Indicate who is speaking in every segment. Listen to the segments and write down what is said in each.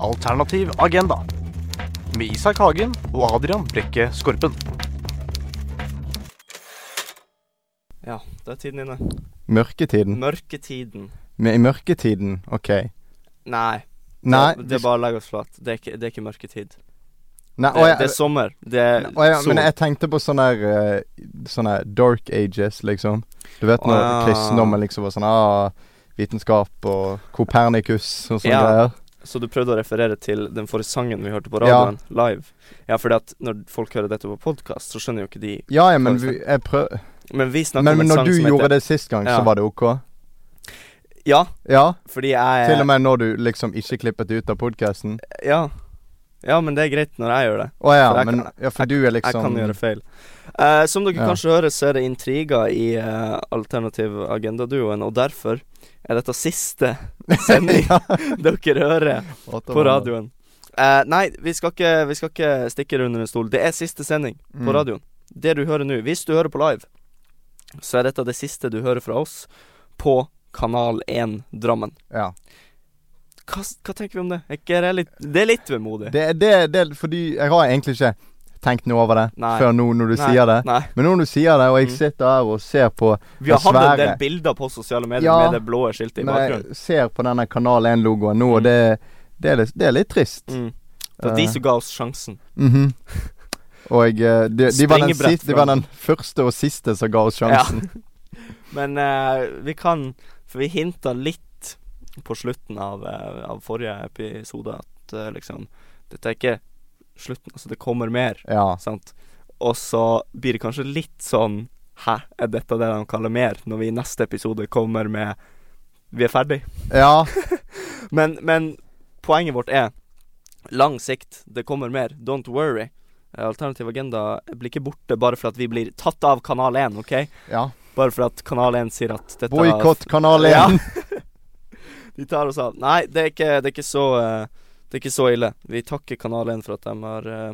Speaker 1: Alternativ agenda med Isak Hagen og Adrian Brekke Skorpen.
Speaker 2: Ja, da er tiden inne.
Speaker 3: Mm. Mørketiden.
Speaker 2: Mørketiden.
Speaker 3: Men i mørketiden, OK.
Speaker 2: Nei.
Speaker 3: Nei,
Speaker 2: Det, det er bare å legge oss flat. Det er ikke, det er ikke mørketid. Det,
Speaker 3: nei å, ja,
Speaker 2: det er sommer. Det er
Speaker 3: å, ja,
Speaker 2: sol.
Speaker 3: men jeg tenkte på sånne der, eh, Sånne dark ages, liksom. Du vet når
Speaker 2: Å, ja.
Speaker 3: kristendommen liksom var sånn ah, Vitenskap og Kopernikus og sånne
Speaker 2: Ja.
Speaker 3: greier.
Speaker 2: Så du prøvde å referere til den forrige sangen vi hørte på radioen, live? Ja, fordi at når folk hører dette på podkast, så skjønner jo ikke de
Speaker 3: Ja, ja, men vi, jeg prøv...
Speaker 2: Men vi snakker
Speaker 3: Men
Speaker 2: om en
Speaker 3: når
Speaker 2: sang
Speaker 3: du
Speaker 2: som
Speaker 3: gjorde
Speaker 2: heter
Speaker 3: det sist gang,
Speaker 2: Ja.
Speaker 3: så var det OK?
Speaker 2: Ja,
Speaker 3: Ja?
Speaker 2: fordi jeg
Speaker 3: Til og med når du liksom ikke klippet det ut av podkasten?
Speaker 2: Ja. ja, men det er greit når jeg gjør det.
Speaker 3: Å ja,
Speaker 2: For jeg
Speaker 3: men
Speaker 2: kan-
Speaker 3: ja, for du er
Speaker 2: Jeg
Speaker 3: liksom
Speaker 2: kan gjøre feil. Eh, som dere
Speaker 3: Ja.
Speaker 2: kanskje hører, så er det intriger i eh, Alternativ Agenda-duoen, og derfor er dette siste sending
Speaker 3: Ja.
Speaker 2: dere hører på radioen. Eh, nei, vi skal, ikke, vi skal ikke stikke det under en stol. Det er siste sending på
Speaker 3: Mm.
Speaker 2: radioen. Det du hører nå, hvis du hører på live, så er dette det siste du hører fra oss på Kanal 1 Drammen.
Speaker 3: Mm, Ja.
Speaker 2: Hva, s- hva tenker vi om det? Er Ikke det, litt, det er litt vemodig.
Speaker 3: Det, det, det er fordi jeg har egentlig ikke tenkt noe over det
Speaker 2: Nei.
Speaker 3: før nå når du
Speaker 2: Nei,
Speaker 3: sier det.
Speaker 2: Nei.
Speaker 3: Men nå når du sier det, og jeg
Speaker 2: Mm.
Speaker 3: sitter her og ser på
Speaker 2: Vi har
Speaker 3: Det
Speaker 2: hatt en del
Speaker 3: svære.
Speaker 2: bilder på sosiale medier
Speaker 3: Ja,
Speaker 2: med det blå skiltet i
Speaker 3: Når
Speaker 2: bakgrunnen.
Speaker 3: jeg ser på denne Kanal 1-logoen nå, og
Speaker 2: Mm.
Speaker 3: det, det, er litt, det er litt trist.
Speaker 2: Mm. Det var de
Speaker 3: Eh,
Speaker 2: som ga oss sjansen.
Speaker 3: mhm. Og eh, de, de, var den
Speaker 2: Springebrett
Speaker 3: siste, de var
Speaker 2: fra-
Speaker 3: den første og siste som ga oss sjansen.
Speaker 2: Men eh, vi kan For vi hinta litt på slutten av, eh, av forrige episode at eh, liksom Dette er ikke slutten, altså det kommer mer,
Speaker 3: Ja.
Speaker 2: sant? Og så blir det kanskje litt sånn Hæ, er dette det de kaller mer? Når vi i neste episode kommer med Vi er ferdig.
Speaker 3: ja.
Speaker 2: Men, men poenget vårt er lang sikt. Det kommer mer. Don't worry. Eh, Alternativ agenda blir ikke borte bare for at vi blir tatt av Kanal 1, OK?
Speaker 3: Ja.
Speaker 2: Bare for at Kanal 1 sier at dette
Speaker 3: Boikott Kanal 1.
Speaker 2: Ja. De tar oss av. Nei, det er ikke, det er ikke så eh, Det er ikke så ille. Vi takker Kanal 1 for at de har eh,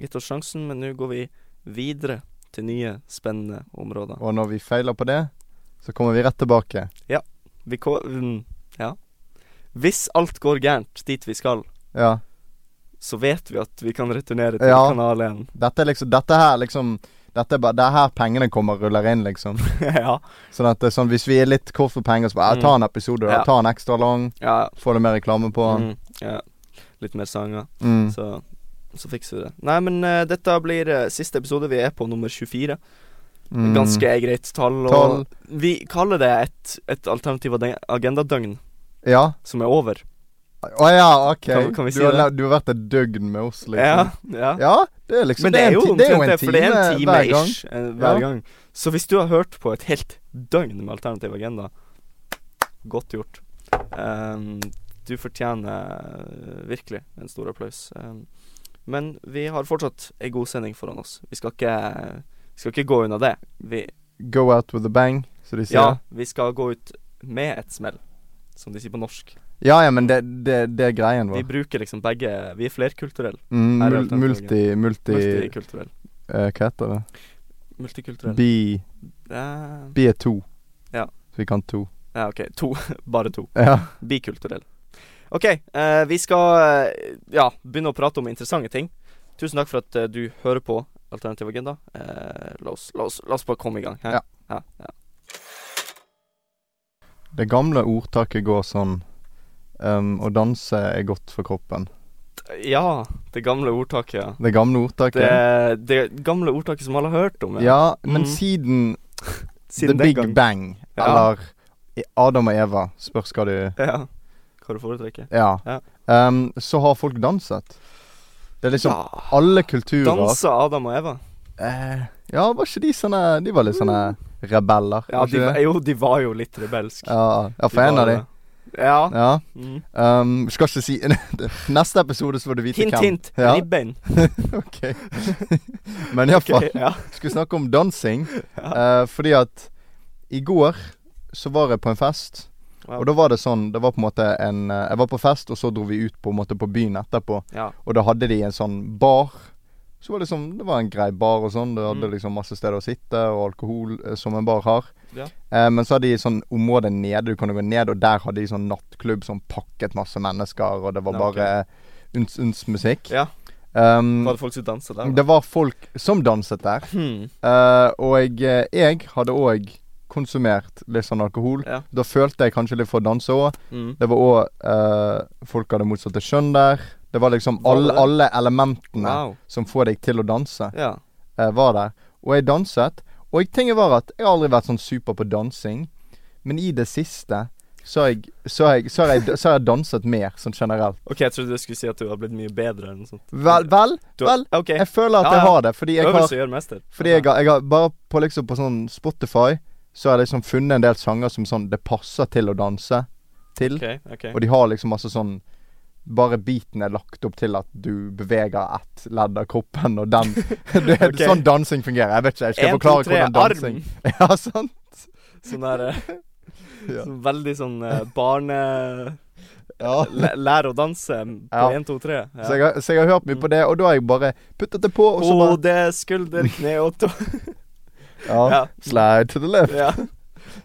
Speaker 2: gitt oss sjansen, men nå går vi videre til nye, spennende områder.
Speaker 3: Og når vi feiler på det, så kommer vi rett tilbake.
Speaker 2: Vi ko- mm, Ja. Hvis alt går gærent dit vi skal,
Speaker 3: Ja.
Speaker 2: så vet vi at vi kan returnere til
Speaker 3: Ja.
Speaker 2: Kanal 1.
Speaker 3: Dette er liksom Dette her liksom Dette er bare Det er her pengene kommer og ruller inn, liksom.
Speaker 2: ja.
Speaker 3: Sånn at det er sånn, hvis vi er litt kort for penger, så bare ja, ta en episode, da.
Speaker 2: Mm. Ja.
Speaker 3: Ta en ekstra lang.
Speaker 2: ja.
Speaker 3: Få litt mer reklame på den.
Speaker 2: Mm, ja. Litt mer sanger,
Speaker 3: Mm.
Speaker 2: så, så fikser vi det. Nei, men eh, dette blir eh, siste episode. Vi er på nummer 24.
Speaker 3: Mm.
Speaker 2: Ganske greit tall. Og
Speaker 3: Tall.
Speaker 2: Vi kaller det et, et alternativ ade- agendadøgn
Speaker 3: Ja.
Speaker 2: som er over.
Speaker 3: Å ja, OK.
Speaker 2: Kan- kan vi si
Speaker 3: du, har,
Speaker 2: det?
Speaker 3: la- du har vært et døgn med oss,
Speaker 2: Ja,
Speaker 3: liksom.
Speaker 2: ja.
Speaker 3: Ja, det er liksom
Speaker 2: Men det er jo
Speaker 3: en, ti- det er jo
Speaker 2: omtrent
Speaker 3: en
Speaker 2: det, for det er en time
Speaker 3: hver gang.
Speaker 2: ish eh, hver
Speaker 3: Ja.
Speaker 2: gang. Så hvis du har hørt på et helt døgn med alternativ agenda, godt gjort. Um, du fortjener eh, virkelig en stor applaus. Um, men vi har fortsatt ei god sending foran oss. Vi skal ikke, vi skal ikke gå unna det. Vi,
Speaker 3: Go out with a bang, som de sier.
Speaker 2: ja,
Speaker 3: Ja,
Speaker 2: vi skal gå ut med et smell, som de sier på norsk.
Speaker 3: ja, men det, det, det er greien
Speaker 2: Vi
Speaker 3: vår.
Speaker 2: bruker liksom begge Vi er flerkulturelle.
Speaker 3: Mm,
Speaker 2: er
Speaker 3: mul-
Speaker 2: alternativ,
Speaker 3: multi Multi
Speaker 2: Multikulturelle.
Speaker 3: eh, Hva heter det?
Speaker 2: Multikulturelle.
Speaker 3: Bi
Speaker 2: Eh,
Speaker 3: Bi er to.
Speaker 2: Ja.
Speaker 3: Så vi kan to.
Speaker 2: ja, OK. To. Bare to.
Speaker 3: Ja.
Speaker 2: Bikulturell. OK, eh, vi skal eh, ja, begynne å prate om interessante ting. Tusen takk for at eh, du hører på Alternativ agenda. Eh, la, oss, la, oss, la oss bare komme i gang. hæ?
Speaker 3: Ja.
Speaker 2: Ja, ja.
Speaker 3: Det gamle ordtaket går sånn ehm, Å danse er godt for kroppen.
Speaker 2: ja, det gamle ordtaket. ja.
Speaker 3: Det gamle ordtaket.
Speaker 2: Det, det gamle ordtaket som alle har hørt om.
Speaker 3: Ja, men
Speaker 2: Mm.
Speaker 3: siden,
Speaker 2: Siden
Speaker 3: The
Speaker 2: den
Speaker 3: Big
Speaker 2: gang.
Speaker 3: Bang,
Speaker 2: Ja.
Speaker 3: eller i- Adam og Eva, spørs hva du
Speaker 2: Ja. Hva du foretrekker.
Speaker 3: Ja.
Speaker 2: Ja.
Speaker 3: Ehm, så har folk danset. Det er liksom
Speaker 2: Ja.
Speaker 3: alle kulturer
Speaker 2: Dansa Adam og Eva?
Speaker 3: Eh, Ja, var ikke de sånne De var litt sånne rebeller?
Speaker 2: Mm. Ja,
Speaker 3: var
Speaker 2: de,
Speaker 3: ikke
Speaker 2: var-
Speaker 3: det?
Speaker 2: jo, de var jo litt rebelske.
Speaker 3: ja, ja, for en av de.
Speaker 2: Ja.
Speaker 3: Ja.
Speaker 2: Mm.
Speaker 3: ehm, skal ikke si Neste episode så får du vite
Speaker 2: Hint,
Speaker 3: hvem.
Speaker 2: hint.
Speaker 3: Ja,
Speaker 2: Ribbein.
Speaker 3: ok Men iallfall
Speaker 2: Ok, ja.
Speaker 3: skulle snakke om dansing. eh, fordi at i går så var jeg på en fest.
Speaker 2: Ja.
Speaker 3: Og da var det sånn Det var på en måte en eh, Jeg var på fest, og så dro vi ut på en måte på byen etterpå.
Speaker 2: ja.
Speaker 3: Og da hadde de en sånn bar. Så var det sånn Det var en grei bar og sånn. Det hadde
Speaker 2: Mm.
Speaker 3: liksom masse steder å sitte, og alkohol eh, som en bar har.
Speaker 2: Ja.
Speaker 3: Eh, men så hadde de sånn område nede, du kunne gå ned, og der hadde de sånn nattklubb som pakket masse mennesker, og det var
Speaker 2: Ja, ok.
Speaker 3: bare uns-uns-musikk.
Speaker 2: Ja.
Speaker 3: Um,
Speaker 2: Var det folk som danset der? da?
Speaker 3: det var folk som danset der.
Speaker 2: Hmm.
Speaker 3: Eh, og jeg, jeg hadde òg konsumert litt sånn alkohol.
Speaker 2: Ja.
Speaker 3: Da følte jeg kanskje litt for å danse òg.
Speaker 2: Mm.
Speaker 3: Det var òg eh, folk av det motsatte kjønn der. Det var liksom
Speaker 2: Var det
Speaker 3: alle,
Speaker 2: det?
Speaker 3: alle elementene
Speaker 2: Wow.
Speaker 3: som får deg til å danse,
Speaker 2: Ja.
Speaker 3: eh, var der. Og jeg danset. Og jeg- tingen var at jeg har aldri vært sånn super på dansing, men i det siste så har jeg, så har jeg, så har jeg, så har jeg danset mer, sånn generelt.
Speaker 2: OK, jeg trodde du skulle si at du har blitt mye bedre eller noe sånt.
Speaker 3: Vel, vel,
Speaker 2: Du,
Speaker 3: vel.
Speaker 2: OK.
Speaker 3: Jeg føler at
Speaker 2: Ja,
Speaker 3: jeg
Speaker 2: ja.
Speaker 3: har det, fordi jeg har
Speaker 2: Øvelse gjør mester.
Speaker 3: Fordi jeg, har- jeg har bare på liksom på sånn Spotify Så har jeg liksom funnet en del sanger som sånn Det passer til å danse til
Speaker 2: OK, ok.
Speaker 3: Og de har liksom masse sånn Bare biten er lagt opp til at du beveger ett ledd av kroppen Og den det, er
Speaker 2: Ok.
Speaker 3: Sånn dansing fungerer Jeg vet ikke, jeg skal
Speaker 2: En, to,
Speaker 3: forklare
Speaker 2: tre,
Speaker 3: hvordan dansing
Speaker 2: arm!
Speaker 3: Ja, sant?
Speaker 2: Sånn der eh,
Speaker 3: Ja.
Speaker 2: sånn Veldig sånn eh, barne...
Speaker 3: Ja
Speaker 2: Læ- Lære å danse på
Speaker 3: Ja.
Speaker 2: én, to, tre.
Speaker 3: så jeg, har, så jeg har hørt mye
Speaker 2: Mm.
Speaker 3: på det, og da har jeg bare puttet det på, og så bare
Speaker 2: Hode, skulder, kne og tå.
Speaker 3: Ja,
Speaker 2: Ja. Mm.
Speaker 3: slide to the left.
Speaker 2: ja.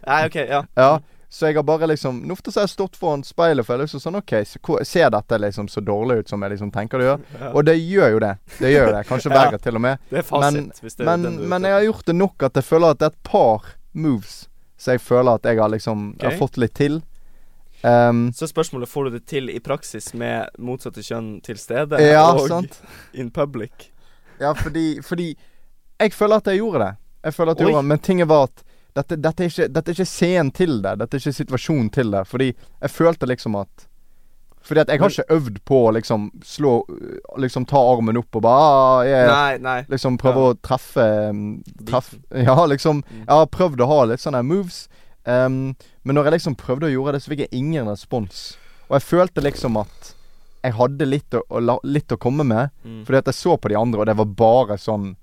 Speaker 2: Nei, OK, ja.
Speaker 3: Ja, så jeg har bare liksom Nå ofte så har jeg stått foran speilet, for jeg er liksom sånn OK, så, hvor- ser dette liksom så dårlig ut som jeg liksom tenker det gjør?
Speaker 2: ja.
Speaker 3: Og det gjør jo det. Det gjør jo det. Kanskje
Speaker 2: Ja.
Speaker 3: verre, til og med.
Speaker 2: Det er fasit,
Speaker 3: men-
Speaker 2: hvis det er
Speaker 3: Men,
Speaker 2: den du er
Speaker 3: men
Speaker 2: ute
Speaker 3: jeg har gjort det nok at jeg føler at det er et par moves så jeg føler at jeg har liksom jeg
Speaker 2: Ok.
Speaker 3: har fått litt til. Ehm,
Speaker 2: Så er spørsmålet får du det til i praksis med motsatte kjønn til stede
Speaker 3: ja,
Speaker 2: og
Speaker 3: sant?
Speaker 2: in public.
Speaker 3: Ja, fordi, fordi Jeg føler at jeg gjorde det. Jeg føler at jeg
Speaker 2: Oi.
Speaker 3: gjorde det Men tinget var at dette, dette, er ikke, dette er ikke scenen til det. Dette er ikke situasjonen til det. Fordi jeg følte liksom at Fordi at jeg har
Speaker 2: Men-
Speaker 3: ikke øvd på å liksom slå øh, Liksom ta armen opp og bare ah, jeg,
Speaker 2: Nei, nei.
Speaker 3: Liksom prøve
Speaker 2: Ja.
Speaker 3: å treffe um, treff, Ja, liksom
Speaker 2: Mm.
Speaker 3: Jeg har prøvd å ha litt sånne moves um, Men når jeg liksom prøvde å gjøre det Så fikk jeg ingen respons Og jeg følte liksom at Jeg hadde litt å, å, la- litt å komme med
Speaker 2: Mm.
Speaker 3: Fordi at jeg så på de andre Og det var bare sånn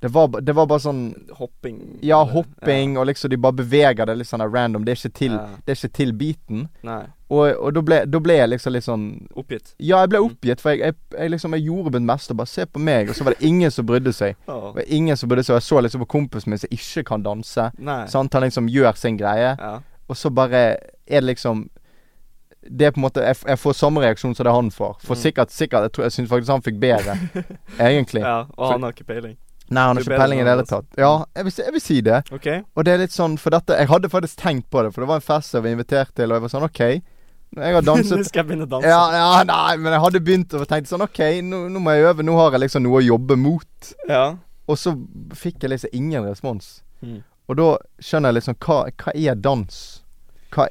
Speaker 3: Det var, ba- det var bare sånn
Speaker 2: Hopping.
Speaker 3: Ja,
Speaker 2: eller-
Speaker 3: hopping Og liksom de bare beveger det litt sånn der random Det er ikke til,
Speaker 2: Ja.
Speaker 3: det er ikke til biten
Speaker 2: Nei.
Speaker 3: Og, og da, ble, da ble jeg liksom litt sånn
Speaker 2: Oppgitt.
Speaker 3: ja, jeg ble
Speaker 2: Mm.
Speaker 3: oppgitt, for jeg, jeg, jeg, liksom, jeg gjorde mitt meste. Bare se på meg. Og så var det ingen som brydde seg.
Speaker 2: Åh.
Speaker 3: Og ingen som burde så Jeg så liksom på kompisen min som ikke kan danse.
Speaker 2: Nei.
Speaker 3: Sant? Han liksom gjør sin greie,
Speaker 2: Ja.
Speaker 3: og så bare er det liksom Det er på en måte Jeg, f- jeg får samme reaksjon som det han får. For
Speaker 2: Mm.
Speaker 3: sikkert, sikkert Jeg, tror- jeg syns faktisk han fikk bedre, egentlig.
Speaker 2: ja. Og han har ikke peiling.
Speaker 3: Nei, han har
Speaker 2: Du er
Speaker 3: ikke
Speaker 2: bedre
Speaker 3: peiling i det
Speaker 2: enn
Speaker 3: hele
Speaker 2: han,
Speaker 3: tatt. Ja, jeg vil, si- jeg vil si det.
Speaker 2: OK?
Speaker 3: Og det er litt sånn For dette Jeg hadde faktisk tenkt på det, for det var en fest jeg var invitert til, og jeg var sånn OK, jeg har
Speaker 2: Nå
Speaker 3: danset
Speaker 2: skal jeg begynne å danse.
Speaker 3: ja, ja, nei, men jeg hadde begynt og tenkt sånn OK, nå, nå må jeg øve. Nå har jeg liksom noe å jobbe mot.
Speaker 2: Ja.
Speaker 3: Og så fikk jeg liksom ingen respons.
Speaker 2: Mm.
Speaker 3: Og da skjønner jeg liksom Hva, hva er dans? Hva,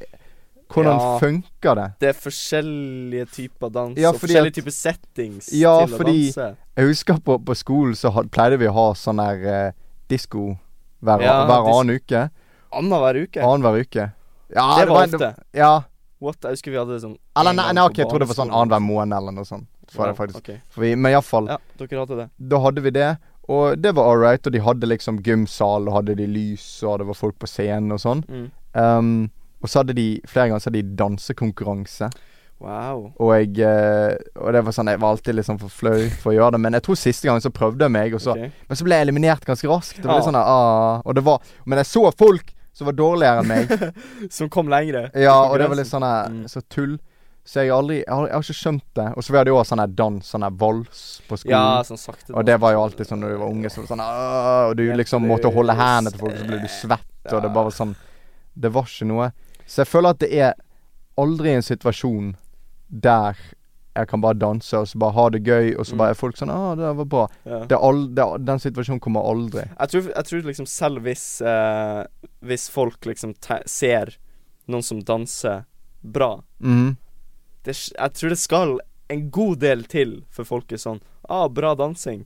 Speaker 3: hvordan
Speaker 2: Ja.
Speaker 3: funker det?
Speaker 2: Det er forskjellige typer dans
Speaker 3: Ja,
Speaker 2: og
Speaker 3: fordi at-
Speaker 2: forskjellige typer settings
Speaker 3: Ja,
Speaker 2: til
Speaker 3: fordi-
Speaker 2: å danse.
Speaker 3: Jeg husker på, på skolen så had, pleide vi å ha sånn der eh, disko hver,
Speaker 2: Ja,
Speaker 3: hver
Speaker 2: dis-
Speaker 3: annen ukke.
Speaker 2: Annenhver uke.
Speaker 3: Annenhver uke. Ja,
Speaker 2: det var
Speaker 3: en-
Speaker 2: ofte.
Speaker 3: Ja.
Speaker 2: What? Jeg husker vi hadde sånn
Speaker 3: Eller
Speaker 2: en
Speaker 3: nei,
Speaker 2: gang
Speaker 3: nei,
Speaker 2: på
Speaker 3: ok, jeg trodde det var sånn
Speaker 2: barneskolen.
Speaker 3: annenhver måned eller noe sånn. Så var det
Speaker 2: Wow,
Speaker 3: faktisk
Speaker 2: ok.
Speaker 3: for vi, Men iallfall.
Speaker 2: Ja, dere hadde det.
Speaker 3: da hadde vi det, og det var all right. Og de hadde liksom gymsal, og hadde de lys, og det var folk på scenen og sånn.
Speaker 2: Mm.
Speaker 3: Ehm, og så hadde de flere ganger så hadde de dansekonkurranse,
Speaker 2: Wow.
Speaker 3: og jeg eh, Og det var sånn Jeg var alltid litt sånn for flau for å gjøre det, men jeg tror siste gang så prøvde jeg meg, og så,
Speaker 2: Ok.
Speaker 3: men så ble jeg eliminert ganske raskt. Det var litt
Speaker 2: Ja.
Speaker 3: sånn der, ah, Og det var Men jeg så folk som var dårligere enn meg,
Speaker 2: Som kom lengre.
Speaker 3: ja, og det
Speaker 2: Konkurransen.
Speaker 3: var litt sånn der,
Speaker 2: Mm.
Speaker 3: så tull. Så jeg har aldri Jeg har, jeg har ikke skjønt det. Og så var det jo også sånn der dans, sånn der vals på skolen.
Speaker 2: Ja, sånn sakte.
Speaker 3: Og det var jo alltid sånn når du var unge, så var det sånn «Åh», Og du liksom måtte holde hendene til folk, så ble du svett, og det bare var sånn Det var ikke noe. Så jeg føler at det er aldri en situasjon der jeg kan bare danse og så bare ha det gøy, og så bare er folk sånn 'Å, det der var bra'.
Speaker 2: Ja.
Speaker 3: Det er al- det er, den situasjonen kommer aldri.
Speaker 2: Jeg tror, jeg tror liksom selv hvis eh, Hvis folk liksom te ser noen som danser bra
Speaker 3: Mhm.
Speaker 2: det, s- Jeg tror det skal en god del til for folk er sånn Ah, bra dansing.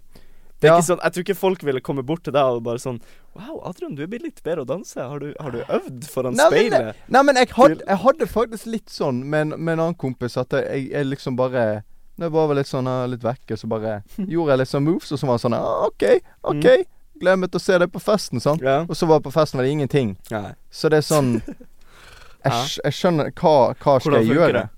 Speaker 2: Det er
Speaker 3: Ja.
Speaker 2: ikke sånn, jeg tror ikke folk ville komme bort til deg og bare sånn Wow, Adrian, du er blitt litt bedre å danse. Har du, har du øvd foran
Speaker 3: Nei, men
Speaker 2: speilet?
Speaker 3: Nei, men jeg hadde, jeg hadde faktisk litt sånn med en, med en annen kompis at jeg, jeg liksom bare Når jeg bare var litt sånn eh, litt vekke, så bare gjorde jeg litt sånn moves, og så var han sånn ah, 'OK, OK, gleder meg til å se deg på festen', sant?
Speaker 2: Ja.
Speaker 3: Og så var jeg på festen, var det ingenting.
Speaker 2: Nei.
Speaker 3: Så det er sånn Jeg,
Speaker 2: Ja.
Speaker 3: skj- jeg skjønner Hva, hva skal
Speaker 2: Hvordan
Speaker 3: jeg
Speaker 2: funker
Speaker 3: gjøre?
Speaker 2: det?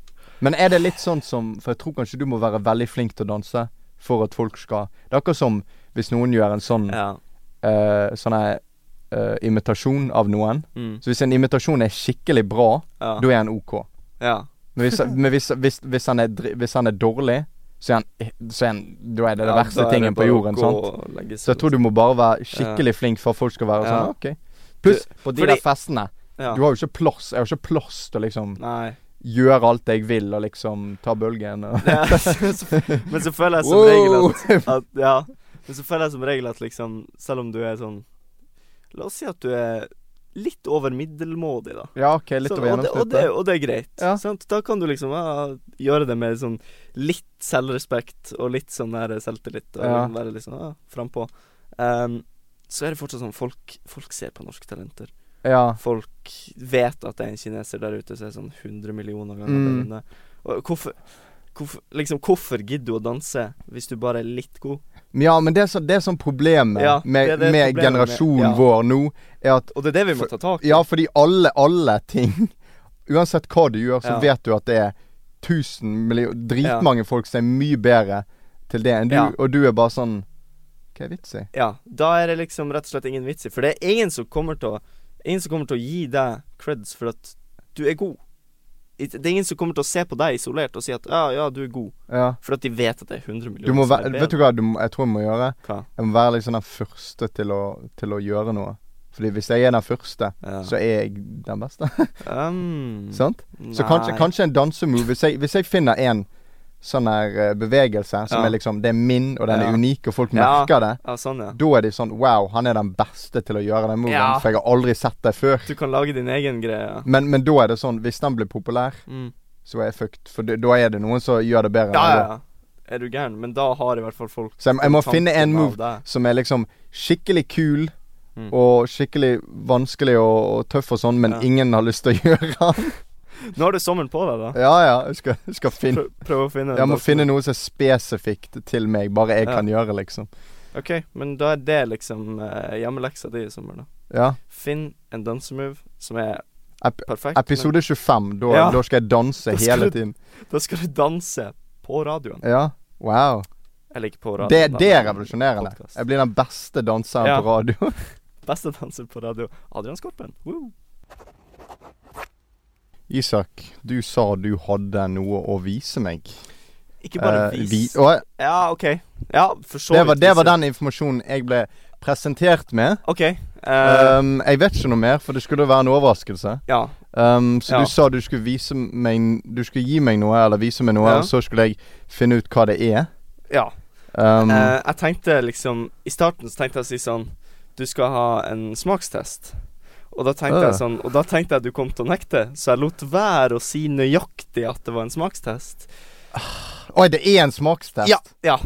Speaker 3: Men er det litt sånn som For jeg tror kanskje du må være veldig flink til å danse for at folk skal Det er akkurat som hvis noen gjør en sånn
Speaker 2: Ja.
Speaker 3: eh, Sånn her eh, imitasjon av noen.
Speaker 2: Mm.
Speaker 3: Så hvis en imitasjon er skikkelig bra,
Speaker 2: Ja.
Speaker 3: da er han OK.
Speaker 2: ja.
Speaker 3: Men hvis, men hvis, hvis, hvis, han, er, dri- hvis han er dårlig, så er han, så er han Da er det det
Speaker 2: Ja, da
Speaker 3: verste
Speaker 2: er det
Speaker 3: tingen på
Speaker 2: bare å
Speaker 3: jorden.
Speaker 2: gå
Speaker 3: sant?
Speaker 2: og legge
Speaker 3: Så jeg
Speaker 2: seg,
Speaker 3: tror du må bare være skikkelig flink for at folk skal være
Speaker 2: Ja.
Speaker 3: sånn OK. Pluss, på de
Speaker 2: fordi-
Speaker 3: der festene
Speaker 2: liksom. ja.
Speaker 3: Du har jo ikke plass. Jeg har ikke plass til å liksom
Speaker 2: Nei.
Speaker 3: gjøre alt jeg vil, og liksom ta bølgen og
Speaker 2: Ja, så- men så føler jeg som
Speaker 3: Wow!
Speaker 2: regel at, at Ja. Men så føler jeg som regel at liksom, selv om du er sånn La oss si at du er litt over middelmådig, da.
Speaker 3: Ja, OK, litt
Speaker 2: Sånn,
Speaker 3: over
Speaker 2: og, det, og, det,
Speaker 3: gjennomsnittet.
Speaker 2: og det er greit.
Speaker 3: Ja.
Speaker 2: Sant? Da kan du liksom ja, gjøre det med sånn litt selvrespekt og litt sånn der selvtillit, og
Speaker 3: Ja.
Speaker 2: liksom være litt sånn ja, frampå. Ehm, så er det fortsatt sånn folk, folk ser på norske talenter.
Speaker 3: Ja.
Speaker 2: Folk vet at det er en kineser der ute som er sånn 100 millioner ganger
Speaker 3: Mm.
Speaker 2: bedre enn deg. Og hvorfor, hvorfor, liksom, hvorfor gidder du å danse hvis du bare er litt god?
Speaker 3: Men ja, men det er, så, det er sånn problemet
Speaker 2: Ja,
Speaker 3: med,
Speaker 2: det er det problemet
Speaker 3: med
Speaker 2: med-
Speaker 3: generasjonen
Speaker 2: ja.
Speaker 3: vår nå, er at
Speaker 2: Og det er det vi må ta tak i.
Speaker 3: Ja, fordi alle, alle ting Uansett hva du gjør, så
Speaker 2: Ja.
Speaker 3: vet du at det er tusen millioner Dritmange folk som er mye bedre til det enn du,
Speaker 2: Ja.
Speaker 3: og du er bare sånn Hva er vits i?
Speaker 2: Ja, da er det liksom rett og slett ingen vits i. For det er ingen som kommer til å Ingen som kommer til å gi deg creds for at du er god. It- Det er ingen som kommer til å se på deg isolert og si at ja, ja, du er god.
Speaker 3: Ja.
Speaker 2: For at de vet at det er 100 millioner
Speaker 3: Du må
Speaker 2: som
Speaker 3: være
Speaker 2: er
Speaker 3: Vet du hva du, må- jeg tror jeg må gjøre?
Speaker 2: Hva?
Speaker 3: Jeg må være liksom den første til å, til å gjøre noe. Fordi hvis jeg er den første,
Speaker 2: Ja.
Speaker 3: så er jeg den beste.
Speaker 2: Um,
Speaker 3: Sant? Så kanskje,
Speaker 2: nei.
Speaker 3: kanskje en dansemove hvis, jeg- hvis jeg finner en sånn her eh, bevegelse som
Speaker 2: Ja.
Speaker 3: er liksom Det er min, og den
Speaker 2: Ja.
Speaker 3: er unik, og folk
Speaker 2: Ja.
Speaker 3: merker det.
Speaker 2: Ja, sånn, ja.
Speaker 3: Da er de sånn Wow, han er den beste til å gjøre den moven,
Speaker 2: Ja.
Speaker 3: for jeg har aldri sett det før.
Speaker 2: Du kan lage din egen greie. Ja.
Speaker 3: Men, men da er det sånn Hvis den blir populær,
Speaker 2: Mm.
Speaker 3: så er jeg fucked. For da- da er det noen som gjør det bedre. enn
Speaker 2: ja, ja,
Speaker 3: meg da.
Speaker 2: ja. Er du gæren? Men da har i hvert fall folk
Speaker 3: Så jeg, jeg må finne en
Speaker 2: tanken av
Speaker 3: move
Speaker 2: deg.
Speaker 3: som er liksom skikkelig kul
Speaker 2: Mm.
Speaker 3: og skikkelig vanskelig og, og tøff og sånn, men
Speaker 2: Ja.
Speaker 3: ingen har lyst til å gjøre den.
Speaker 2: Nå har du sommeren på deg, da.
Speaker 3: ja, ja. Jeg skal, jeg skal finne
Speaker 2: Prøv, prøv å finne
Speaker 3: Jeg må
Speaker 2: dansen.
Speaker 3: finne noe som er spesifikt til meg, bare jeg
Speaker 2: Ja.
Speaker 3: kan gjøre, liksom.
Speaker 2: OK, men da er det liksom eh, hjemmeleksa di i sommer, da.
Speaker 3: Ja.
Speaker 2: Finn en dansemove som er
Speaker 3: Ep
Speaker 2: perfekt.
Speaker 3: episode 25, da,
Speaker 2: Ja.
Speaker 3: da skal jeg danse
Speaker 2: Da skal
Speaker 3: hele
Speaker 2: du-
Speaker 3: tiden.
Speaker 2: Men da skal du danse på radioen.
Speaker 3: Ja. Wow.
Speaker 2: Eller ikke på radioen.
Speaker 3: Det,
Speaker 2: da,
Speaker 3: det er
Speaker 2: men
Speaker 3: revolusjonerende.
Speaker 2: podcast.
Speaker 3: Jeg blir den beste danseren
Speaker 2: Ja.
Speaker 3: på radio.
Speaker 2: Beste danser på radio. Adrian Skorpen. Woo.
Speaker 3: Isak, du sa du hadde noe å vise meg.
Speaker 2: Ikke bare
Speaker 3: Eh,
Speaker 2: vis.
Speaker 3: vi- og,
Speaker 2: Ja, OK. Ja, for så
Speaker 3: det, var,
Speaker 2: vidt
Speaker 3: det var
Speaker 2: vis.
Speaker 3: den informasjonen jeg ble presentert med.
Speaker 2: OK. eh,
Speaker 3: um, jeg vet ikke noe mer, for det skulle være en overraskelse.
Speaker 2: ja.
Speaker 3: Um, så
Speaker 2: Ja.
Speaker 3: du sa du skulle vise meg Du skulle gi meg noe, eller vise meg noe,
Speaker 2: Ja.
Speaker 3: og så skulle jeg finne ut hva det er.
Speaker 2: ja.
Speaker 3: Um,
Speaker 2: Eh, jeg tenkte liksom I starten så tenkte jeg å si sånn Du skal ha en smakstest. Og da tenkte
Speaker 3: Øh.
Speaker 2: jeg sånn Og da tenkte jeg du kom til å nekte, så jeg lot være å si nøyaktig at det var en smakstest.
Speaker 3: Oi, det er en smakstest!
Speaker 2: Ja. ja.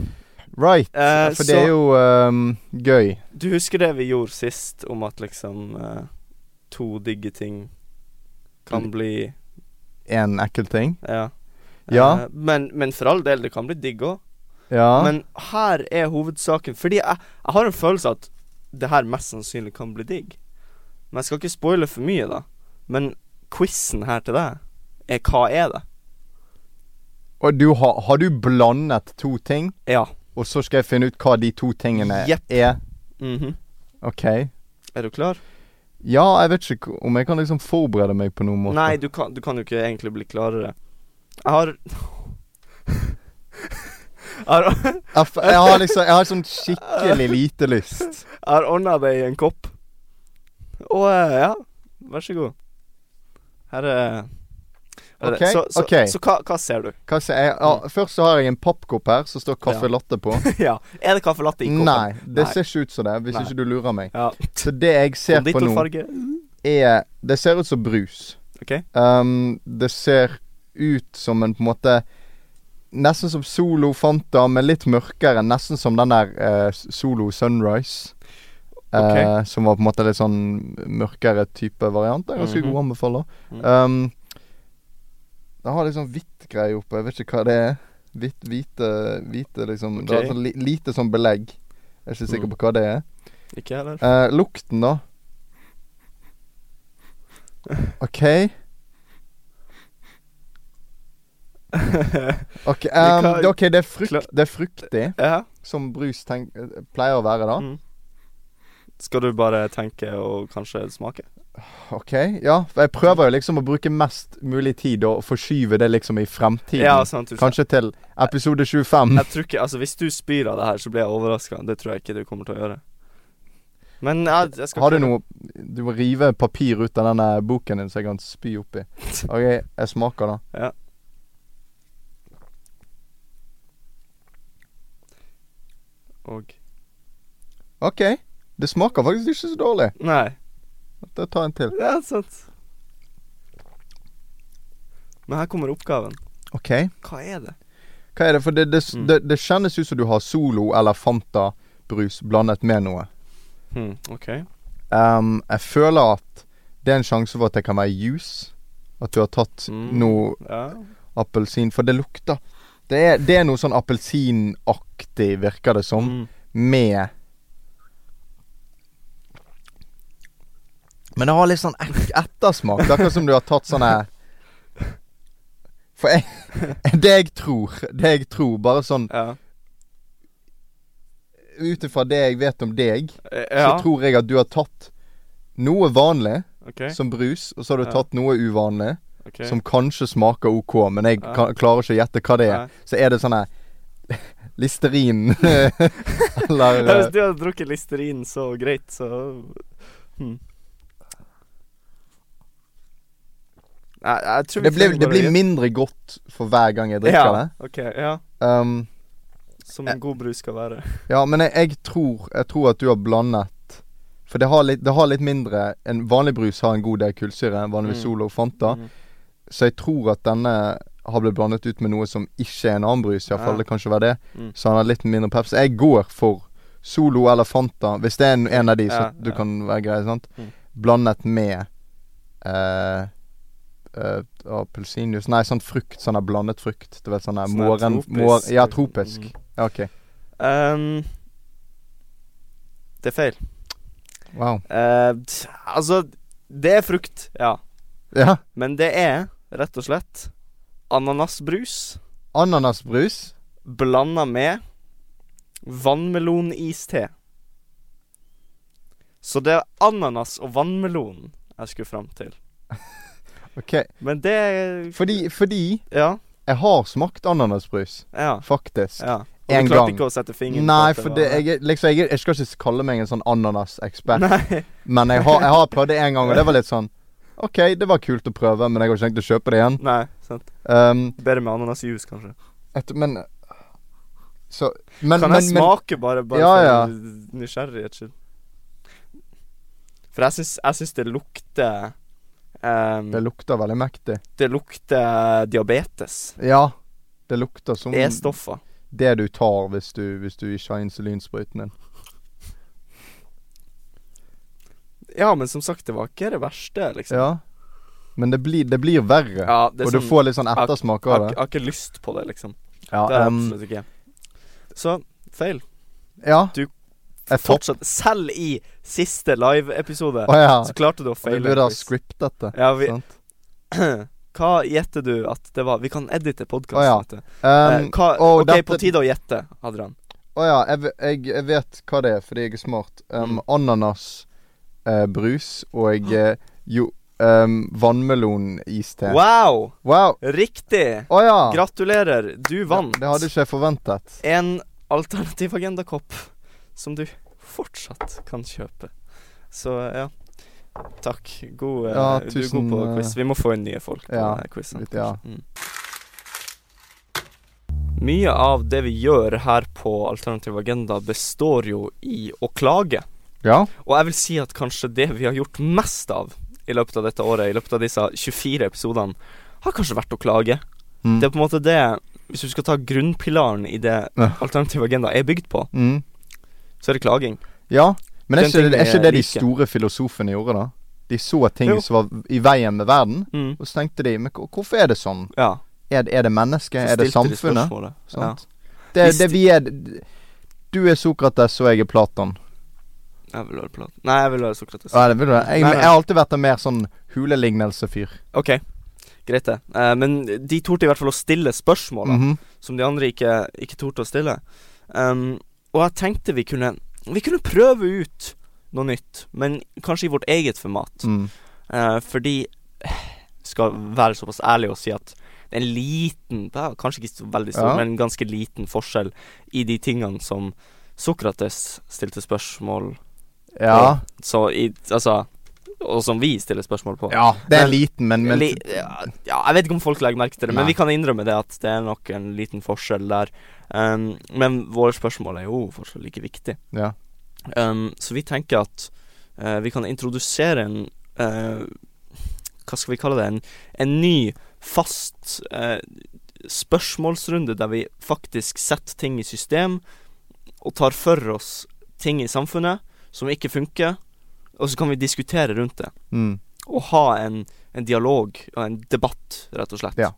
Speaker 3: Right.
Speaker 2: Eh,
Speaker 3: for det er jo um, gøy.
Speaker 2: Du husker det vi gjorde sist, om at liksom eh, to digge ting
Speaker 3: Mm.
Speaker 2: kan bli
Speaker 3: En ekkel ting.
Speaker 2: Ja.
Speaker 3: Ja.
Speaker 2: Eh, men, men for all del, det kan bli digg òg.
Speaker 3: Ja.
Speaker 2: Men her er hovedsaken. Fordi jeg, jeg har en følelse at det her mest sannsynlig kan bli digg. Men jeg skal ikke spoile for mye, da. Men quizen her til deg er hva er det?
Speaker 3: og du har, har du blandet to ting?
Speaker 2: Ja.
Speaker 3: Og så skal jeg finne ut hva de to tingene
Speaker 2: Jepp.
Speaker 3: er.
Speaker 2: mhm.
Speaker 3: Ok.
Speaker 2: Er du klar?
Speaker 3: Ja, jeg vet ikke om jeg kan liksom forberede meg på noen måte.
Speaker 2: Nei, du kan, du kan jo ikke egentlig bli klarere. Jeg har Jeg har
Speaker 3: Jeg, f jeg har liksom Jeg har sånn skikkelig lite lyst.
Speaker 2: Jeg har ordna det i en kopp. Og eh, ja, vær så god. Her er her er det.
Speaker 3: Ok,
Speaker 2: Så, så,
Speaker 3: ok.
Speaker 2: så hva, hva ser du?
Speaker 3: Hva sier jeg? Ja, først så har jeg en pappkopp her som står
Speaker 2: Mm.
Speaker 3: caffè
Speaker 2: Ja.
Speaker 3: latte på.
Speaker 2: ja. Er det caffè latte i koppen?
Speaker 3: Nei, det
Speaker 2: Nei.
Speaker 3: ser ikke ut som det, hvis
Speaker 2: Nei.
Speaker 3: ikke du lurer meg.
Speaker 2: Ja.
Speaker 3: Så det jeg ser på nå,
Speaker 2: Konditorfarge.
Speaker 3: er Det ser ut som brus.
Speaker 2: OK.
Speaker 3: Um, det ser ut som en på en måte Nesten som Solo Fanta, men litt mørkere. Nesten som den der eh, Solo Sunrise. eh,
Speaker 2: Ok.
Speaker 3: som var på en måte litt sånn mørkere type variant. Det er ganske
Speaker 2: Mhm.
Speaker 3: god anbefaler.
Speaker 2: Mm.
Speaker 3: Um, det har liksom hvitt greie oppe. Jeg vet ikke hva det er. Hvitt, hvite, hvite liksom Det
Speaker 2: Ok.
Speaker 3: er sånn li, lite sånn belegg. Jeg er ikke sikker
Speaker 2: Mm.
Speaker 3: på hva det er.
Speaker 2: Ikke jeg heller.
Speaker 3: Eh, lukten, da. OK. Ok, ehm,
Speaker 2: hva-
Speaker 3: OK, det er, frukt,
Speaker 2: Kla-
Speaker 3: det er fruktig,
Speaker 2: Ja.
Speaker 3: eh, som brus tenk, pleier å være, da.
Speaker 2: Mm. Skal du bare tenke og kanskje smake?
Speaker 3: OK. Ja, for jeg prøver jo liksom å bruke mest mulig tid og forskyve det liksom i fremtiden.
Speaker 2: Ja, sant, du,
Speaker 3: Kanskje til episode 25.
Speaker 2: Jeg tror ikke, altså Hvis du spyr av det her, så blir jeg overraska. Det tror jeg ikke du kommer til å gjøre. Men jeg, jeg skal
Speaker 3: Har du
Speaker 2: prøve.
Speaker 3: noe Du må rive papir ut av denne boken din, så jeg kan spy oppi. OK, jeg smaker, da.
Speaker 2: Og
Speaker 3: OK. Det smaker faktisk ikke så dårlig.
Speaker 2: Nei.
Speaker 3: Da tar jeg en til.
Speaker 2: Ja, sant. Men her kommer oppgaven.
Speaker 3: OK.
Speaker 2: Hva er det?
Speaker 3: Hva er det? For det, det,
Speaker 2: Mm.
Speaker 3: det, det kjennes ut som du har Solo eller Fanta-brus blandet med noe. Hmm,
Speaker 2: Hm, OK.
Speaker 3: Ehm, jeg føler at det er en sjanse for at det kan være juice. At du har tatt
Speaker 2: Mm.
Speaker 3: noe
Speaker 2: Ja.
Speaker 3: appelsin For det lukter Det er, det er noe sånn appelsinaktig, virker det som,
Speaker 2: Mm.
Speaker 3: med Men det har litt sånn ek ettersmak. Det er akkurat som du har tatt sånne For jeg, det jeg tror Det jeg tror, bare sånn
Speaker 2: Ja.
Speaker 3: ut ifra det jeg vet om deg,
Speaker 2: Eh,
Speaker 3: så
Speaker 2: ja.
Speaker 3: tror jeg at du har tatt noe vanlig,
Speaker 2: OK.
Speaker 3: som brus, og så har du
Speaker 2: Ja.
Speaker 3: tatt noe uvanlig,
Speaker 2: ok.
Speaker 3: som kanskje smaker OK, men jeg
Speaker 2: Ja.
Speaker 3: kan, klarer ikke å gjette hva det er.
Speaker 2: Nei.
Speaker 3: Så er det sånn her Listerin Eller
Speaker 2: Ja, Hvis
Speaker 3: eh,
Speaker 2: du hadde drukket Listerin så greit, så hm. Nei, jeg tror vi
Speaker 3: Det blir,
Speaker 2: trenger
Speaker 3: det
Speaker 2: bare å
Speaker 3: blir
Speaker 2: gjette.
Speaker 3: mindre godt for hver gang jeg drikker
Speaker 2: ja,
Speaker 3: det.
Speaker 2: ok, ja.
Speaker 3: Um,
Speaker 2: Som en god brus skal være.
Speaker 3: ja, men jeg, jeg, tror, jeg tror at du har blandet For det har litt, det har litt mindre En vanlig brus har en god del kullsyre,
Speaker 2: Mm.
Speaker 3: vanligvis Solo og Fanta.
Speaker 2: Mm.
Speaker 3: Så jeg tror at denne har blitt blandet ut med noe som ikke er en annen brus.
Speaker 2: Ja.
Speaker 3: Iallfall fall det kan ikke være det.
Speaker 2: Mm.
Speaker 3: Så han har litt mindre Pepsi. Jeg går for Solo eller Fanta, hvis det er en, en av de, så
Speaker 2: Ja,
Speaker 3: du
Speaker 2: ja.
Speaker 3: kan være grei, sant.
Speaker 2: Mm.
Speaker 3: Blandet med eh, eh, appelsinjuice Nei, sånn frukt. Sånn her blandet frukt. Du vet sånn her
Speaker 2: Sånn her
Speaker 3: morgen...
Speaker 2: tropisk.
Speaker 3: Mor, ja, tropisk.
Speaker 2: Mm.
Speaker 3: Ja, OK.
Speaker 2: Ehm, det er feil.
Speaker 3: Wow.
Speaker 2: Eh, t- altså, det er frukt, ja.
Speaker 3: Ja.
Speaker 2: Men det er rett og slett ananasbrus
Speaker 3: Ananasbrus.
Speaker 2: blanda med vannmeloniste. Så det er ananas og vannmelon jeg skulle fram til.
Speaker 3: OK.
Speaker 2: Men det er
Speaker 3: Fordi, fordi
Speaker 2: Ja.
Speaker 3: jeg har smakt ananasbrus,
Speaker 2: Ja.
Speaker 3: faktisk.
Speaker 2: ja. Og
Speaker 3: En
Speaker 2: du klarte
Speaker 3: gang.
Speaker 2: ikke å sette fingeren
Speaker 3: Nei,
Speaker 2: at
Speaker 3: for
Speaker 2: var-
Speaker 3: det, jeg, er- liksom, jeg, er- jeg skal ikke kalle meg en sånn ananasekspert.
Speaker 2: Nei.
Speaker 3: Men jeg har, jeg har prøvd det én gang, og det var litt sånn OK, det var kult å prøve, men jeg har ikke tenkt å kjøpe det igjen.
Speaker 2: Nei, sant.
Speaker 3: Um,
Speaker 2: Bedre med ananasjuice, kanskje.
Speaker 3: et, men Så men,
Speaker 2: kan
Speaker 3: men,
Speaker 2: jeg
Speaker 3: men,
Speaker 2: smake, bare, bare
Speaker 3: Ja,
Speaker 2: for
Speaker 3: ja.
Speaker 2: nysgjerrighet skyld? For jeg syns, jeg syns det lukter ehm,
Speaker 3: Det lukter veldig mektig.
Speaker 2: Det lukter diabetes.
Speaker 3: Ja. Det lukter som
Speaker 2: Det er stoffer.
Speaker 3: det du tar hvis du, hvis du ikke har insulinsprøyten din.
Speaker 2: Ja, men som sagt, det var ikke det verste, liksom.
Speaker 3: Ja. Men det blir, det blir verre.
Speaker 2: Ja, det er
Speaker 3: og du
Speaker 2: sånn-
Speaker 3: får litt sånn
Speaker 2: ak-
Speaker 3: ettersmak
Speaker 2: jeg,
Speaker 3: av
Speaker 2: har- jeg
Speaker 3: det.
Speaker 2: har ikke lyst på det, liksom. det
Speaker 3: Ja,
Speaker 2: er det
Speaker 3: um,
Speaker 2: absolutt ikke. Så feil.
Speaker 3: ja.
Speaker 2: Du-
Speaker 3: Jeg topp...
Speaker 2: Fortsatt. Selv i siste live-episode
Speaker 3: Å ja.
Speaker 2: så klarte du å
Speaker 3: Vi
Speaker 2: feile.
Speaker 3: burde ha
Speaker 2: quiz.
Speaker 3: scriptet det.
Speaker 2: Ja, vi,
Speaker 3: sant?
Speaker 2: Hva gjetter du at det var? Vi kan edite podkasten.
Speaker 3: Å ja. Um,
Speaker 2: Eh, hva,
Speaker 3: og
Speaker 2: ok, på
Speaker 3: dette-
Speaker 2: tide å gjette, Adrian.
Speaker 3: Å ja, jeg, ve- jeg, jeg vet hva det er, fordi jeg er smart. Um,
Speaker 2: Mm.
Speaker 3: Ananas, eh, brus og eh, jo um, vannmeloniste.
Speaker 2: Wow!
Speaker 3: Wow!
Speaker 2: Riktig!
Speaker 3: Å ja!
Speaker 2: Gratulerer, du vant
Speaker 3: Det, det hadde ikke jeg forventet.
Speaker 2: en alternativ agendakopp som du fortsatt kan kjøpe. Så ja. Takk. God, eh,
Speaker 3: Ja,
Speaker 2: du er god
Speaker 3: tusen,
Speaker 2: på
Speaker 3: eh,
Speaker 2: quiz. Vi må få inn nye folk på
Speaker 3: ja,
Speaker 2: denne quizen.
Speaker 3: litt, ja.
Speaker 2: kanskje. Mm. Mye av det vi gjør her på Alternativ agenda, består jo i å klage.
Speaker 3: Ja.
Speaker 2: Og jeg vil si at kanskje det vi har gjort mest av i løpet av dette året, i løpet av disse 24 episodene, har kanskje vært å klage.
Speaker 3: Mm.
Speaker 2: Det er på en måte det Hvis du skal ta grunnpilaren i det
Speaker 3: Ja.
Speaker 2: alternativ agenda er bygd på,
Speaker 3: Mm.
Speaker 2: så er det klaging.
Speaker 3: ja. Men
Speaker 2: Den
Speaker 3: er ikke,
Speaker 2: ting
Speaker 3: det- er
Speaker 2: jeg
Speaker 3: ikke det de
Speaker 2: liker.
Speaker 3: store filosofene gjorde, da? De så ting
Speaker 2: Jo.
Speaker 3: som var i veien med verden,
Speaker 2: Mm.
Speaker 3: og så tenkte de Men hvor- hvorfor er det sånn?
Speaker 2: Ja.
Speaker 3: Er, det- er det mennesket?
Speaker 2: så
Speaker 3: Er det
Speaker 2: stilte de
Speaker 3: samfunnet?
Speaker 2: spørsmålet.
Speaker 3: Sant?
Speaker 2: Vi
Speaker 3: Det,
Speaker 2: sti-
Speaker 3: det vi er Du er Sokrates, og jeg er Platon.
Speaker 2: Ja. Jeg vil være plat. Nei, jeg vil være Sokrates.
Speaker 3: Ja, det vil du. Jeg,
Speaker 2: Nei, nei.
Speaker 3: jeg har alltid vært en mer sånn hulelignelsefyr.
Speaker 2: Ok, greit det. Eh, men de torde i hvert fall å stille spørsmål, da,
Speaker 3: Mhm.
Speaker 2: som de andre ikke, Ehm, ikke torde å stille. Um, og jeg tenkte vi kunne Vi kunne prøve ut noe nytt, men kanskje i vårt eget format.
Speaker 3: Mm.
Speaker 2: Eh, fordi skal være såpass ærlig og si at det er en liten, det er kanskje ikke så veldig stor,
Speaker 3: Ja.
Speaker 2: men en ganske liten forskjell i de tingene som Sokrates stilte spørsmål
Speaker 3: Ja.
Speaker 2: Så i, altså Og som vi stiller spørsmål på.
Speaker 3: ja. Det er
Speaker 2: Men-
Speaker 3: liten, men, men
Speaker 2: Li- ja, ja, jeg vet ikke om folk legger merke til det, men vi
Speaker 3: Nei.
Speaker 2: kan innrømme det at det er nok en liten forskjell der. Um, men våre spørsmål er jo fortsatt like viktig.
Speaker 3: ja.
Speaker 2: Um, så vi tenker at eh, vi kan introdusere en eh, Hva skal vi kalle det? En, en ny, fast eh, spørsmålsrunde der vi faktisk setter ting i system og tar for oss ting i samfunnet som ikke funker, og så kan vi diskutere rundt det.
Speaker 3: Mm.
Speaker 2: Og ha en, en dialog og en debatt, rett og slett.
Speaker 3: Ja.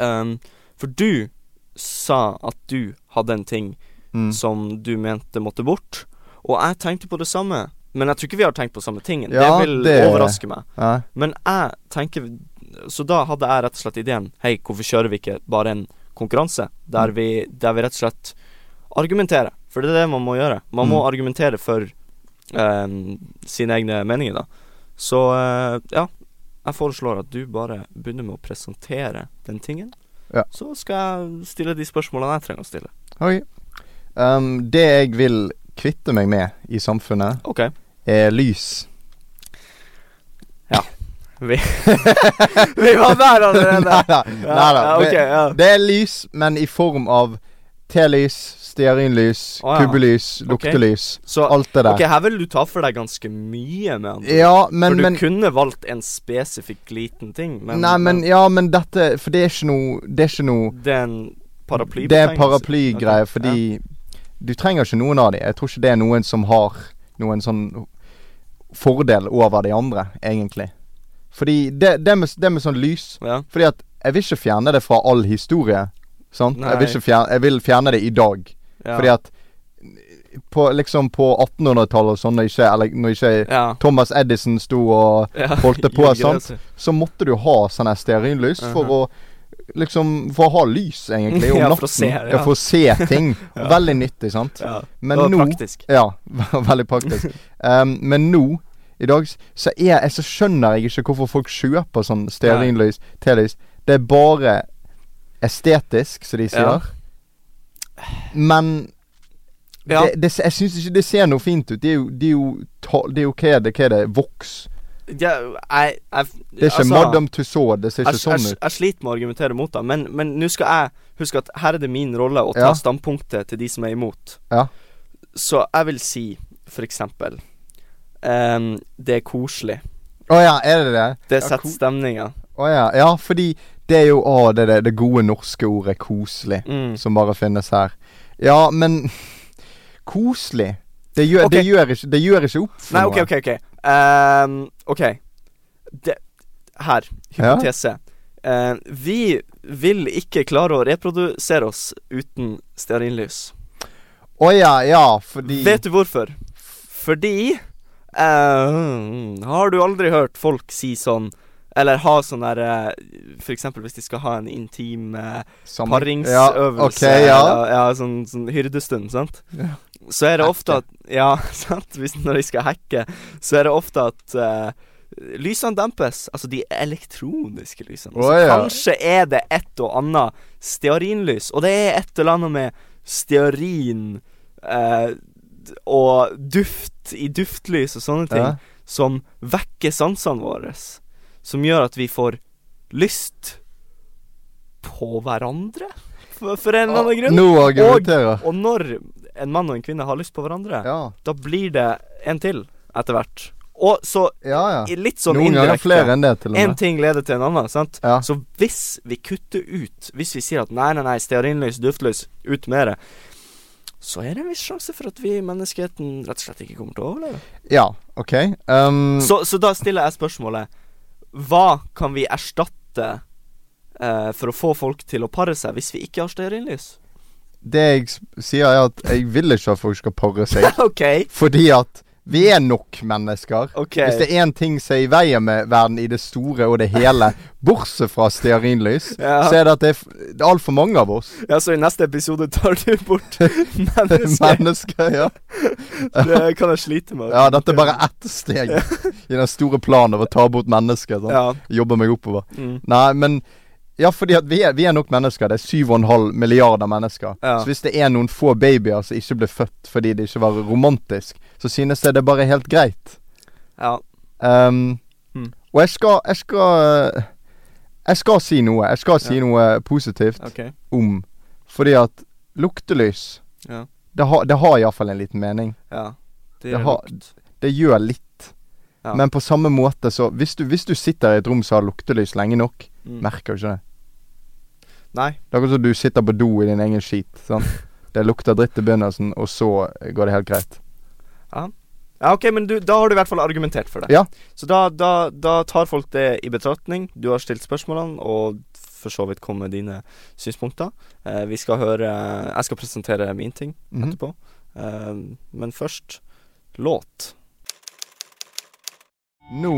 Speaker 2: Um, for du sa at du hadde en ting
Speaker 3: Mm.
Speaker 2: som du mente måtte bort. Og jeg tenkte på det samme, men jeg tror ikke vi har tenkt på samme tingen.
Speaker 3: Ja,
Speaker 2: det vil
Speaker 3: det-
Speaker 2: overraske meg.
Speaker 3: Ja.
Speaker 2: Men jeg tenker Så da hadde jeg rett og slett ideen Hei, hvorfor kjører vi ikke bare en konkurranse der
Speaker 3: Mm.
Speaker 2: vi, der vi rett og slett argumenterer? For det er det man må gjøre. Man må
Speaker 3: Mm.
Speaker 2: argumentere for eh, sine egne meninger, da. Så eh, ja, jeg foreslår at du bare begynner med å presentere den tingen.
Speaker 3: Ja.
Speaker 2: Så skal jeg stille de spørsmålene jeg trenger å stille.
Speaker 3: Ok. Um, det jeg vil kvitte meg med i samfunnet,
Speaker 2: OK.
Speaker 3: er lys.
Speaker 2: Vi var der allerede.
Speaker 3: Neida, neida.
Speaker 2: Ja, ok,
Speaker 3: Det,
Speaker 2: ja.
Speaker 3: det er lys, men i form av telys, stearinlys,
Speaker 2: Å, ja.
Speaker 3: kubbelys,
Speaker 2: Ok.
Speaker 3: luktelys.
Speaker 2: Så
Speaker 3: Alt det der.
Speaker 2: ok, her vil du ta for deg ganske mye, med andre ord.
Speaker 3: Ja, men,
Speaker 2: For du
Speaker 3: men
Speaker 2: kunne valgt en spesifikk liten ting, men,
Speaker 3: Nei, men ja, men dette For det er ikke noe Det er ikke noe
Speaker 2: men det er en paraplybetegnelse.
Speaker 3: Det er en paraplygreie,
Speaker 2: Ok,
Speaker 3: fordi du trenger ikke noen av de. Jeg tror ikke det er noen som har noen sånn fordel over de andre, egentlig. Fordi det, det, med, det med sånn lys
Speaker 2: Ja.
Speaker 3: Fordi at jeg vil ikke fjerne det fra all historie. Sant? Jeg vil,
Speaker 2: Nei.
Speaker 3: ikke fjerne, jeg vil fjerne det i dag.
Speaker 2: ja.
Speaker 3: Fordi at på, liksom på 1800-tallet og sånn, når ikke, eller, når ikke
Speaker 2: ja.
Speaker 3: Thomas Edison sto og
Speaker 2: ja.
Speaker 3: holdt det på,
Speaker 2: Gjorde
Speaker 3: sant?
Speaker 2: det.
Speaker 3: så måtte du ha sånn her stearinlys for å liksom For å ha lys, egentlig, om
Speaker 2: Mhm. Ja,
Speaker 3: natten.
Speaker 2: for å se, ja.
Speaker 3: for å se ting. Veldig nyttig, sant.
Speaker 2: Ja.
Speaker 3: Men
Speaker 2: det var
Speaker 3: nå
Speaker 2: praktisk.
Speaker 3: Ja, veldig praktisk. Em, men nå, i dag, s- så, er jeg, så skjønner jeg ikke hvorfor folk kjøper sånn stearinlys, telys. Det er bare estetisk, som de
Speaker 2: Ja.
Speaker 3: sier. Men
Speaker 2: Ja.
Speaker 3: det, det, s- jeg syns ikke det ser noe fint ut. Det er jo, det er jo, ta- det er jo hva er det, hva er det, voks?
Speaker 2: Ja, jeg, jeg
Speaker 3: Det er ikke
Speaker 2: altså,
Speaker 3: Madame Tussauds, det ser ikke
Speaker 2: jeg,
Speaker 3: sånn
Speaker 2: jeg,
Speaker 3: ut.
Speaker 2: jeg sliter med å argumentere mot det, men men nå skal jeg huske at her er det min rolle å ta
Speaker 3: Ja.
Speaker 2: standpunktet til de som er imot.
Speaker 3: Ja.
Speaker 2: Så jeg vil si, for eksempel ehm, Det er koselig.
Speaker 3: Å ja, er det det?
Speaker 2: Det
Speaker 3: Ja,
Speaker 2: setter
Speaker 3: ko-
Speaker 2: stemninga.
Speaker 3: Å ja. ja, fordi det er jo å, det, er det, det gode norske ordet 'koselig'.
Speaker 2: Mm.
Speaker 3: som bare finnes her. Ja, men Koselig. Det gjør,
Speaker 2: Ok.
Speaker 3: det gjør, ikke, Sånn det gjør ikke opp for
Speaker 2: Nei, OK,
Speaker 3: noe.
Speaker 2: OK. OK. Ehm, ok det, Her.
Speaker 3: Ja.
Speaker 2: Hypotese. Eh, vi vil ikke klare å reprodusere oss uten stearinlys.
Speaker 3: Å ja, ja, fordi
Speaker 2: Vet du hvorfor? Fordi eh, Har du aldri hørt folk si sånn eller ha sånn der eh, For eksempel hvis de skal ha en intim eh,
Speaker 3: Samme- Ja, ok,
Speaker 2: paringsøvelse
Speaker 3: ja.
Speaker 2: eller- ja, sånn, sånn hyrdestund, sant?
Speaker 3: Ja.
Speaker 2: Så er det
Speaker 3: Hacke.
Speaker 2: ofte at Ja, sant? Hvis når de skal hacke, så er det ofte at eh, lysene dempes. Altså de elektroniske lysene. så
Speaker 3: Å, ja.
Speaker 2: kanskje er det et og annet stearinlys, og det er et eller annet med stearin eh, d- og duft i duftlys og sånne ting
Speaker 3: Ja.
Speaker 2: som vekker sansene våre. Som gjør at vi får lyst på hverandre, for, for en eller annen grunn.
Speaker 3: Nå argumenterer.
Speaker 2: Og når en mann og en kvinne har lyst på hverandre,
Speaker 3: Ja,
Speaker 2: da blir det en til etter hvert. Og så
Speaker 3: ja.
Speaker 2: i-
Speaker 3: ja.
Speaker 2: litt sånn
Speaker 3: Noen ganger flere
Speaker 2: indirekte.
Speaker 3: enn det, til og
Speaker 2: En
Speaker 3: med.
Speaker 2: ting leder til en annen, sant?
Speaker 3: Ja.
Speaker 2: Så hvis vi kutter ut Hvis vi sier at nei, nei, nei, stearinlys, duftlys, ut med det, så er det en viss sjanse for at vi i menneskeheten rett og slett ikke kommer til å overleve.
Speaker 3: Ja, OK. Um,
Speaker 2: Så, så da stiller jeg spørsmålet Hva kan vi erstatte eh, for å få folk til å pare seg hvis vi ikke har stearinlys?
Speaker 3: det jeg s- sier, er at jeg vil ikke at folk skal pare seg,
Speaker 2: OK.
Speaker 3: fordi at Vi er nok mennesker.
Speaker 2: OK.
Speaker 3: Hvis det er én ting som er i veien med verden i det store og det hele, bortsett fra stearinlys,
Speaker 2: Ja.
Speaker 3: så er det at det er f- det er altfor mange av oss.
Speaker 2: ja, så i neste episode tar du bort mennesker.
Speaker 3: Mennesker, ja.
Speaker 2: Det kan jeg slite med.
Speaker 3: ja. Dette er bare ett steg i den store planen av å ta bort mennesker. Sånn.
Speaker 2: Ja.
Speaker 3: Jobbe meg oppover.
Speaker 2: Mm.
Speaker 3: Nei, men Ja, fordi at vi er, vi er nok mennesker. Det er 7,5 milliarder mennesker.
Speaker 2: Ja.
Speaker 3: Så hvis det er noen få babyer som ikke ble født fordi det ikke var romantisk, så synes jeg det er bare helt greit.
Speaker 2: ja.
Speaker 3: Ehm,
Speaker 2: Mm.
Speaker 3: Og jeg skal Jeg skal øh, Jeg skal si noe. Jeg skal si
Speaker 2: Ja.
Speaker 3: noe positivt
Speaker 2: OK.
Speaker 3: om Fordi at luktelys
Speaker 2: Ja.
Speaker 3: Det har, det har iallfall en liten mening.
Speaker 2: Ja. Det
Speaker 3: Det
Speaker 2: gjør
Speaker 3: har-
Speaker 2: lukt.
Speaker 3: Det gjør litt.
Speaker 2: Ja.
Speaker 3: Men på samme måte så hvis du, hvis du sitter i et rom som har luktelys lenge nok,
Speaker 2: Mm.
Speaker 3: merker du ikke det.
Speaker 2: Nei.
Speaker 3: Det er akkurat som du sitter på do i din egen skit. Sant? Det lukter dritt i begynnelsen, og så går det helt greit.
Speaker 2: Ja, ok, men du, da har du i hvert fall argumentert for det.
Speaker 3: Ja.
Speaker 2: Så da, da, da tar folk det i betraktning. Du har stilt spørsmålene, og for så vidt kom med dine synspunkter. Eh, vi skal høre Jeg skal presentere min ting
Speaker 3: Mhm.
Speaker 2: etterpå. Eh, men først låt.
Speaker 3: Nå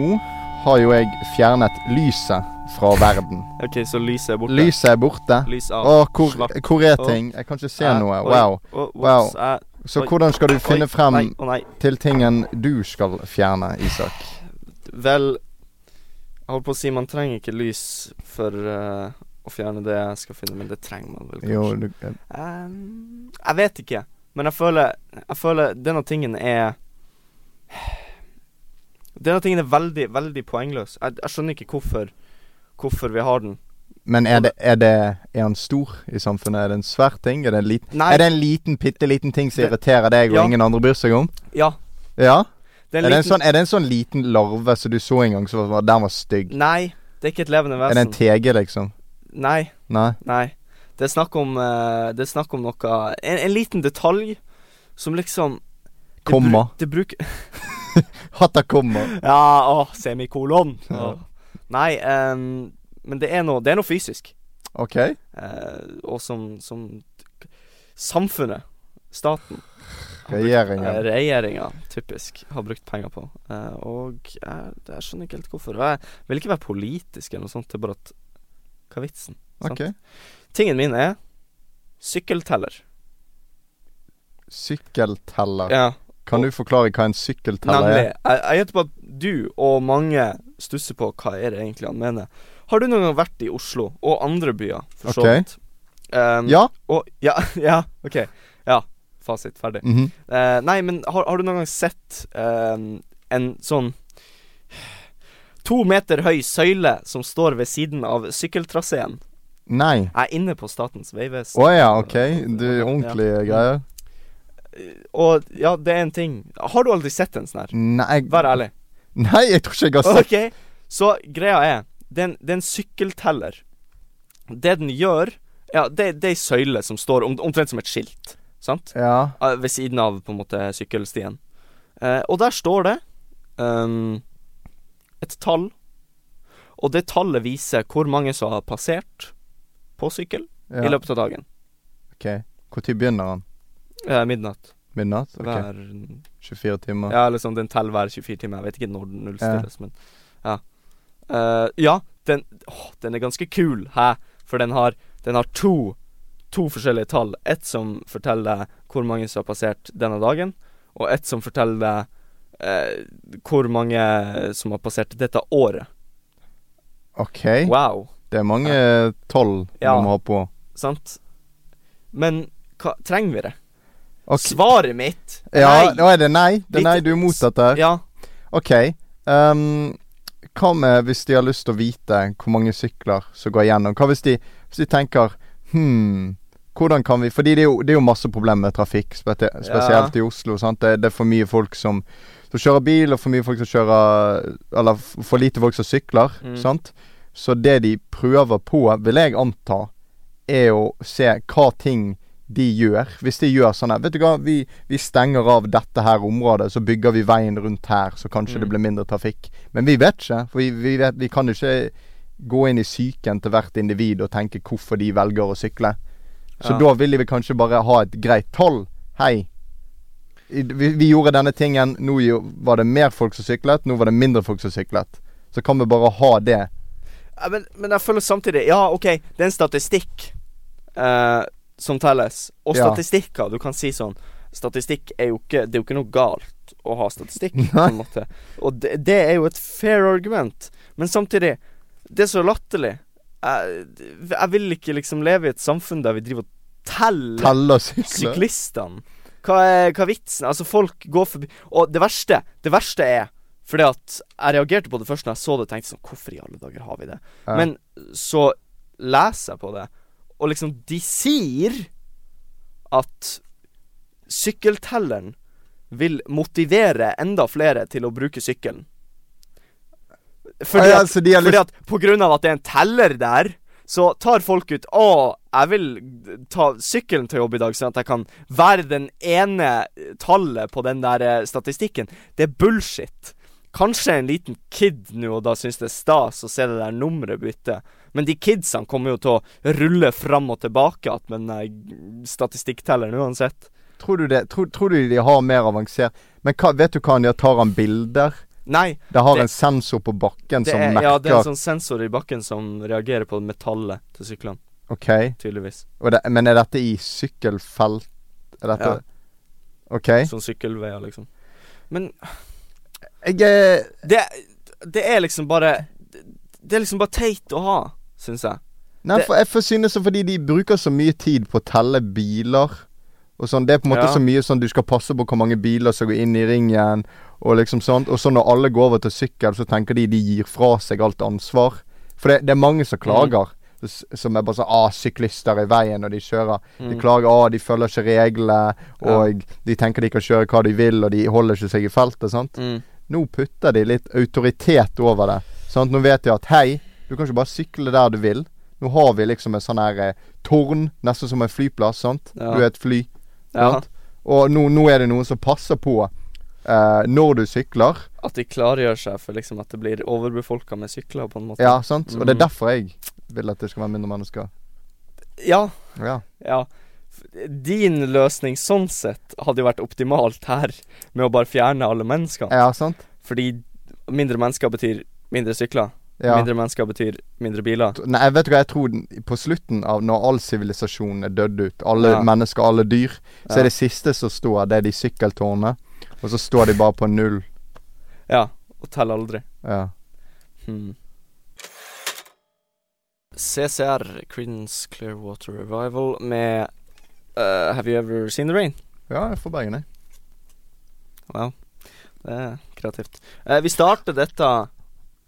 Speaker 3: har jo jeg fjernet lyset fra verden.
Speaker 2: OK, så lyset er borte.
Speaker 3: Lyset er borte.
Speaker 2: Lys
Speaker 3: Å,
Speaker 2: av.
Speaker 3: hvor,
Speaker 2: slapp
Speaker 3: hvor er
Speaker 2: av.
Speaker 3: ting? Jeg kan ikke se
Speaker 2: Eh,
Speaker 3: noe.
Speaker 2: oi.
Speaker 3: Wow.
Speaker 2: Å,
Speaker 3: Wow.
Speaker 2: whoops, eh,
Speaker 3: Så
Speaker 2: Oi.
Speaker 3: hvordan skal du
Speaker 2: oi,
Speaker 3: finne
Speaker 2: Nei,
Speaker 3: frem
Speaker 2: å nei.
Speaker 3: til tingen du skal fjerne, Isak?
Speaker 2: Vel Jeg holdt på å si man trenger ikke lys for eh, å fjerne det jeg skal finne, men det trenger man vel kanskje.
Speaker 3: Jo, du eh,
Speaker 2: Ehm, jeg vet ikke, men jeg føler, jeg føler denne tingen er Denne tingen er veldig, veldig poengløs. Jeg, jeg skjønner ikke hvorfor Hvorfor vi har den.
Speaker 3: Men er det, er det Er han stor i samfunnet? Er det en svær ting? Er det en liten
Speaker 2: Nei,
Speaker 3: Er det en liten, bitte liten ting som
Speaker 2: Det-
Speaker 3: irriterer deg, og
Speaker 2: Ja.
Speaker 3: ingen andre bryr seg om?
Speaker 2: ja,
Speaker 3: Ja?
Speaker 2: det er
Speaker 3: Er
Speaker 2: en
Speaker 3: det, en
Speaker 2: liten
Speaker 3: sånn, er det en sånn liten larve som du så en gang, som var, den var stygg?
Speaker 2: Nei, det er ikke et levende
Speaker 3: Er det en
Speaker 2: vesen.
Speaker 3: TG, liksom?
Speaker 2: Nei,
Speaker 3: Nei?
Speaker 2: nei. Det er snakk om eh, Det er snakk om noe En, en liten detalj som liksom det bru-
Speaker 3: Komma.
Speaker 2: Det bruker
Speaker 3: Hatta kommer.
Speaker 2: Ja, åh, semikolon. Åh.
Speaker 3: Ja.
Speaker 2: Nei, ehm, men det er noe Det er noe fysisk.
Speaker 3: OK?
Speaker 2: eh, og som, som t- samfunnet, staten har brukt- eh,
Speaker 3: Regjeringen.
Speaker 2: Regjeringa, typisk, har brukt penger på. Eh, og jeg, jeg skjønner ikke helt hvorfor. Og jeg vil ikke være politisk eller noe sånt, det er bare at Hva er vitsen? sant?
Speaker 3: OK.
Speaker 2: Tingen min er sykkelteller.
Speaker 3: Sykkelteller.
Speaker 2: Ja,
Speaker 3: Kan du forklare hva en sykkelteller
Speaker 2: nemlig.
Speaker 3: er?
Speaker 2: Jeg jeg gjetter på at du og mange stusser på hva er det egentlig han mener. Har du noen gang vært i Oslo, og andre byer, for så
Speaker 3: Ok.
Speaker 2: vidt? Um,
Speaker 3: Ja?
Speaker 2: Og, ja, ja, ok. Ja, fasit. Ferdig.
Speaker 3: Mhm.
Speaker 2: Eh, nei, men har, har du noen gang sett eh, en sånn To meter høy søyle som står ved siden av sykkeltraseen?
Speaker 3: Nei.
Speaker 2: Jeg er inne på Statens vegvesen.
Speaker 3: Å ja, OK. Du, ordentlige greier.
Speaker 2: Og ja, det er en ting. Har du aldri sett en sånn her?
Speaker 3: Nei
Speaker 2: Vær ærlig.
Speaker 3: Nei, jeg tror ikke jeg har sett
Speaker 2: Ok, så greia er Det er en, det er en sykkelteller. Det den gjør Ja, det, det er ei søyle som står om, omtrent som et skilt, sant?
Speaker 3: Ja.
Speaker 2: Eh, ved siden av på en måte sykkelstien. Eh, og der står det ehm, et tall, og det tallet viser hvor mange som har passert på sykkel i
Speaker 3: ja.
Speaker 2: løpet av dagen.
Speaker 3: OK. Når begynner han?
Speaker 2: Eh, midnatt.
Speaker 3: Midnatt? OK.
Speaker 2: Hver
Speaker 3: 24 timer.
Speaker 2: Ja, liksom den teller hver 24 timer. Jeg vet ikke når den nullstilles, men ja. Eh, ja, den åh, den er ganske kul, hæ? For den har, den har to To forskjellige tall. Ett som forteller hvor mange som har passert denne dagen, og ett som forteller eh, hvor mange som har passert dette året.
Speaker 3: OK.
Speaker 2: Wow,
Speaker 3: Det er mange tolv
Speaker 2: Ja.
Speaker 3: du må ha på.
Speaker 2: sant? Men hva, trenger vi det?
Speaker 3: Ok.
Speaker 2: Svaret mitt
Speaker 3: Ja,
Speaker 2: Nei!
Speaker 3: nå er det nei. Det er nei,
Speaker 2: Litt-
Speaker 3: du er imot dette. her.
Speaker 2: Ja,
Speaker 3: OK. ehm, hva med hvis de har lyst til å vite hvor mange sykler som går igjennom? Hva hvis de, hvis de tenker Hm, hvordan kan vi Fordi det er jo, det er jo masse problemer med trafikk, spete- spesielt i Oslo. sant? Det, det er for mye folk som, som kjører bil, og for mye folk som kjører Eller f- for lite folk som sykler.
Speaker 2: Mm.
Speaker 3: sant? Så det de prøver på, vil jeg anta, er å se hva ting de gjør. Hvis de gjør sånn her Vet du hva, vi, vi stenger av dette her området, så bygger vi veien rundt her, så kanskje
Speaker 2: Mm.
Speaker 3: det blir mindre trafikk. Men vi vet ikke. For vi, vi, vet, vi kan jo ikke gå inn i psyken til hvert individ og tenke hvorfor de velger å sykle. Så
Speaker 2: Ja.
Speaker 3: da vil de vel kanskje bare ha et greit tall. Hei, i- vi, vi gjorde denne tingen, nå jo- var det mer folk som syklet, nå var det mindre folk som syklet. Så kan vi bare ha det.
Speaker 2: Ja, men, men jeg føler samtidig Ja, OK, det er en statistikk eh, som telles. Og
Speaker 3: Ja.
Speaker 2: statistikker, du kan si sånn Statistikk er jo ikke Det er jo ikke noe galt å ha statistikk, på en måte. Og det, det er jo et fair argument. Men samtidig Det er så latterlig. Jeg, jeg vil ikke liksom leve i et samfunn der vi driver og teller
Speaker 3: Telle og sykle.
Speaker 2: syklistene. Hva er, hva er vitsen? Altså, folk går forbi Og det verste, det verste er fordi at jeg reagerte på det først når jeg så det, tenkte jeg sånn Hvorfor i alle dager har vi det?
Speaker 3: Ja.
Speaker 2: Men så leser jeg på det, og liksom De sier at sykkeltelleren vil motivere enda flere til å bruke sykkelen. Fordi
Speaker 3: Ah, ja,
Speaker 2: at,
Speaker 3: så de har
Speaker 2: fordi
Speaker 3: lyst-
Speaker 2: at på grunn av at det er en teller der, så tar folk ut Å, jeg vil ta sykkelen til jobb i dag, sånn at jeg kan være den ene tallet på den der eh, statistikken. Det er bullshit. Kanskje en liten kid nå og da syns det er stas å se det der nummeret bytte, men de kidsene kommer jo til å rulle fram og tilbake eh, att med den der statistikktelleren uansett.
Speaker 3: Tror du, det, tror, tror du de har mer avansert Men hva, vet du hva, de tar han bilder?
Speaker 2: Nei,
Speaker 3: Det har
Speaker 2: Det-
Speaker 3: en sensor på bakken
Speaker 2: det
Speaker 3: som
Speaker 2: er,
Speaker 3: merker
Speaker 2: ja, det er en sånn sensor i bakken som reagerer på metallet til syklene,
Speaker 3: Ok,
Speaker 2: tydeligvis.
Speaker 3: og det, Men er dette i sykkelfelt? Er dette
Speaker 2: Ja.
Speaker 3: Ok.
Speaker 2: Sånn sykkelveier, liksom. Men
Speaker 3: Jeg eh,
Speaker 2: det, det er liksom bare Det er liksom bare teit å ha, syns jeg.
Speaker 3: Nei,
Speaker 2: Det-
Speaker 3: for jeg får synes det fordi de bruker så mye tid på å telle biler. Og sånn, Det er på en måte
Speaker 2: Ja.
Speaker 3: så mye sånn du skal passe på hvor mange biler som går inn i ringen. Og liksom sånt Og så når alle går over til sykkel, så tenker de de gir fra seg alt ansvar. For det, det er mange som
Speaker 2: Mhm.
Speaker 3: klager. s- Som er bare sånn ah, 'Syklister er i veien når de kjører.'
Speaker 2: Mhm.
Speaker 3: De klager ah, 'De følger ikke reglene', og 'De tenker de kan kjøre hva de vil', og 'De holder ikke seg i feltet'. sant? Nå putter de litt autoritet over det. Sant? Nå vet de at hei, du kan ikke bare sykle der du vil. Nå har vi liksom en sånn her eh, tårn, nesten som en flyplass. sant?
Speaker 2: Ja.
Speaker 3: Du er et fly.
Speaker 2: Ja.
Speaker 3: Sant? Og nå, nå er det noen som passer på eh, når du sykler.
Speaker 2: At de klargjør seg for liksom at det blir overbefolka med sykler, på en måte.
Speaker 3: Ja, sant? Og det
Speaker 2: Mm.
Speaker 3: er derfor jeg vil at det skal være mindre mennesker.
Speaker 2: ja.
Speaker 3: Ja.
Speaker 2: ja. F- Din løsning sånn sett hadde jo vært optimalt her, med å bare fjerne alle menneskene.
Speaker 3: ja, sant?
Speaker 2: Fordi mindre mennesker betyr mindre sykler.
Speaker 3: Ja.
Speaker 2: Mindre mennesker betyr mindre biler.
Speaker 3: T- Nei, jeg vet du hva jeg tror den- på slutten av når all sivilisasjon er dødd ut, alle
Speaker 2: Ja.
Speaker 3: mennesker, alle dyr, så
Speaker 2: Ja.
Speaker 3: er det siste som står, det er de sykkeltårnene. Og så står de bare på null.
Speaker 2: Ja. Og teller aldri.
Speaker 3: Ja.
Speaker 2: Hmm. CCR, Creedence Clearwater Revival, med eh, Have You Ever Seen The Rain?
Speaker 3: Ja, jeg er fra Bergen, jeg.
Speaker 2: Wow, det er kreativt. Eh, vi starter dette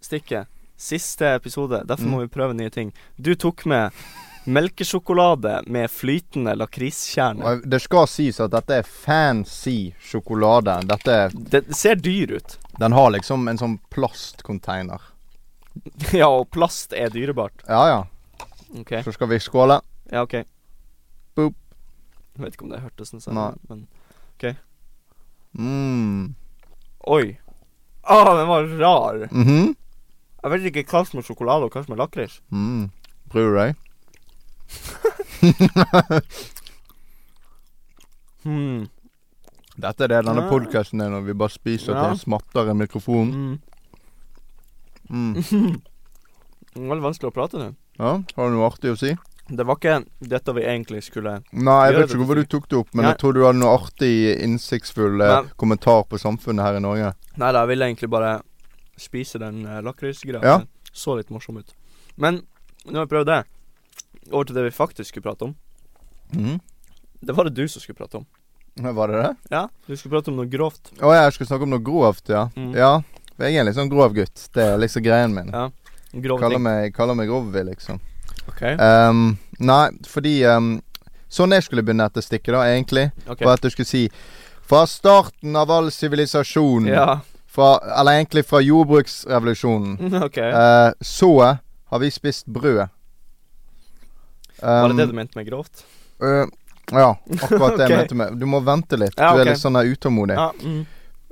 Speaker 2: stikket. Siste episode, derfor må
Speaker 3: Mm.
Speaker 2: vi prøve nye ting. Du tok med melkesjokolade med flytende lakriskjerne.
Speaker 3: Og Det skal sies at dette er fancy sjokolade. Dette er,
Speaker 2: Det ser dyr ut.
Speaker 3: Den har liksom en sånn plastcontainer.
Speaker 2: ja, og plast er dyrebart.
Speaker 3: Ja ja.
Speaker 2: Ok.
Speaker 3: Så skal vi skåle.
Speaker 2: Ja, ok.
Speaker 3: Boop.
Speaker 2: Jeg vet ikke om det hørtes noe
Speaker 3: Nei.
Speaker 2: sånn, men
Speaker 3: Mm.
Speaker 2: Oi. Å, den var rar.
Speaker 3: Mhm.
Speaker 2: Jeg vet ikke hva som er sjokolade og hva som er lakris.
Speaker 3: mm. Bryr du deg?
Speaker 2: Hmm.
Speaker 3: Dette er det denne
Speaker 2: Ja.
Speaker 3: podkasten er når vi bare spiser
Speaker 2: Ja.
Speaker 3: til det smatter i mikrofonen.
Speaker 2: Mm.
Speaker 3: Mm.
Speaker 2: Det var Veldig vanskelig å prate nå.
Speaker 3: Ja, har du noe artig å si?
Speaker 2: Det var ikke dette vi egentlig skulle
Speaker 3: Nei, jeg
Speaker 2: Gjør det,
Speaker 3: vet ikke hvorfor
Speaker 2: du
Speaker 3: du tok det opp, men
Speaker 2: Nei.
Speaker 3: jeg tror du hadde noe artig, innsiktsfull eh,
Speaker 2: Nei.
Speaker 3: kommentar på samfunnet her i Norge.
Speaker 2: Nei da, jeg ville egentlig bare spise den uh, lakrisgreia.
Speaker 3: Ja.
Speaker 2: Den Så litt morsom ut. Men nå har vi prøvd det. Over til det vi faktisk skulle prate om.
Speaker 3: Mhm.
Speaker 2: Det var det du som skulle prate om.
Speaker 3: Var det det?
Speaker 2: Ja, du skulle prate om noe grovt.
Speaker 3: Å ja, jeg skulle snakke om noe grovt, ja.
Speaker 2: Mm.
Speaker 3: Ja. Jeg er en litt sånn grov gutt. Det er liksom greien min.
Speaker 2: Grove
Speaker 3: Kaller
Speaker 2: ting.
Speaker 3: meg, kaller meg Rovi, liksom.
Speaker 2: Ok,
Speaker 3: Ehm, nei, fordi ehm, Sånn jeg skulle begynne dette stikket, da, egentlig.
Speaker 2: ok.
Speaker 3: Var at jeg skulle si Fra starten av all sivilisasjon,
Speaker 2: Ja,
Speaker 3: fra- eller egentlig fra jordbruksrevolusjonen,
Speaker 2: ok.
Speaker 3: eh, så har vi spist brød.
Speaker 2: Var
Speaker 3: Ehm,
Speaker 2: det det du mente med grovt?
Speaker 3: øh, ja, akkurat det jeg
Speaker 2: Ok.
Speaker 3: mente med Du må vente litt.
Speaker 2: Ja,
Speaker 3: Du er
Speaker 2: ok.
Speaker 3: litt sånn der utålmodig.
Speaker 2: Ja. Mm.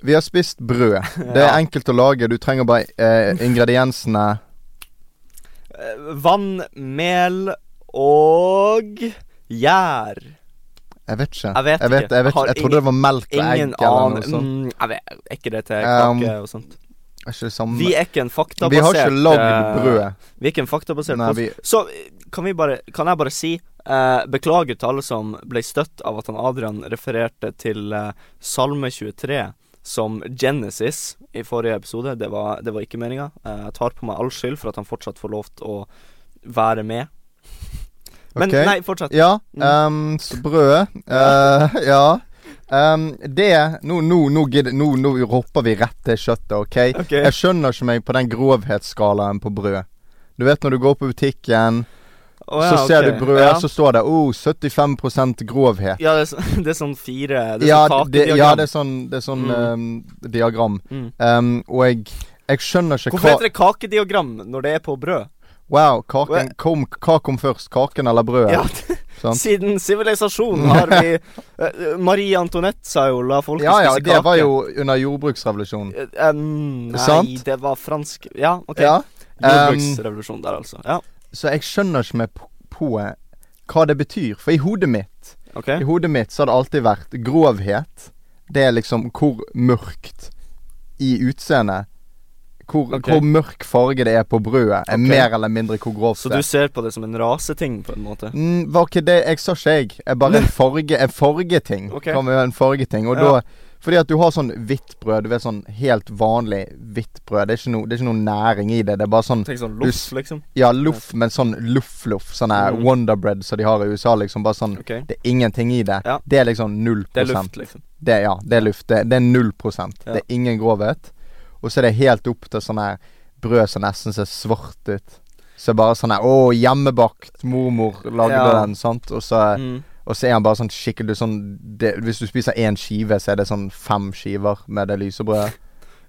Speaker 3: Vi har spist brød. Det
Speaker 2: Ja.
Speaker 3: er enkelt å lage. Du trenger bare eh, ingrediensene.
Speaker 2: Eh, Vann, mel og gjær.
Speaker 3: Jeg vet ikke.
Speaker 2: Jeg vet
Speaker 3: Jeg, vet,
Speaker 2: ikke.
Speaker 3: jeg, vet,
Speaker 2: Har
Speaker 3: jeg trodde det var melk og egg
Speaker 2: Ingen
Speaker 3: eller noe
Speaker 2: annen
Speaker 3: sånt.
Speaker 2: mm, Jeg vet er ikke det til
Speaker 3: Um,
Speaker 2: kake og sånt.
Speaker 3: Er ikke det samme
Speaker 2: Vi
Speaker 3: Vi,
Speaker 2: er ikke en faktabasert
Speaker 3: har ikke lagd
Speaker 2: eh,
Speaker 3: brødet.
Speaker 2: Vi er ikke en faktabasert
Speaker 3: Nei,
Speaker 2: post.
Speaker 3: vi
Speaker 2: Så eh, kan vi bare Kan jeg bare si eh, Beklager til alle som ble støtt av at han Adrian refererte til eh, Salme 23 som Genesis i forrige episode. Det var, det var ikke meninga. Eh, jeg tar på meg all skyld for at han fortsatt får lov til å være med. Men
Speaker 3: Ok.
Speaker 2: nei, fortsett.
Speaker 3: Ja,
Speaker 2: Mm.
Speaker 3: ehm, så brødet eh, Ja. Ehm, det Nå, nå, nå, gidder, nå, nå hopper vi rett til kjøttet, OK?
Speaker 2: Ok.
Speaker 3: Jeg skjønner ikke meg på den grovhetsskalaen på brød. Du vet når du går på butikken,
Speaker 2: Å, ja,
Speaker 3: så ser
Speaker 2: ok.
Speaker 3: du brød,
Speaker 2: ja.
Speaker 3: så står det oh, 75 grovhet.
Speaker 2: Ja, det er, så, det er sånn fire Det er
Speaker 3: Ja,
Speaker 2: sånn
Speaker 3: det,
Speaker 2: kakediagram.
Speaker 3: ja, det er sånn, det er sånn ehm, diagram.
Speaker 2: mm.
Speaker 3: Ehm, og jeg, jeg skjønner ikke
Speaker 2: Hvorfor
Speaker 3: hva
Speaker 2: heter det kakediagram når det er på brød?
Speaker 3: Wow, kaken, kom, hva kom først? Kaken eller brødet?
Speaker 2: Ja,
Speaker 3: sant?
Speaker 2: Siden sivilisasjonen har vi eh, Marie Antoinette sa jo 'la folket
Speaker 3: ja, ja,
Speaker 2: spise
Speaker 3: det
Speaker 2: kake'.
Speaker 3: var jo under jordbruksrevolusjonen.
Speaker 2: Eh, em, nei,
Speaker 3: Sant?
Speaker 2: det var fransk Ja, OK.
Speaker 3: Ja.
Speaker 2: Jordbruksrevolusjon der, altså. Ja,
Speaker 3: Så jeg skjønner ikke med på, på eh, hva det betyr. For i hodet mitt
Speaker 2: OK.
Speaker 3: I hodet mitt så har det alltid vært grovhet. Det er liksom hvor mørkt i utseendet hvor,
Speaker 2: Ok.
Speaker 3: hvor mørk farge det er på brødet, er
Speaker 2: Ok.
Speaker 3: mer eller mindre hvor grovt
Speaker 2: Så
Speaker 3: det
Speaker 2: du
Speaker 3: er.
Speaker 2: ser på det som en raseting, på en måte?
Speaker 3: Mm, var ikke det Jeg sa ikke jeg. Jeg bare en farge En fargeting.
Speaker 2: Ok.
Speaker 3: Kan vi gjøre en fargeting? Og
Speaker 2: Ja.
Speaker 3: da Fordi at du har sånn hvitt brød. Du vet sånn helt vanlig hvitt brød. Det er ikke noe, det er ikke noe næring i det. Det er bare sånn
Speaker 2: Tenk sånn
Speaker 3: Du
Speaker 2: loff,
Speaker 3: s-
Speaker 2: liksom.
Speaker 3: Ja, loff, men sånn loff-loff. Sånn her
Speaker 2: Mm.
Speaker 3: Wonder Bread som de har i USA, liksom. Bare sånn
Speaker 2: OK.
Speaker 3: Det er ingenting i det.
Speaker 2: Ja.
Speaker 3: Det er liksom null
Speaker 2: Det er
Speaker 3: prosent.
Speaker 2: luft, liksom.
Speaker 3: Det er- ja, det er luft. Det, det er null prosent.
Speaker 2: Ja.
Speaker 3: Det er ingen grovhet. Og så er det helt opp til sånn her brød som nesten ser svart ut. Så bare sånn her Å, hjemmebakt. Mormor lagde
Speaker 2: Ja.
Speaker 3: den, sant. Og så,
Speaker 2: Mm.
Speaker 3: og så er han bare sånn skikkelig sånn det, Hvis du spiser én skive, så er det sånn fem skiver med det lyse brødet.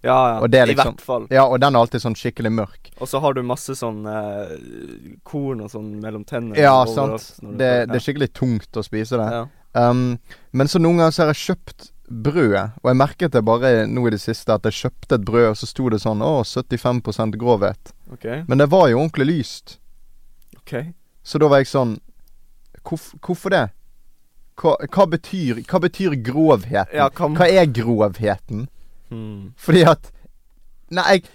Speaker 2: Ja, ja.
Speaker 3: Og det er
Speaker 2: I
Speaker 3: liksom-
Speaker 2: hvert fall.
Speaker 3: Ja, og den er alltid sånn skikkelig mørk.
Speaker 2: Og så har du masse sånn eh, korn og sånn mellom tennene.
Speaker 3: Ja,
Speaker 2: overalt
Speaker 3: sant.
Speaker 2: når du
Speaker 3: Det,
Speaker 2: tar-
Speaker 3: det er skikkelig tungt å spise det.
Speaker 2: ja.
Speaker 3: Um, men så noen ganger så har jeg kjøpt brødet, og jeg merket det bare nå i det siste at jeg kjøpte et brød, og så sto det sånn å, 75 grovhet.
Speaker 2: OK.
Speaker 3: Men det var jo ordentlig lyst,
Speaker 2: ok
Speaker 3: så da var jeg sånn Hvorf, Hvorfor det? Hva, hva, betyr, hva betyr grovheten?
Speaker 2: Ja, kan,
Speaker 3: Hva er grovheten?
Speaker 2: Hmm.
Speaker 3: Fordi at Nei, jeg,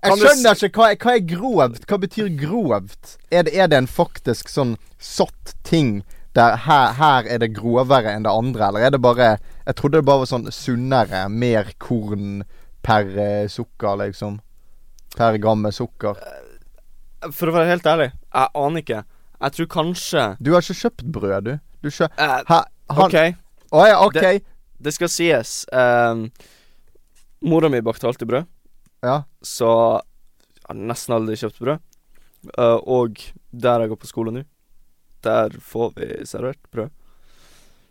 Speaker 3: jeg
Speaker 2: Kan du
Speaker 3: skjønner ikke hva, er- hva er grovt? Hva betyr grovt? Er det, er det en faktisk sånn satt ting der her, her er det grovere enn det andre, eller er det bare Jeg trodde det bare var sånn sunnere, mer korn per eh, sukker, liksom. Per gram med sukker.
Speaker 2: For å være helt ærlig, jeg aner ikke. Jeg tror kanskje
Speaker 3: Du har ikke kjøpt brød, du. Du kjø...
Speaker 2: eh,
Speaker 3: Ha, han
Speaker 2: OK,
Speaker 3: Å ja, OK.
Speaker 2: Det- det skal sies. Um, Mora mi bakte alltid brød,
Speaker 3: Ja.
Speaker 2: så jeg har nesten aldri kjøpt brød. Eh, og der jeg går på skole nå, der får vi servert brød.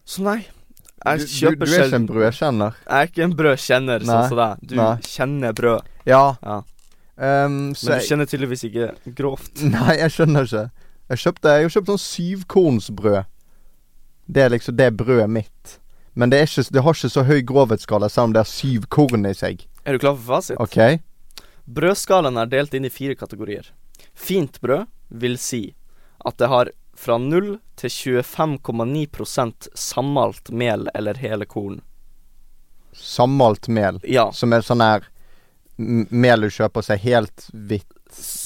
Speaker 2: Så nei.
Speaker 3: Du,
Speaker 2: Jeg
Speaker 3: du,
Speaker 2: kjøper
Speaker 3: du er ikke
Speaker 2: sjelden
Speaker 3: en brødkjenner.
Speaker 2: Jeg er ikke en brødkjenner,
Speaker 3: Nei,
Speaker 2: sånn som deg. Du
Speaker 3: nei.
Speaker 2: kjenner brød,
Speaker 3: Ja.
Speaker 2: Ja.
Speaker 3: Ehm, så
Speaker 2: men
Speaker 3: jeg-
Speaker 2: du kjenner tydeligvis ikke grovt.
Speaker 3: Nei, jeg skjønner ikke. Jeg kjøpte Jeg har kjøpt sånn syvkornsbrød. Det er liksom det er brødet mitt. Men det, er ikke, det har ikke så høy grovhetsskala, selv om det har syv korn i seg.
Speaker 2: Er du klar for fasit?
Speaker 3: OK?
Speaker 2: Brødskalaen er delt inn i fire kategorier. Fint brød vil si at det har fra 0 til 25,9 sammalt mel eller hele korn.
Speaker 3: Sammalt mel,
Speaker 2: Ja.
Speaker 3: som er sånn her m- mel du kjøper seg helt hvitt,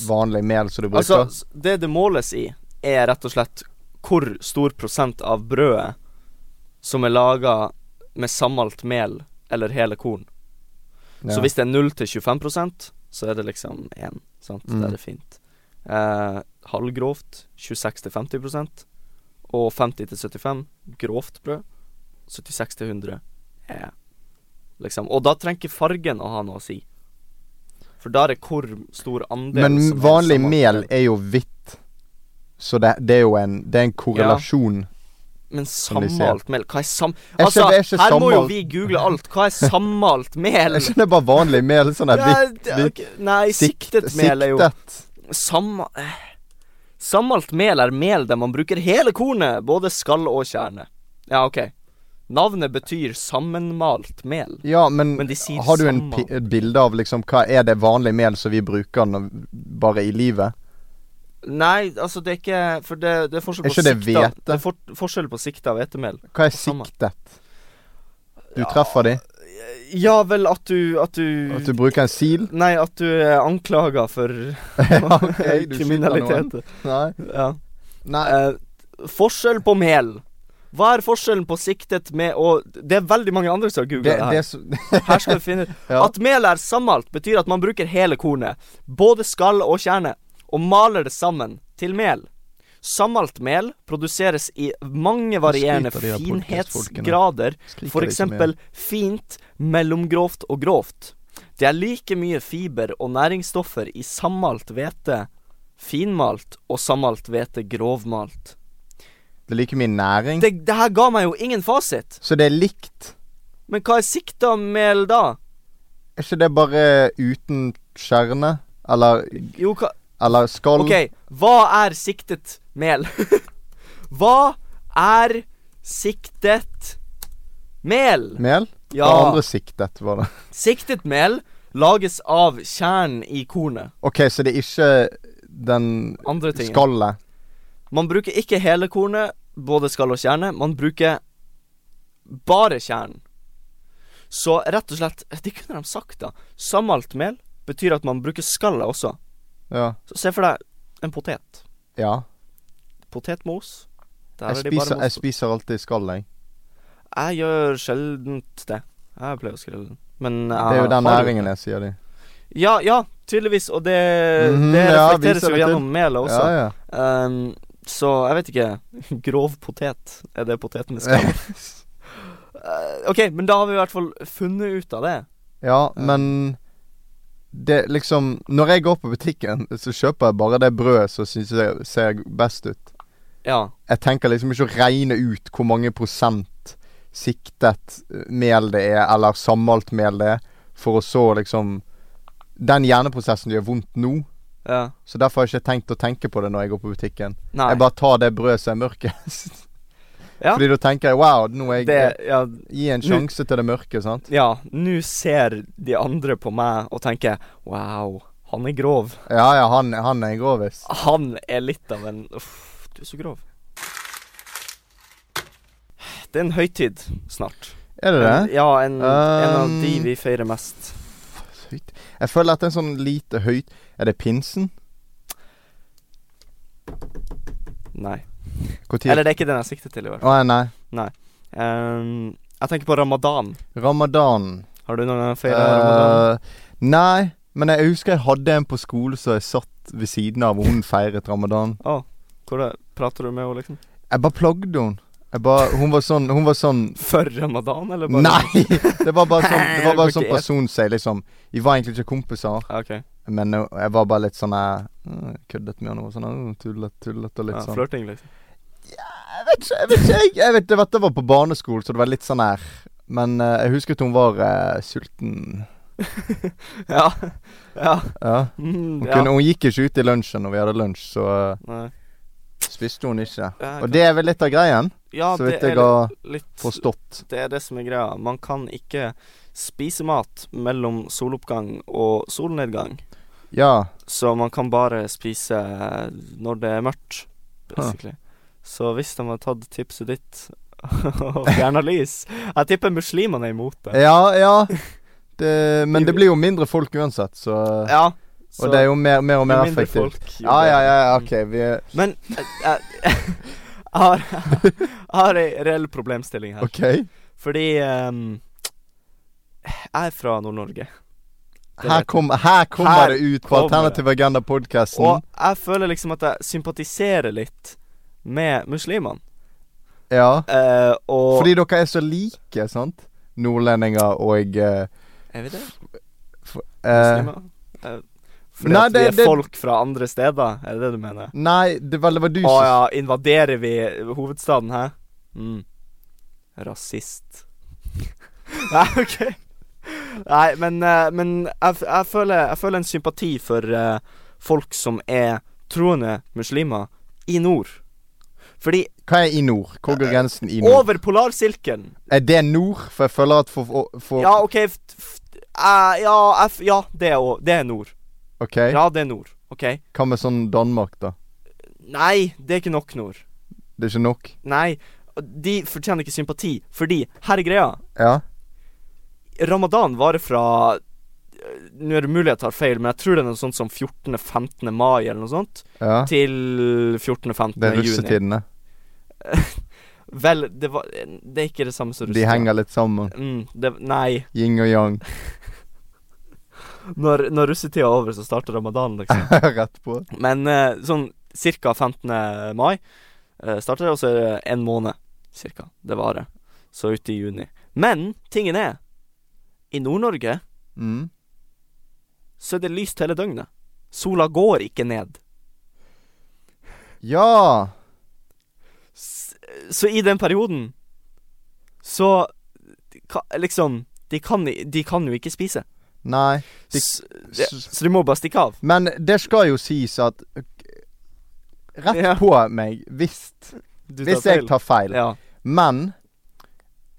Speaker 3: vanlig mel som du
Speaker 2: Altså,
Speaker 3: bruker.
Speaker 2: s- det det måles i, er rett og slett hvor stor prosent av brødet som er laga med sammalt mel eller hele korn.
Speaker 3: ja.
Speaker 2: Så hvis det er 0 til 25 så er det liksom 1, sant.
Speaker 3: Mm.
Speaker 2: Da er det fint. Eh, halvgrovt 26 til 50 og 50 til 75 grovt brød. 76 til 100 er liksom Og da trenger ikke fargen å ha noe å si. For der er hvor stor andel
Speaker 3: Men
Speaker 2: som er
Speaker 3: vanlig
Speaker 2: sammalt
Speaker 3: mel er jo hvitt, så det, det er jo en Det er en korrelasjon.
Speaker 2: Men
Speaker 3: de sier.
Speaker 2: sammalt mel? Hva er sam...
Speaker 3: Jeg
Speaker 2: Altså,
Speaker 3: skjønner- jeg skjønner
Speaker 2: her må jo
Speaker 3: sammalt.
Speaker 2: vi google alt. Hva er sammalt mel?
Speaker 3: Jeg skjønner bare vanlig mel, sånn her hvitt,
Speaker 2: Ja, det- ok, Nei, siktet mel er jo
Speaker 3: siktet.
Speaker 2: Samma... eh. Sammalt mel er mel der man bruker hele kornet, både skall og kjerne. Ja, ok. Navnet betyr sammenmalt mel.
Speaker 3: Ja, men,
Speaker 2: Men de sier
Speaker 3: har du en
Speaker 2: samme.
Speaker 3: pi- et bilde av liksom hva er det vanlige mel som vi bruker når, bare i livet?
Speaker 2: Nei, altså, det er ikke For det, det er forskjell
Speaker 3: Er
Speaker 2: på
Speaker 3: ikke det
Speaker 2: sikta
Speaker 3: hvete?
Speaker 2: Det er for, forskjell på sikta og hvetemel.
Speaker 3: Hva er
Speaker 2: Samme.
Speaker 3: siktet? Du
Speaker 2: Ja.
Speaker 3: treffer de?
Speaker 2: Ja vel, at du At du,
Speaker 3: At du bruker en sil?
Speaker 2: Nei, at du er anklaga for
Speaker 3: Ja, ok, du skyter
Speaker 2: kriminalitet.
Speaker 3: noen. Nei.
Speaker 2: Ja.
Speaker 3: Nei.
Speaker 2: Eh, forskjell på mel. Hva er forskjellen på siktet med og Det er veldig mange andre som har googla
Speaker 3: Det,
Speaker 2: det
Speaker 3: det
Speaker 2: her.
Speaker 3: er så
Speaker 2: Her skal vi finne
Speaker 3: ja.
Speaker 2: At mel er sammalt, betyr at man bruker hele kornet, både skall og kjerne, og maler det sammen til mel. Sammalt mel produseres i mange varierende
Speaker 3: skryter de av podcastfolkene.
Speaker 2: finhetsgrader,
Speaker 3: Skriker
Speaker 2: for
Speaker 3: de liksom så mye?
Speaker 2: eksempel fint, mellomgrovt og grovt. Det er like mye fiber og næringsstoffer i sammalt hvete finmalt og sammalt hvete grovmalt.
Speaker 3: Det er like mye næring.
Speaker 2: Det, det her ga meg jo ingen fasit.
Speaker 3: Så det er likt.
Speaker 2: Men hva er sikta mel da?
Speaker 3: Er ikke det bare uten kjerne? Eller,
Speaker 2: Jo, hva
Speaker 3: eller skall?
Speaker 2: Ok, hva er siktet mel? hva er siktet mel?
Speaker 3: Mel? Ja. Det
Speaker 2: Ja,
Speaker 3: andre siktet var det.
Speaker 2: siktet mel lages av kjernen i kornet.
Speaker 3: Ok, så det er ikke den
Speaker 2: Andre ting.
Speaker 3: skallet.
Speaker 2: Man bruker ikke hele kornet, både skall og kjerne. Man bruker bare kjernen. Så rett og slett Det kunne de sagt, da. Sammalt mel betyr at man bruker skallet også.
Speaker 3: Ja.
Speaker 2: Så se for deg en potet.
Speaker 3: ja.
Speaker 2: Potetmos. Der
Speaker 3: Jeg
Speaker 2: er de bare
Speaker 3: spiser, jeg
Speaker 2: mos.
Speaker 3: spiser alltid skall, jeg.
Speaker 2: Jeg gjør sjeldent det. Jeg pleier å skrelle den. Men jeg
Speaker 3: Det er jo den
Speaker 2: har
Speaker 3: næringen jeg sier de.
Speaker 2: Ja, ja, tydeligvis. Og det,
Speaker 3: Mhm,
Speaker 2: det
Speaker 3: ja,
Speaker 2: reflekteres
Speaker 3: viser
Speaker 2: jo
Speaker 3: det til.
Speaker 2: gjennom melet også.
Speaker 3: Ja, ja.
Speaker 2: Ehm, så jeg vet ikke. Grov potet. Er det poteten med skall? Eh, OK, men da har vi i hvert fall funnet ut av det.
Speaker 3: Ja, men det liksom Når jeg går på butikken, så kjøper jeg bare det brødet som syns jeg ser best ut.
Speaker 2: Ja.
Speaker 3: Jeg tenker liksom ikke å regne ut hvor mange prosent siktet eh, mel det er, eller sammalt mel det er, for å så liksom Den hjerneprosessen gjør vondt nå,
Speaker 2: ja.
Speaker 3: så derfor har jeg ikke tenkt å tenke på det når jeg går på butikken.
Speaker 2: Nei.
Speaker 3: Jeg bare tar det brødet som er mørkest.
Speaker 2: Ja.
Speaker 3: Fordi da tenker jeg wow, nå er jeg
Speaker 2: det, ja,
Speaker 3: Gi en sjanse til det mørke, sant?
Speaker 2: ja, nå ser de andre på meg og tenker Wow, han er grov.
Speaker 3: Ja ja, han, han er en grovis.
Speaker 2: Han er litt av en Uff, du er så grov. Det er en høytid snart.
Speaker 3: Er det det?
Speaker 2: En- Ja, en, en av
Speaker 3: Um,
Speaker 2: de vi feirer mest.
Speaker 3: Høyt. Jeg føler at det er en sånn lite høyt Er det pinsen?
Speaker 2: Nei.
Speaker 3: Hvor tid?
Speaker 2: Eller det er ikke den jeg sikter til, i hvert fall.
Speaker 3: Å nei.
Speaker 2: Ehm, jeg tenker på ramadan.
Speaker 3: Ramadan.
Speaker 2: Har du noen gang
Speaker 3: Eh,
Speaker 2: feira ramadan?
Speaker 3: nei, men jeg husker jeg hadde en på skolen som jeg satt ved siden av, og hun feiret ramadan.
Speaker 2: Å, hvordan prater du med henne, liksom?
Speaker 3: Jeg bare plagde henne. Jeg bare, hun var sånn, hun var sånn
Speaker 2: Før ramadan, eller bare
Speaker 3: Nei! Det var bare sånn, det var bare sånn
Speaker 2: Ok.
Speaker 3: person som jeg liksom Vi var egentlig ikke kompiser,
Speaker 2: Ja, OK.
Speaker 3: men eh, jeg var bare litt sånn eh, mm, Køddet med henne og sånn. eh, Tullet, tullet og litt
Speaker 2: Ja,
Speaker 3: sånn.
Speaker 2: Flørting, liksom.
Speaker 3: Jeg vet ikke, jeg vet ikke jeg, jeg vet, jeg vet, det var på barneskolen, så det var litt sånn her Men eh, jeg husker at hun var eh, sulten
Speaker 2: Ja. Ja.
Speaker 3: Ja
Speaker 2: Mm,
Speaker 3: hun,
Speaker 2: ja.
Speaker 3: kunne, hun gikk ikke ut i lunsjen når vi hadde lunsj, så eh,
Speaker 2: Nei.
Speaker 3: spiste hun ikke
Speaker 2: Ja,
Speaker 3: Og det er vel litt av greien,
Speaker 2: ja,
Speaker 3: så vidt
Speaker 2: det
Speaker 3: jeg
Speaker 2: er
Speaker 3: har
Speaker 2: litt
Speaker 3: forstått
Speaker 2: Det er det som er greia. Man kan ikke spise mat mellom soloppgang og solnedgang.
Speaker 3: Ja,
Speaker 2: Så man kan bare spise eh, når det er mørkt, basically. Så hvis de har tatt tipset ditt og fjerna lys Jeg tipper muslimene er imot det.
Speaker 3: ja, ja det, Men det blir jo mindre folk uansett, så
Speaker 2: Ja. så
Speaker 3: Og det er jo mer, mer og mer
Speaker 2: mindre
Speaker 3: effektivt
Speaker 2: folk, jo
Speaker 3: Ja, ja,
Speaker 2: bedre.
Speaker 3: ja, ja, ok, vi er
Speaker 2: Men jeg, jeg, jeg har, jeg har ei reell problemstilling her.
Speaker 3: Ok
Speaker 2: Fordi ehm, jeg er fra Nord-Norge. Det
Speaker 3: her,
Speaker 2: vet
Speaker 3: kom, her kommer
Speaker 2: Her
Speaker 3: det ut på
Speaker 2: kommer det.
Speaker 3: Alternativ Agenda-podcasten
Speaker 2: Og jeg føler liksom at jeg sympatiserer litt med muslimene.
Speaker 3: Ja
Speaker 2: Eh, og
Speaker 3: Fordi dere er så like, sant? Nordlendinger og eh,
Speaker 2: Er vi det?
Speaker 3: eh,
Speaker 2: Muslimer? Eh, fordi
Speaker 3: nei,
Speaker 2: at vi
Speaker 3: det-
Speaker 2: er
Speaker 3: det-
Speaker 2: folk fra andre steder, er det det du mener?
Speaker 3: Nei, det var, det var du
Speaker 2: Å
Speaker 3: som
Speaker 2: ja, invaderer vi hovedstaden her? Mm. Rasist. nei, OK. Nei, men, eh, men jeg, f- jeg, føler, jeg føler en sympati for eh, folk som er troende muslimer i nord. Fordi
Speaker 3: Hva er i nord? Hvor går grensen i nord?
Speaker 2: Eh, over polarsirkelen
Speaker 3: Er det nord? For jeg føler at for, for
Speaker 2: Ja, OK f f eh, ja, f ja, det er, å- det er nord.
Speaker 3: OK,
Speaker 2: Ja, det er nord. OK?
Speaker 3: hva med sånn Danmark, da?
Speaker 2: Nei, det er ikke nok nord.
Speaker 3: Det er ikke nok.
Speaker 2: Nei, de fortjener ikke sympati, fordi her er greia.
Speaker 3: Ja.
Speaker 2: Ramadan varer fra eh, Nå er det mulig jeg tar feil, men jeg tror det er noe sånt som 14.-15. mai eller noe sånt,
Speaker 3: ja.
Speaker 2: til 14.-15.
Speaker 3: Det er
Speaker 2: juni.
Speaker 3: russetidene.
Speaker 2: Vel, det, var, eh, det er ikke det samme som
Speaker 3: De henger litt sammen.
Speaker 2: Mm, det, nei.
Speaker 3: Yin og yang.
Speaker 2: Når, når russetida er over, så starter ramadan, liksom.
Speaker 3: Rett på.
Speaker 2: Men eh, sånn ca. 15. mai eh, starter det, og så er det en måned ca. det varer. Så ut i juni. Men tingen er, i Nord-Norge
Speaker 3: Mm.
Speaker 2: så er det lyst hele døgnet. Sola går ikke ned.
Speaker 3: Ja!
Speaker 2: S så i den perioden så ka- liksom de kan, i- de kan jo ikke spise.
Speaker 3: Nei. De-
Speaker 2: S det, så de må bare stikke av.
Speaker 3: Men det skal jo sies at Rett
Speaker 2: Ja.
Speaker 3: på meg, hvis,
Speaker 2: Du
Speaker 3: hvis jeg tar feil.
Speaker 2: Ja.
Speaker 3: Men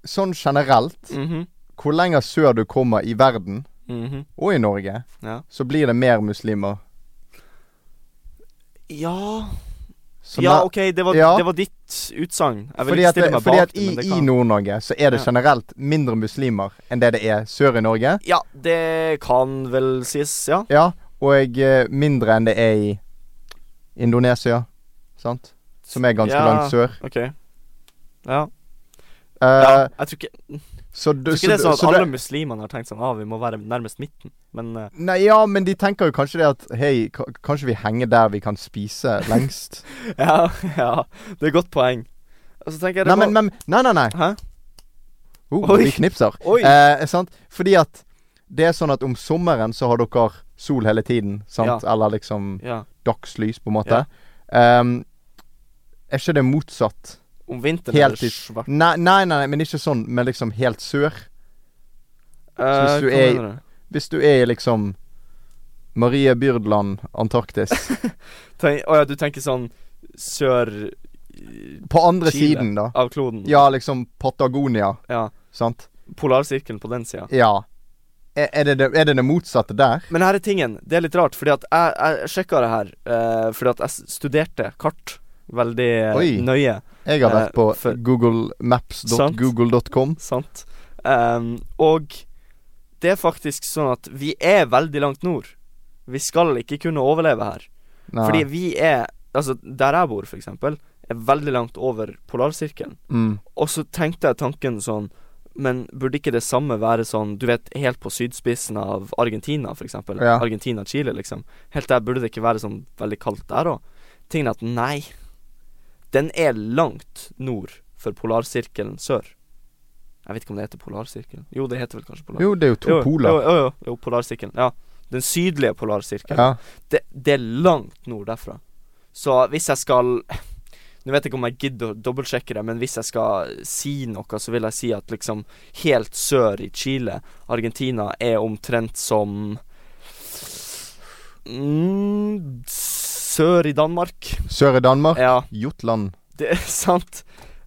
Speaker 3: sånn generelt,
Speaker 2: Mhm.
Speaker 3: hvor lenger sør du kommer i verden,
Speaker 2: Mhm.
Speaker 3: og i Norge,
Speaker 2: Ja.
Speaker 3: så blir det mer muslimer.
Speaker 2: ja
Speaker 3: Så
Speaker 2: Ja,
Speaker 3: ne-
Speaker 2: OK, det var,
Speaker 3: Ja.
Speaker 2: det var ditt utsagn. Jeg vil
Speaker 3: Fordi
Speaker 2: ikke
Speaker 3: at,
Speaker 2: stille meg
Speaker 3: fordi
Speaker 2: bak
Speaker 3: at
Speaker 2: det, men det
Speaker 3: i, i
Speaker 2: kan
Speaker 3: Nord-Norge så er det
Speaker 2: Ja.
Speaker 3: generelt mindre muslimer enn det det er sør i Norge.
Speaker 2: Ja, det kan vel sies, ja.
Speaker 3: Ja, og eh, mindre enn det er i Indonesia, sant? Som er ganske
Speaker 2: Ja.
Speaker 3: langt sør.
Speaker 2: OK. Ja.
Speaker 3: Eh,
Speaker 2: ja. Jeg tror ikke,
Speaker 3: Så
Speaker 2: jeg
Speaker 3: du
Speaker 2: tror ikke det er
Speaker 3: så-
Speaker 2: sånn at
Speaker 3: så det-
Speaker 2: alle muslimene har tenkt sånn ah, vi må være nærmest midten, men eh,
Speaker 3: Nei, ja, men de tenker jo kanskje det at Hei, ka- kanskje vi henger der vi kan spise lengst?
Speaker 2: Ja, ja. Det er et godt poeng. Og så tenker jeg det
Speaker 3: nei, men,
Speaker 2: var-
Speaker 3: men Nei, nei, nei.
Speaker 2: Hæ?
Speaker 3: Oh,
Speaker 2: Oi.
Speaker 3: vi knipser.
Speaker 2: Oi!
Speaker 3: Eh, sant? Fordi at det er sånn at om sommeren så har dere sol hele tiden, sant? Eller liksom
Speaker 2: Ja.
Speaker 3: dagslys, på en måte. Ehm, er ikke det motsatt?
Speaker 2: Om vinteren
Speaker 3: Helt
Speaker 2: er det
Speaker 3: i-
Speaker 2: svart.
Speaker 3: Nei, nei, nei, nei, men ikke sånn, men liksom helt sør. hvis
Speaker 2: Eh,
Speaker 3: du
Speaker 2: hva
Speaker 3: er i-
Speaker 2: mener
Speaker 3: Hvis du er i liksom Marie Byrdland, Antarktis.
Speaker 2: Tenk- Å ja, du tenker sånn sør i-
Speaker 3: På andre
Speaker 2: Chile.
Speaker 3: siden, da.
Speaker 2: av kloden?
Speaker 3: Ja, liksom Patagonia,
Speaker 2: Ja.
Speaker 3: sant?
Speaker 2: Polarsirkelen på den sida.
Speaker 3: Ja. Er, er, det, det- er det det motsatte der?
Speaker 2: Men her er tingen. Det er litt rart, fordi at jeg, jeg sjekka det her eh, fordi at jeg s- studerte kart veldig eh,
Speaker 3: Oi.
Speaker 2: nøye,
Speaker 3: Jeg har vært
Speaker 2: Eh,
Speaker 3: på
Speaker 2: for-
Speaker 3: googlemaps.google.com.
Speaker 2: sant? Ehm, og det er faktisk sånn at vi er veldig langt nord. Vi skal ikke kunne overleve her.
Speaker 3: Nei.
Speaker 2: Fordi vi er Altså, der jeg bor, for eksempel, er veldig langt over polarsirkelen.
Speaker 3: mm.
Speaker 2: Og så tenkte jeg tanken sånn Men burde ikke det samme være sånn Du vet, helt på sydspissen av Argentina, for eksempel.
Speaker 3: Ja.
Speaker 2: Argentina-Chile, liksom. Helt der burde det ikke være sånn veldig kaldt der òg. Tingen er at nei. Den er langt nord for polarsirkelen sør. Jeg vet ikke om det heter polarsirkelen. Jo, det heter vel kanskje polar...
Speaker 3: Jo, det er jo to poler.
Speaker 2: Jo, jo, jo, jo polarsirkelen. Ja. Den sydlige polarsirkelen
Speaker 3: Ja.
Speaker 2: det, det er langt nord derfra. Så hvis jeg skal Nå vet jeg ikke om jeg gidder å dobbeltsjekke det, men hvis jeg skal si noe, så vil jeg si at liksom helt sør i Chile, Argentina, er omtrent som mm, Sør i Danmark.
Speaker 3: Sør i Danmark.
Speaker 2: Ja,
Speaker 3: Jotland.
Speaker 2: det er sant.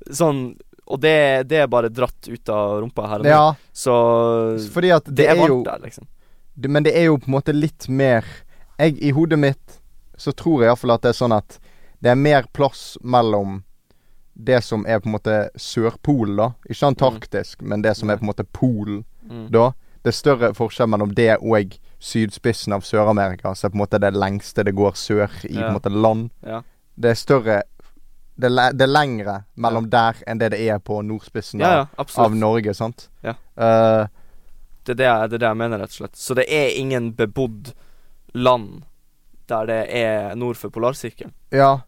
Speaker 2: Sånn Og det, det er bare dratt ut av rumpa her og nå.
Speaker 3: Ja,
Speaker 2: Så
Speaker 3: fordi at det,
Speaker 2: det er
Speaker 3: er
Speaker 2: varmt
Speaker 3: jo
Speaker 2: der, liksom.
Speaker 3: det, Men det er jo på en måte litt mer Jeg, i hodet mitt, så tror jeg iallfall at det er sånn at det er mer plass mellom det som er på en måte Sørpolen, da. Ikke antarktisk, men det som er på en måte Polen,
Speaker 2: Mm.
Speaker 3: da. Det er større forskjell mellom det og sydspissen av Sør-Amerika, som er på en måte det lengste det går sør i på
Speaker 2: Ja.
Speaker 3: en måte land.
Speaker 2: Ja.
Speaker 3: Det er større Det er, le, det er lengre mellom der enn det det er på nordspissen
Speaker 2: Ja,
Speaker 3: av-
Speaker 2: ja, absolutt.
Speaker 3: av Norge, sant?
Speaker 2: Ja.
Speaker 3: Eh,
Speaker 2: Det er det, jeg- det er det jeg mener, rett og slett. Så det er ingen bebodd land der det er nord for polarsirkelen.
Speaker 3: Ja.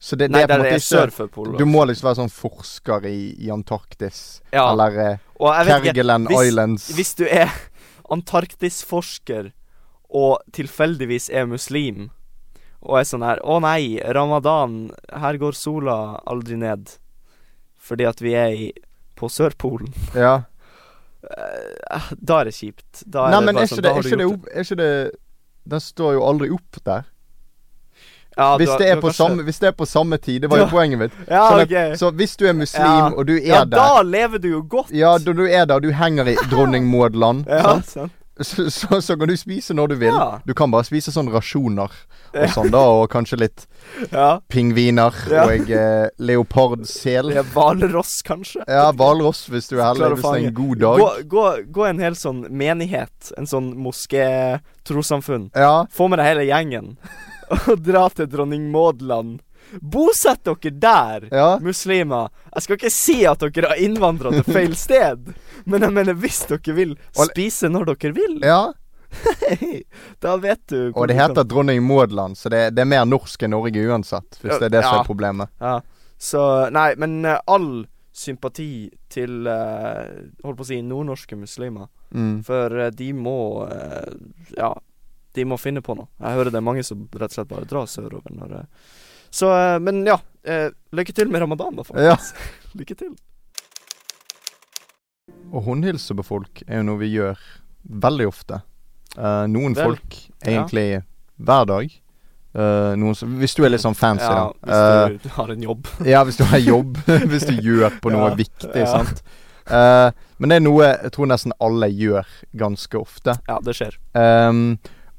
Speaker 3: Så det, det
Speaker 2: Nei,
Speaker 3: er på
Speaker 2: der
Speaker 3: en
Speaker 2: det
Speaker 3: måte
Speaker 2: er sør
Speaker 3: ikke
Speaker 2: for polar.
Speaker 3: Du må liksom være sånn forsker i, i Antarktis.
Speaker 2: Ja.
Speaker 3: Eller eh,
Speaker 2: Og jeg vet ikke,
Speaker 3: Kerguelen
Speaker 2: hvis-
Speaker 3: Islands.
Speaker 2: hvis du er antarktisforsker og tilfeldigvis er muslim, og er sånn her Å nei, ramadan, her går sola aldri ned. Fordi at vi er i på Sørpolen.
Speaker 3: ja.
Speaker 2: Eh, Da er det kjipt. Da er
Speaker 3: Nei,
Speaker 2: det
Speaker 3: men
Speaker 2: bare
Speaker 3: er
Speaker 2: sånn,
Speaker 3: ikke
Speaker 2: da
Speaker 3: det,
Speaker 2: har
Speaker 3: er
Speaker 2: du
Speaker 3: ikke det,
Speaker 2: gjort
Speaker 3: opp, er ikke det Den står jo aldri opp der.
Speaker 2: Ja, du
Speaker 3: hvis,
Speaker 2: har-
Speaker 3: det
Speaker 2: du
Speaker 3: er
Speaker 2: har
Speaker 3: på
Speaker 2: kanskje-
Speaker 3: samme, hvis det er på samme tid, det var jo
Speaker 2: Du-
Speaker 3: poenget mitt.
Speaker 2: Ja,
Speaker 3: Sånn at-
Speaker 2: Ah, ok.
Speaker 3: Så hvis du er muslim,
Speaker 2: Ja.
Speaker 3: og du er
Speaker 2: ja
Speaker 3: der
Speaker 2: da lever du jo godt.
Speaker 3: Ja, da du er der, du henger i Dronning Maud-land,
Speaker 2: Ja,
Speaker 3: sant?
Speaker 2: sant.
Speaker 3: så, så, så kan du spise når du vil.
Speaker 2: Ja.
Speaker 3: Du kan bare spise sånn rasjoner og sånn, da. Og kanskje litt
Speaker 2: Ja.
Speaker 3: pingviner
Speaker 2: Ja.
Speaker 3: og eh, leopardsel.
Speaker 2: Det er hvalross, kanskje.
Speaker 3: Ja, hvalross hvis du er
Speaker 2: Klarer å
Speaker 3: heldig. Hvis det er
Speaker 2: fange.
Speaker 3: en god dag.
Speaker 2: Gå, gå, gå en hel sånn menighet, en sånn moské, trossamfunn.
Speaker 3: Ja.
Speaker 2: Få med deg hele gjengen og dra til dronning Maud land. Bosett dere der,
Speaker 3: ja.
Speaker 2: muslimer. Jeg skal ikke si at dere har innvandra til feil sted, men jeg mener hvis dere vil
Speaker 3: Og-
Speaker 2: spise når dere vil,
Speaker 3: Ja.
Speaker 2: da vet du hvor
Speaker 3: Og det
Speaker 2: du kan-
Speaker 3: heter Dronning Maudland, så det, det er mer norsk enn Norge uansett. Hvis det er det som
Speaker 2: Ja.
Speaker 3: er problemet.
Speaker 2: Ja. Så Nei, men eh, all sympati til eh, Holdt på å si nordnorske muslimer.
Speaker 3: Mm.
Speaker 2: For eh, de må eh, Ja, de må finne på noe. Jeg hører det er mange som rett og slett bare drar sørover når eh, Så eh, Men ja. eh, lykke til med ramadan, da,
Speaker 3: Ja.
Speaker 2: faktisk. Lykke til.
Speaker 3: Å håndhilse på folk er jo noe vi gjør veldig ofte. Eh, noen
Speaker 2: Vel,
Speaker 3: folk egentlig hver dag. Eh, noen som, hvis du er litt sånn fancy,
Speaker 2: Ja,
Speaker 3: da. Eh,
Speaker 2: hvis du har en jobb.
Speaker 3: ja, hvis du har jobb. hvis du gjør på noe
Speaker 2: Ja,
Speaker 3: viktig,
Speaker 2: ja.
Speaker 3: sant. Eh, men det er noe jeg tror nesten alle gjør ganske ofte.
Speaker 2: Ja, det skjer.
Speaker 3: Ehm,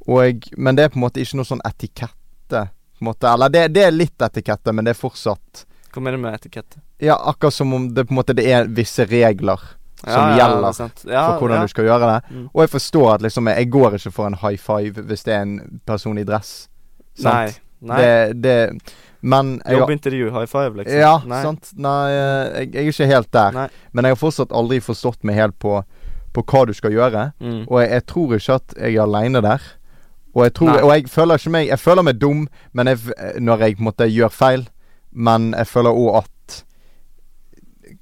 Speaker 3: og, men det er på en måte ikke noe sånn etikette. På en måte. Eller det, det er litt etikette, men det er fortsatt
Speaker 2: Hva mener du med etikette?
Speaker 3: Ja, akkurat som om det på en måte det er visse regler Som gjelder
Speaker 2: det er sant. ja,
Speaker 3: for hvordan
Speaker 2: ja.
Speaker 3: du skal gjøre det.
Speaker 2: Mm.
Speaker 3: Og jeg forstår at liksom jeg går ikke for en high five hvis det er en person i dress.
Speaker 2: Nei.
Speaker 3: Sant?
Speaker 2: nei.
Speaker 3: Det, det Men jeg har-
Speaker 2: Jobbintervju, high five, liksom.
Speaker 3: Ja,
Speaker 2: nei.
Speaker 3: sant. Nei, eh, jeg, jeg er ikke helt der.
Speaker 2: Nei.
Speaker 3: Men jeg har fortsatt aldri forstått meg helt på, på hva du skal gjøre.
Speaker 2: Mm.
Speaker 3: Og jeg, jeg tror ikke at jeg er aleine der. Og jeg, tror,
Speaker 2: Nei.
Speaker 3: og jeg føler ikke meg Jeg føler meg dum men jeg, f- når jeg på en måte gjør feil, men jeg føler òg at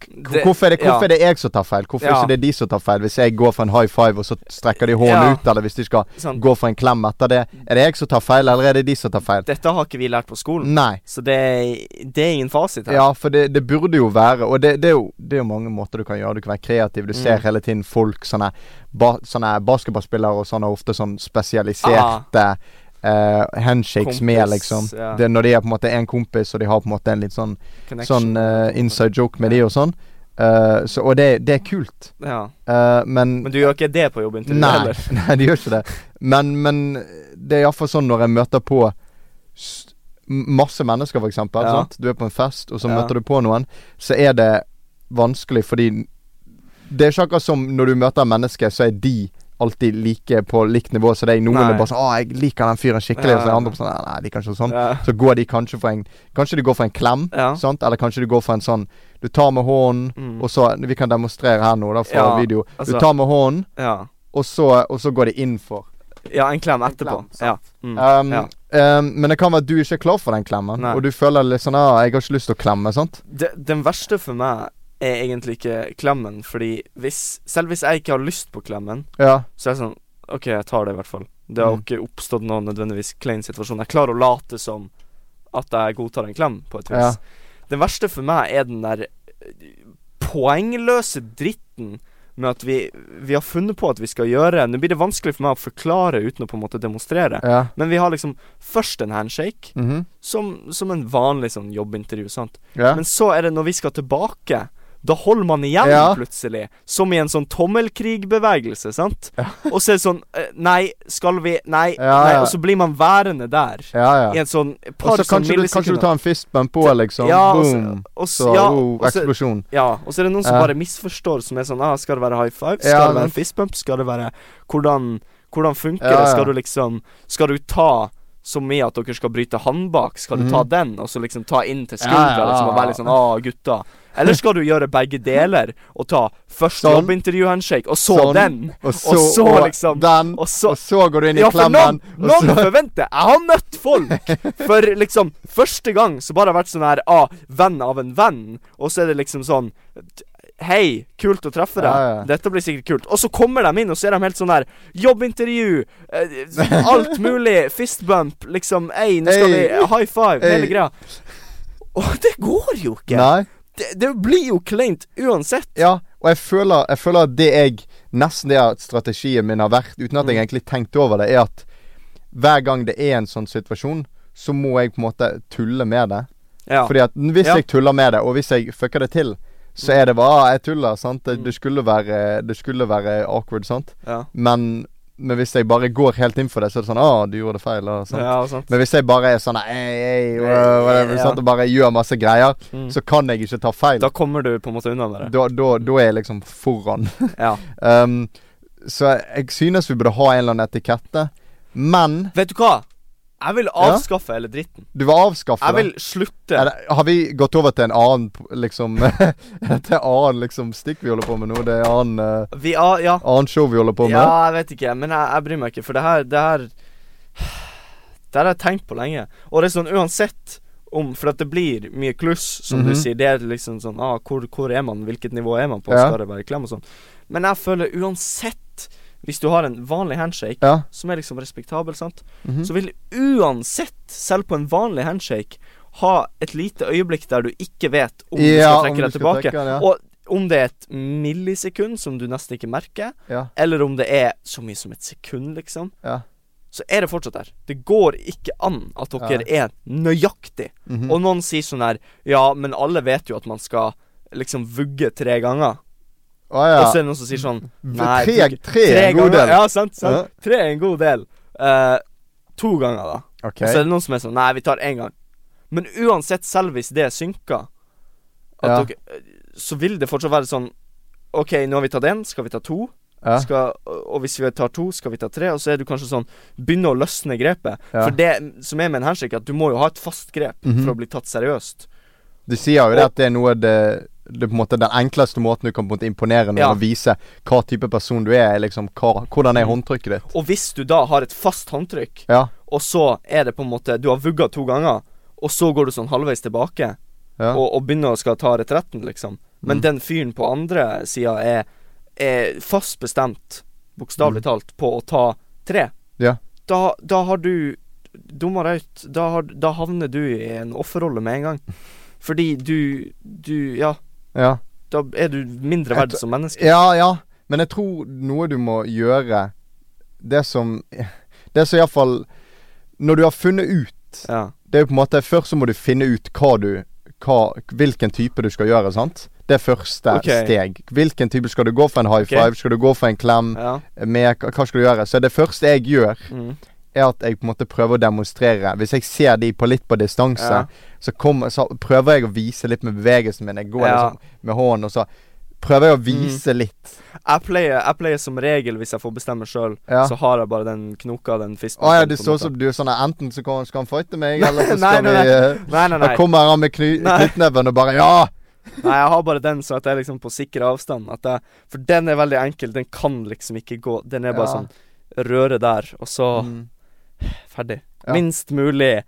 Speaker 2: Det-
Speaker 3: Hvorfor, er det, hvorfor
Speaker 2: ja.
Speaker 3: er det jeg som tar feil? Hvorfor
Speaker 2: Ja.
Speaker 3: er ikke det de som tar feil? Hvis jeg går for en high five, og så strekker de hånden
Speaker 2: Ja.
Speaker 3: ut, eller hvis de skal
Speaker 2: Sant.
Speaker 3: gå for en klem etter det, er det jeg som tar feil, eller er det de som tar feil?
Speaker 2: Dette har ikke vi lært på skolen,
Speaker 3: Nei.
Speaker 2: så det er, det er ingen fasit her.
Speaker 3: Mm. Ja, for det, det burde jo være Og det, det, er jo, det er jo mange måter du kan gjøre Du kan være kreativ. Du ser
Speaker 2: Mm.
Speaker 3: hele tiden folk Sånne, ba, sånne basketballspillere og sånne ofte sånn spesialiserte eh, handshakes
Speaker 2: Ah. Kompis,
Speaker 3: med, liksom.
Speaker 2: ja.
Speaker 3: Det er når de er på en måte en kompis, og de har på en måte en litt sånn, sånn
Speaker 2: Connection.
Speaker 3: eh, inside joke med de og sånn. Eh, så, og det, det er kult.
Speaker 2: ja.
Speaker 3: Eh, men
Speaker 2: Men du gjør ikke det på jobbintervju
Speaker 3: Nei,
Speaker 2: heller?
Speaker 3: nei, de gjør ikke det. Men, men det er iallfall sånn når jeg møter på s- m- masse mennesker, for eksempel
Speaker 2: Ja.
Speaker 3: sant? Du er på en fest, og så
Speaker 2: Ja.
Speaker 3: møter du på noen. Så er det vanskelig, fordi Det er ikke akkurat som når du møter mennesker, så er de alltid like på likt nivå som deg. Noen
Speaker 2: Nei.
Speaker 3: er bare sånn 'Å, jeg liker den fyren skikkelig', og så er
Speaker 2: Ja.
Speaker 3: andre på sånn «Nei, 'Nei, de kan ikke sånn'.
Speaker 2: Ja.
Speaker 3: Så går de kanskje for en Kanskje de går for en klem,
Speaker 2: ja.
Speaker 3: sant? Eller kanskje de går for en sånn Du tar med hånden,
Speaker 2: Mm.
Speaker 3: og så Vi kan demonstrere her nå, da, fra
Speaker 2: Ja,
Speaker 3: video.
Speaker 2: altså-
Speaker 3: du tar med hånden,
Speaker 2: ja.
Speaker 3: og så, og så går det inn for.
Speaker 2: ja, en klem etterpå.
Speaker 3: klem,
Speaker 2: Ja.
Speaker 3: sant.
Speaker 2: Mm.
Speaker 3: Um,
Speaker 2: ja.
Speaker 3: um, men det kan være at du ikke er klar for den klemmen,
Speaker 2: Nei.
Speaker 3: og du føler litt sånn ah, 'Jeg har ikke lyst til å klemme', sant?
Speaker 2: De, den verste for meg er egentlig ikke klemmen, fordi hvis Selv hvis jeg ikke har lyst på klemmen,
Speaker 3: Ja.
Speaker 2: så er det sånn OK, jeg tar det i hvert fall. Det har jo
Speaker 3: Mm.
Speaker 2: ikke oppstått noen nødvendigvis klein situasjon. Jeg klarer å late som at jeg godtar en klem, på et
Speaker 3: Ja.
Speaker 2: vis. Den verste for meg er den der eh, poengløse dritten med at vi, vi har funnet på at vi skal gjøre Nå blir det vanskelig for meg å forklare uten å på en måte demonstrere.
Speaker 3: ja.
Speaker 2: Men vi har liksom først en handshake,
Speaker 3: Mhm.
Speaker 2: som, som en vanlig sånn jobbintervju, sant.
Speaker 3: ja.
Speaker 2: Men så er det når vi skal tilbake, da holder man igjen
Speaker 3: Ja.
Speaker 2: plutselig. Som i en sånn tommelkrigbevegelse, sant. Og så er det sånn eh, Nei, skal vi Nei,
Speaker 3: Ja,
Speaker 2: nei.
Speaker 3: ja.
Speaker 2: Og så blir man værende der.
Speaker 3: ja,
Speaker 2: I
Speaker 3: ja.
Speaker 2: en sånn
Speaker 3: Og
Speaker 2: par
Speaker 3: så
Speaker 2: sånn
Speaker 3: kanskje, du- kanskje du
Speaker 2: millisekunder.
Speaker 3: tar en fistbump på, liksom.
Speaker 2: Ja, og så-
Speaker 3: Boom.
Speaker 2: og
Speaker 3: Så
Speaker 2: så- ja,
Speaker 3: oh,
Speaker 2: og så-
Speaker 3: eksplosjon.
Speaker 2: Ja, og så er det noen som
Speaker 3: Ja.
Speaker 2: bare misforstår, som er sånn ah, Skal det være high five? Skal
Speaker 3: Ja,
Speaker 2: det være
Speaker 3: men-
Speaker 2: en fistbump? Skal det være Hvordan, hvordan funker
Speaker 3: Ja,
Speaker 2: det?
Speaker 3: ja.
Speaker 2: Skal du liksom Skal du ta så mye at dere skal bryte håndbak? Skal du ta den, og så liksom ta inn til skuldra?
Speaker 3: Mhm. Ja, ja,
Speaker 2: Liksom, og være
Speaker 3: ja.
Speaker 2: litt sånn ah, gutta. Eller skal du gjøre begge deler, og ta først
Speaker 3: Sånn.
Speaker 2: jobbintervju-handshake, og så
Speaker 3: Sånn.
Speaker 2: den?
Speaker 3: Og så,
Speaker 2: så
Speaker 3: og
Speaker 2: liksom-
Speaker 3: den,
Speaker 2: og så-
Speaker 3: og så går du inn i
Speaker 2: Ja, for
Speaker 3: klemmen.
Speaker 2: noen,
Speaker 3: og så-
Speaker 2: noen forventer Jeg har møtt folk For liksom Første gang så bare har jeg vært sånn her Ah, venn av en venn Og så er det liksom sånn Hei, kult å treffe deg
Speaker 3: Ja, ja.
Speaker 2: Dette blir sikkert kult Og så kommer de inn Og så er de helt sånn her Jobbintervju eh, Alt mulig Fistbump Liksom Hei, nå skal
Speaker 3: Hey.
Speaker 2: vi High five
Speaker 3: Hey.
Speaker 2: Hele greia Åh, det går jo ikke
Speaker 3: Nei.
Speaker 2: det, det blir jo kleint uansett
Speaker 3: Ja, og jeg føler, jeg føler at det jeg Nesten det at strategien min har vært, uten
Speaker 2: Mm.
Speaker 3: at jeg egentlig tenkte over det, er at hver gang det er en sånn situasjon, så må jeg på en måte tulle med det.
Speaker 2: Ja
Speaker 3: Fordi at hvis
Speaker 2: Ja.
Speaker 3: jeg tuller med det, og hvis jeg fucker det til, så
Speaker 2: Mm.
Speaker 3: er det bare ah, 'Jeg tuller', sant? Det, det, skulle være, det skulle være awkward, sant?
Speaker 2: Ja
Speaker 3: Men Men hvis jeg bare går helt inn for det, så er det sånn Å, du gjorde det feil. Og sånn.
Speaker 2: Ja, sant.
Speaker 3: Men hvis jeg bare er sånn ei, ei, wow, whatever,
Speaker 2: Ja.
Speaker 3: sant, og bare gjør masse greier,
Speaker 2: Mm.
Speaker 3: så kan jeg ikke ta feil.
Speaker 2: Da kommer du på en måte unna med det.
Speaker 3: Da, da, da er jeg liksom foran.
Speaker 2: Ja.
Speaker 3: Um, så jeg synes vi burde ha en eller annen etikette. Men
Speaker 2: Vet du hva? Jeg vil avskaffe hele dritten.
Speaker 3: du var avskaffe
Speaker 2: Jeg
Speaker 3: det.
Speaker 2: vil slutte.
Speaker 3: Er det. Har vi gått over til en annen p- liksom Til annen liksom stikk vi holder på med nå? Det er annen, eh,
Speaker 2: Vi, ja, ja.
Speaker 3: annen show vi holder på med?
Speaker 2: ja, jeg vet ikke, men jeg, jeg bryr meg ikke, for det her Det her Det her har jeg tenkt på lenge. Og det er sånn uansett om For at det blir mye kluss, som du
Speaker 3: Mhm.
Speaker 2: sier. Det er liksom sånn ah, hvor, hvor er man? Hvilket nivå er man på?
Speaker 3: Ja.
Speaker 2: Skal det være klem og sånn? Men jeg føler uansett Hvis du har en vanlig handshake
Speaker 3: Ja.
Speaker 2: som er liksom respektabel, sant,
Speaker 3: Mhm.
Speaker 2: så vil uansett, selv på en vanlig handshake, ha et lite øyeblikk der du ikke vet om du
Speaker 3: Ja,
Speaker 2: Oh, skal
Speaker 3: om
Speaker 2: trekke
Speaker 3: du
Speaker 2: deg
Speaker 3: skal
Speaker 2: tilbake.
Speaker 3: trekke den, ja.
Speaker 2: Og om det er et millisekund som du nesten ikke merker,
Speaker 3: Ja.
Speaker 2: eller om det er så mye som et sekund, liksom,
Speaker 3: Ja.
Speaker 2: så er det fortsatt der. Det går ikke an at dere er nøyaktig.
Speaker 3: Mhm.
Speaker 2: Og noen sier sånn her Ja, men alle vet jo at man skal liksom vugge tre ganger.
Speaker 3: Å, ja. Mm.
Speaker 2: Og så er det noen som sier sånn Nei,
Speaker 3: tre,
Speaker 2: vugge-
Speaker 3: tre er en god
Speaker 2: ganger.
Speaker 3: del.
Speaker 2: Ja, sant, sant.
Speaker 3: Ja.
Speaker 2: Tre er en god del. Eh, to ganger, da.
Speaker 3: Ok.
Speaker 2: Og så er det noen som er sånn Nei, vi tar én gang. Men uansett, selv hvis det synker, at
Speaker 3: Ja.
Speaker 2: dere, så vil det fortsatt være sånn OK, nå har vi tatt én, skal vi ta to?
Speaker 3: Ja.
Speaker 2: skal, og hvis vi tar to, skal vi ta tre? Og så er du kanskje sånn Begynne å løsne grepet.
Speaker 3: Ja.
Speaker 2: For det som er med en handshake, er at du må jo ha et fast grep
Speaker 3: Mhm.
Speaker 2: for å bli tatt seriøst.
Speaker 3: Du sier jo det at det er noe det, det er på en måte Den enkleste måten du kan på en måte imponere noen
Speaker 2: Ja.
Speaker 3: og vise hva type person du er, er liksom hva, hvordan
Speaker 2: Mm.
Speaker 3: er håndtrykket ditt.
Speaker 2: Og hvis du da har et fast håndtrykk,
Speaker 3: Ja.
Speaker 2: og så er det på en måte Du har vugga to ganger, og så går du sånn halvveis tilbake
Speaker 3: ja.
Speaker 2: og, og begynner å skal ta retretten, liksom. Men
Speaker 3: Mm.
Speaker 2: den fyren på andre sida er, er fast bestemt, bokstavelig
Speaker 3: Mm.
Speaker 2: talt, på å ta tre.
Speaker 3: Ja.
Speaker 2: Da, da har du Dumma deg ut. Da, har, da havner du i en offerrolle med en gang. Fordi du Du Ja,
Speaker 3: ja.
Speaker 2: da er du mindre
Speaker 3: Jeg
Speaker 2: verd som menneske.
Speaker 3: Ja, ja. Men jeg tror noe du må gjøre Det som Det som iallfall Når du har funnet ut
Speaker 2: Ja.
Speaker 3: Det er jo på en måte Først så må du finne ut hva du hva, Hvilken type du skal gjøre, sant? Det er første
Speaker 2: Ok.
Speaker 3: steg. Hvilken type skal du gå for en high
Speaker 2: Ok.
Speaker 3: five? Skal du gå for en klem?
Speaker 2: Ja.
Speaker 3: Med, hva hva skal du gjøre? Så det første jeg gjør,
Speaker 2: Mm.
Speaker 3: er at jeg på en måte prøver å demonstrere. Hvis jeg ser de på litt på distanse,
Speaker 2: Ja.
Speaker 3: så, kommer- så prøver jeg å vise litt med bevegelsen min. Jeg går
Speaker 2: Ja. Mhm.
Speaker 3: liksom med hånden, og så prøver jeg å vise litt.
Speaker 2: Jeg, pleier, jeg pleier som regel, hvis jeg får bestemme sjøl,
Speaker 3: Ja.
Speaker 2: så har jeg bare den knoka, den fisten.
Speaker 3: Å ja,
Speaker 2: selv,
Speaker 3: det
Speaker 2: på en
Speaker 3: står
Speaker 2: måte.
Speaker 3: som du er sånn Enten så kan, skal han fighte meg, eller så
Speaker 2: Nei,
Speaker 3: skal
Speaker 2: nei,
Speaker 3: vi eh,
Speaker 2: Nei, nei,
Speaker 3: Da
Speaker 2: nei.
Speaker 3: kommer han med kny-
Speaker 2: Nei.
Speaker 3: knyttneven og bare Ja!
Speaker 2: Nei, jeg har bare den, så at jeg liksom på sikker avstand. At jeg, for den er veldig enkel. Den kan liksom ikke gå. Den er bare
Speaker 3: Ja.
Speaker 2: sånn røre der, og så
Speaker 3: Mm.
Speaker 2: ferdig.
Speaker 3: Ja.
Speaker 2: Minst mulig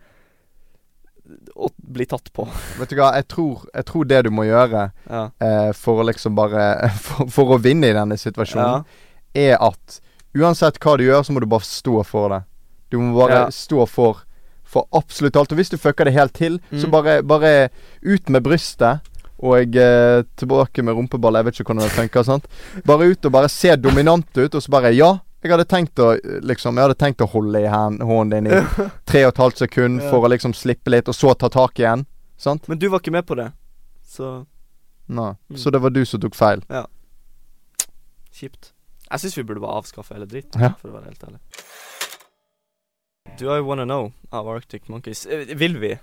Speaker 2: å bli tatt på.
Speaker 3: Vet du hva, jeg tror, jeg tror det du må gjøre
Speaker 2: Ja.
Speaker 3: eh, for å liksom bare for, for å vinne i denne situasjonen, er at uansett hva du gjør, så må du bare stå for det. Du må bare
Speaker 2: Ja.
Speaker 3: stå for for absolutt alt. Og hvis du fucker det helt til, så
Speaker 2: Mm.
Speaker 3: bare, bare ut med brystet. Og eh, tilbake med rumpeball. Jeg vet ikke hvordan det funker. sant? Bare ut og bare se dominant ut, og så bare Ja, jeg hadde tenkt å eh, liksom Jeg hadde tenkt å holde i hand, hånden din i tre og et halvt sekund
Speaker 2: Ja.
Speaker 3: for å liksom slippe litt, og så ta tak igjen. Sant?
Speaker 2: Men du var ikke med på det, så
Speaker 3: Nei.
Speaker 2: Mm.
Speaker 3: Så det var du som tok feil.
Speaker 2: kjipt. Jeg syns vi burde bare avskaffe hele dritt,
Speaker 3: Ja.
Speaker 2: for å være helt ærlig. Do I wanna know av Arctic Monkeys? Eh, Vil vi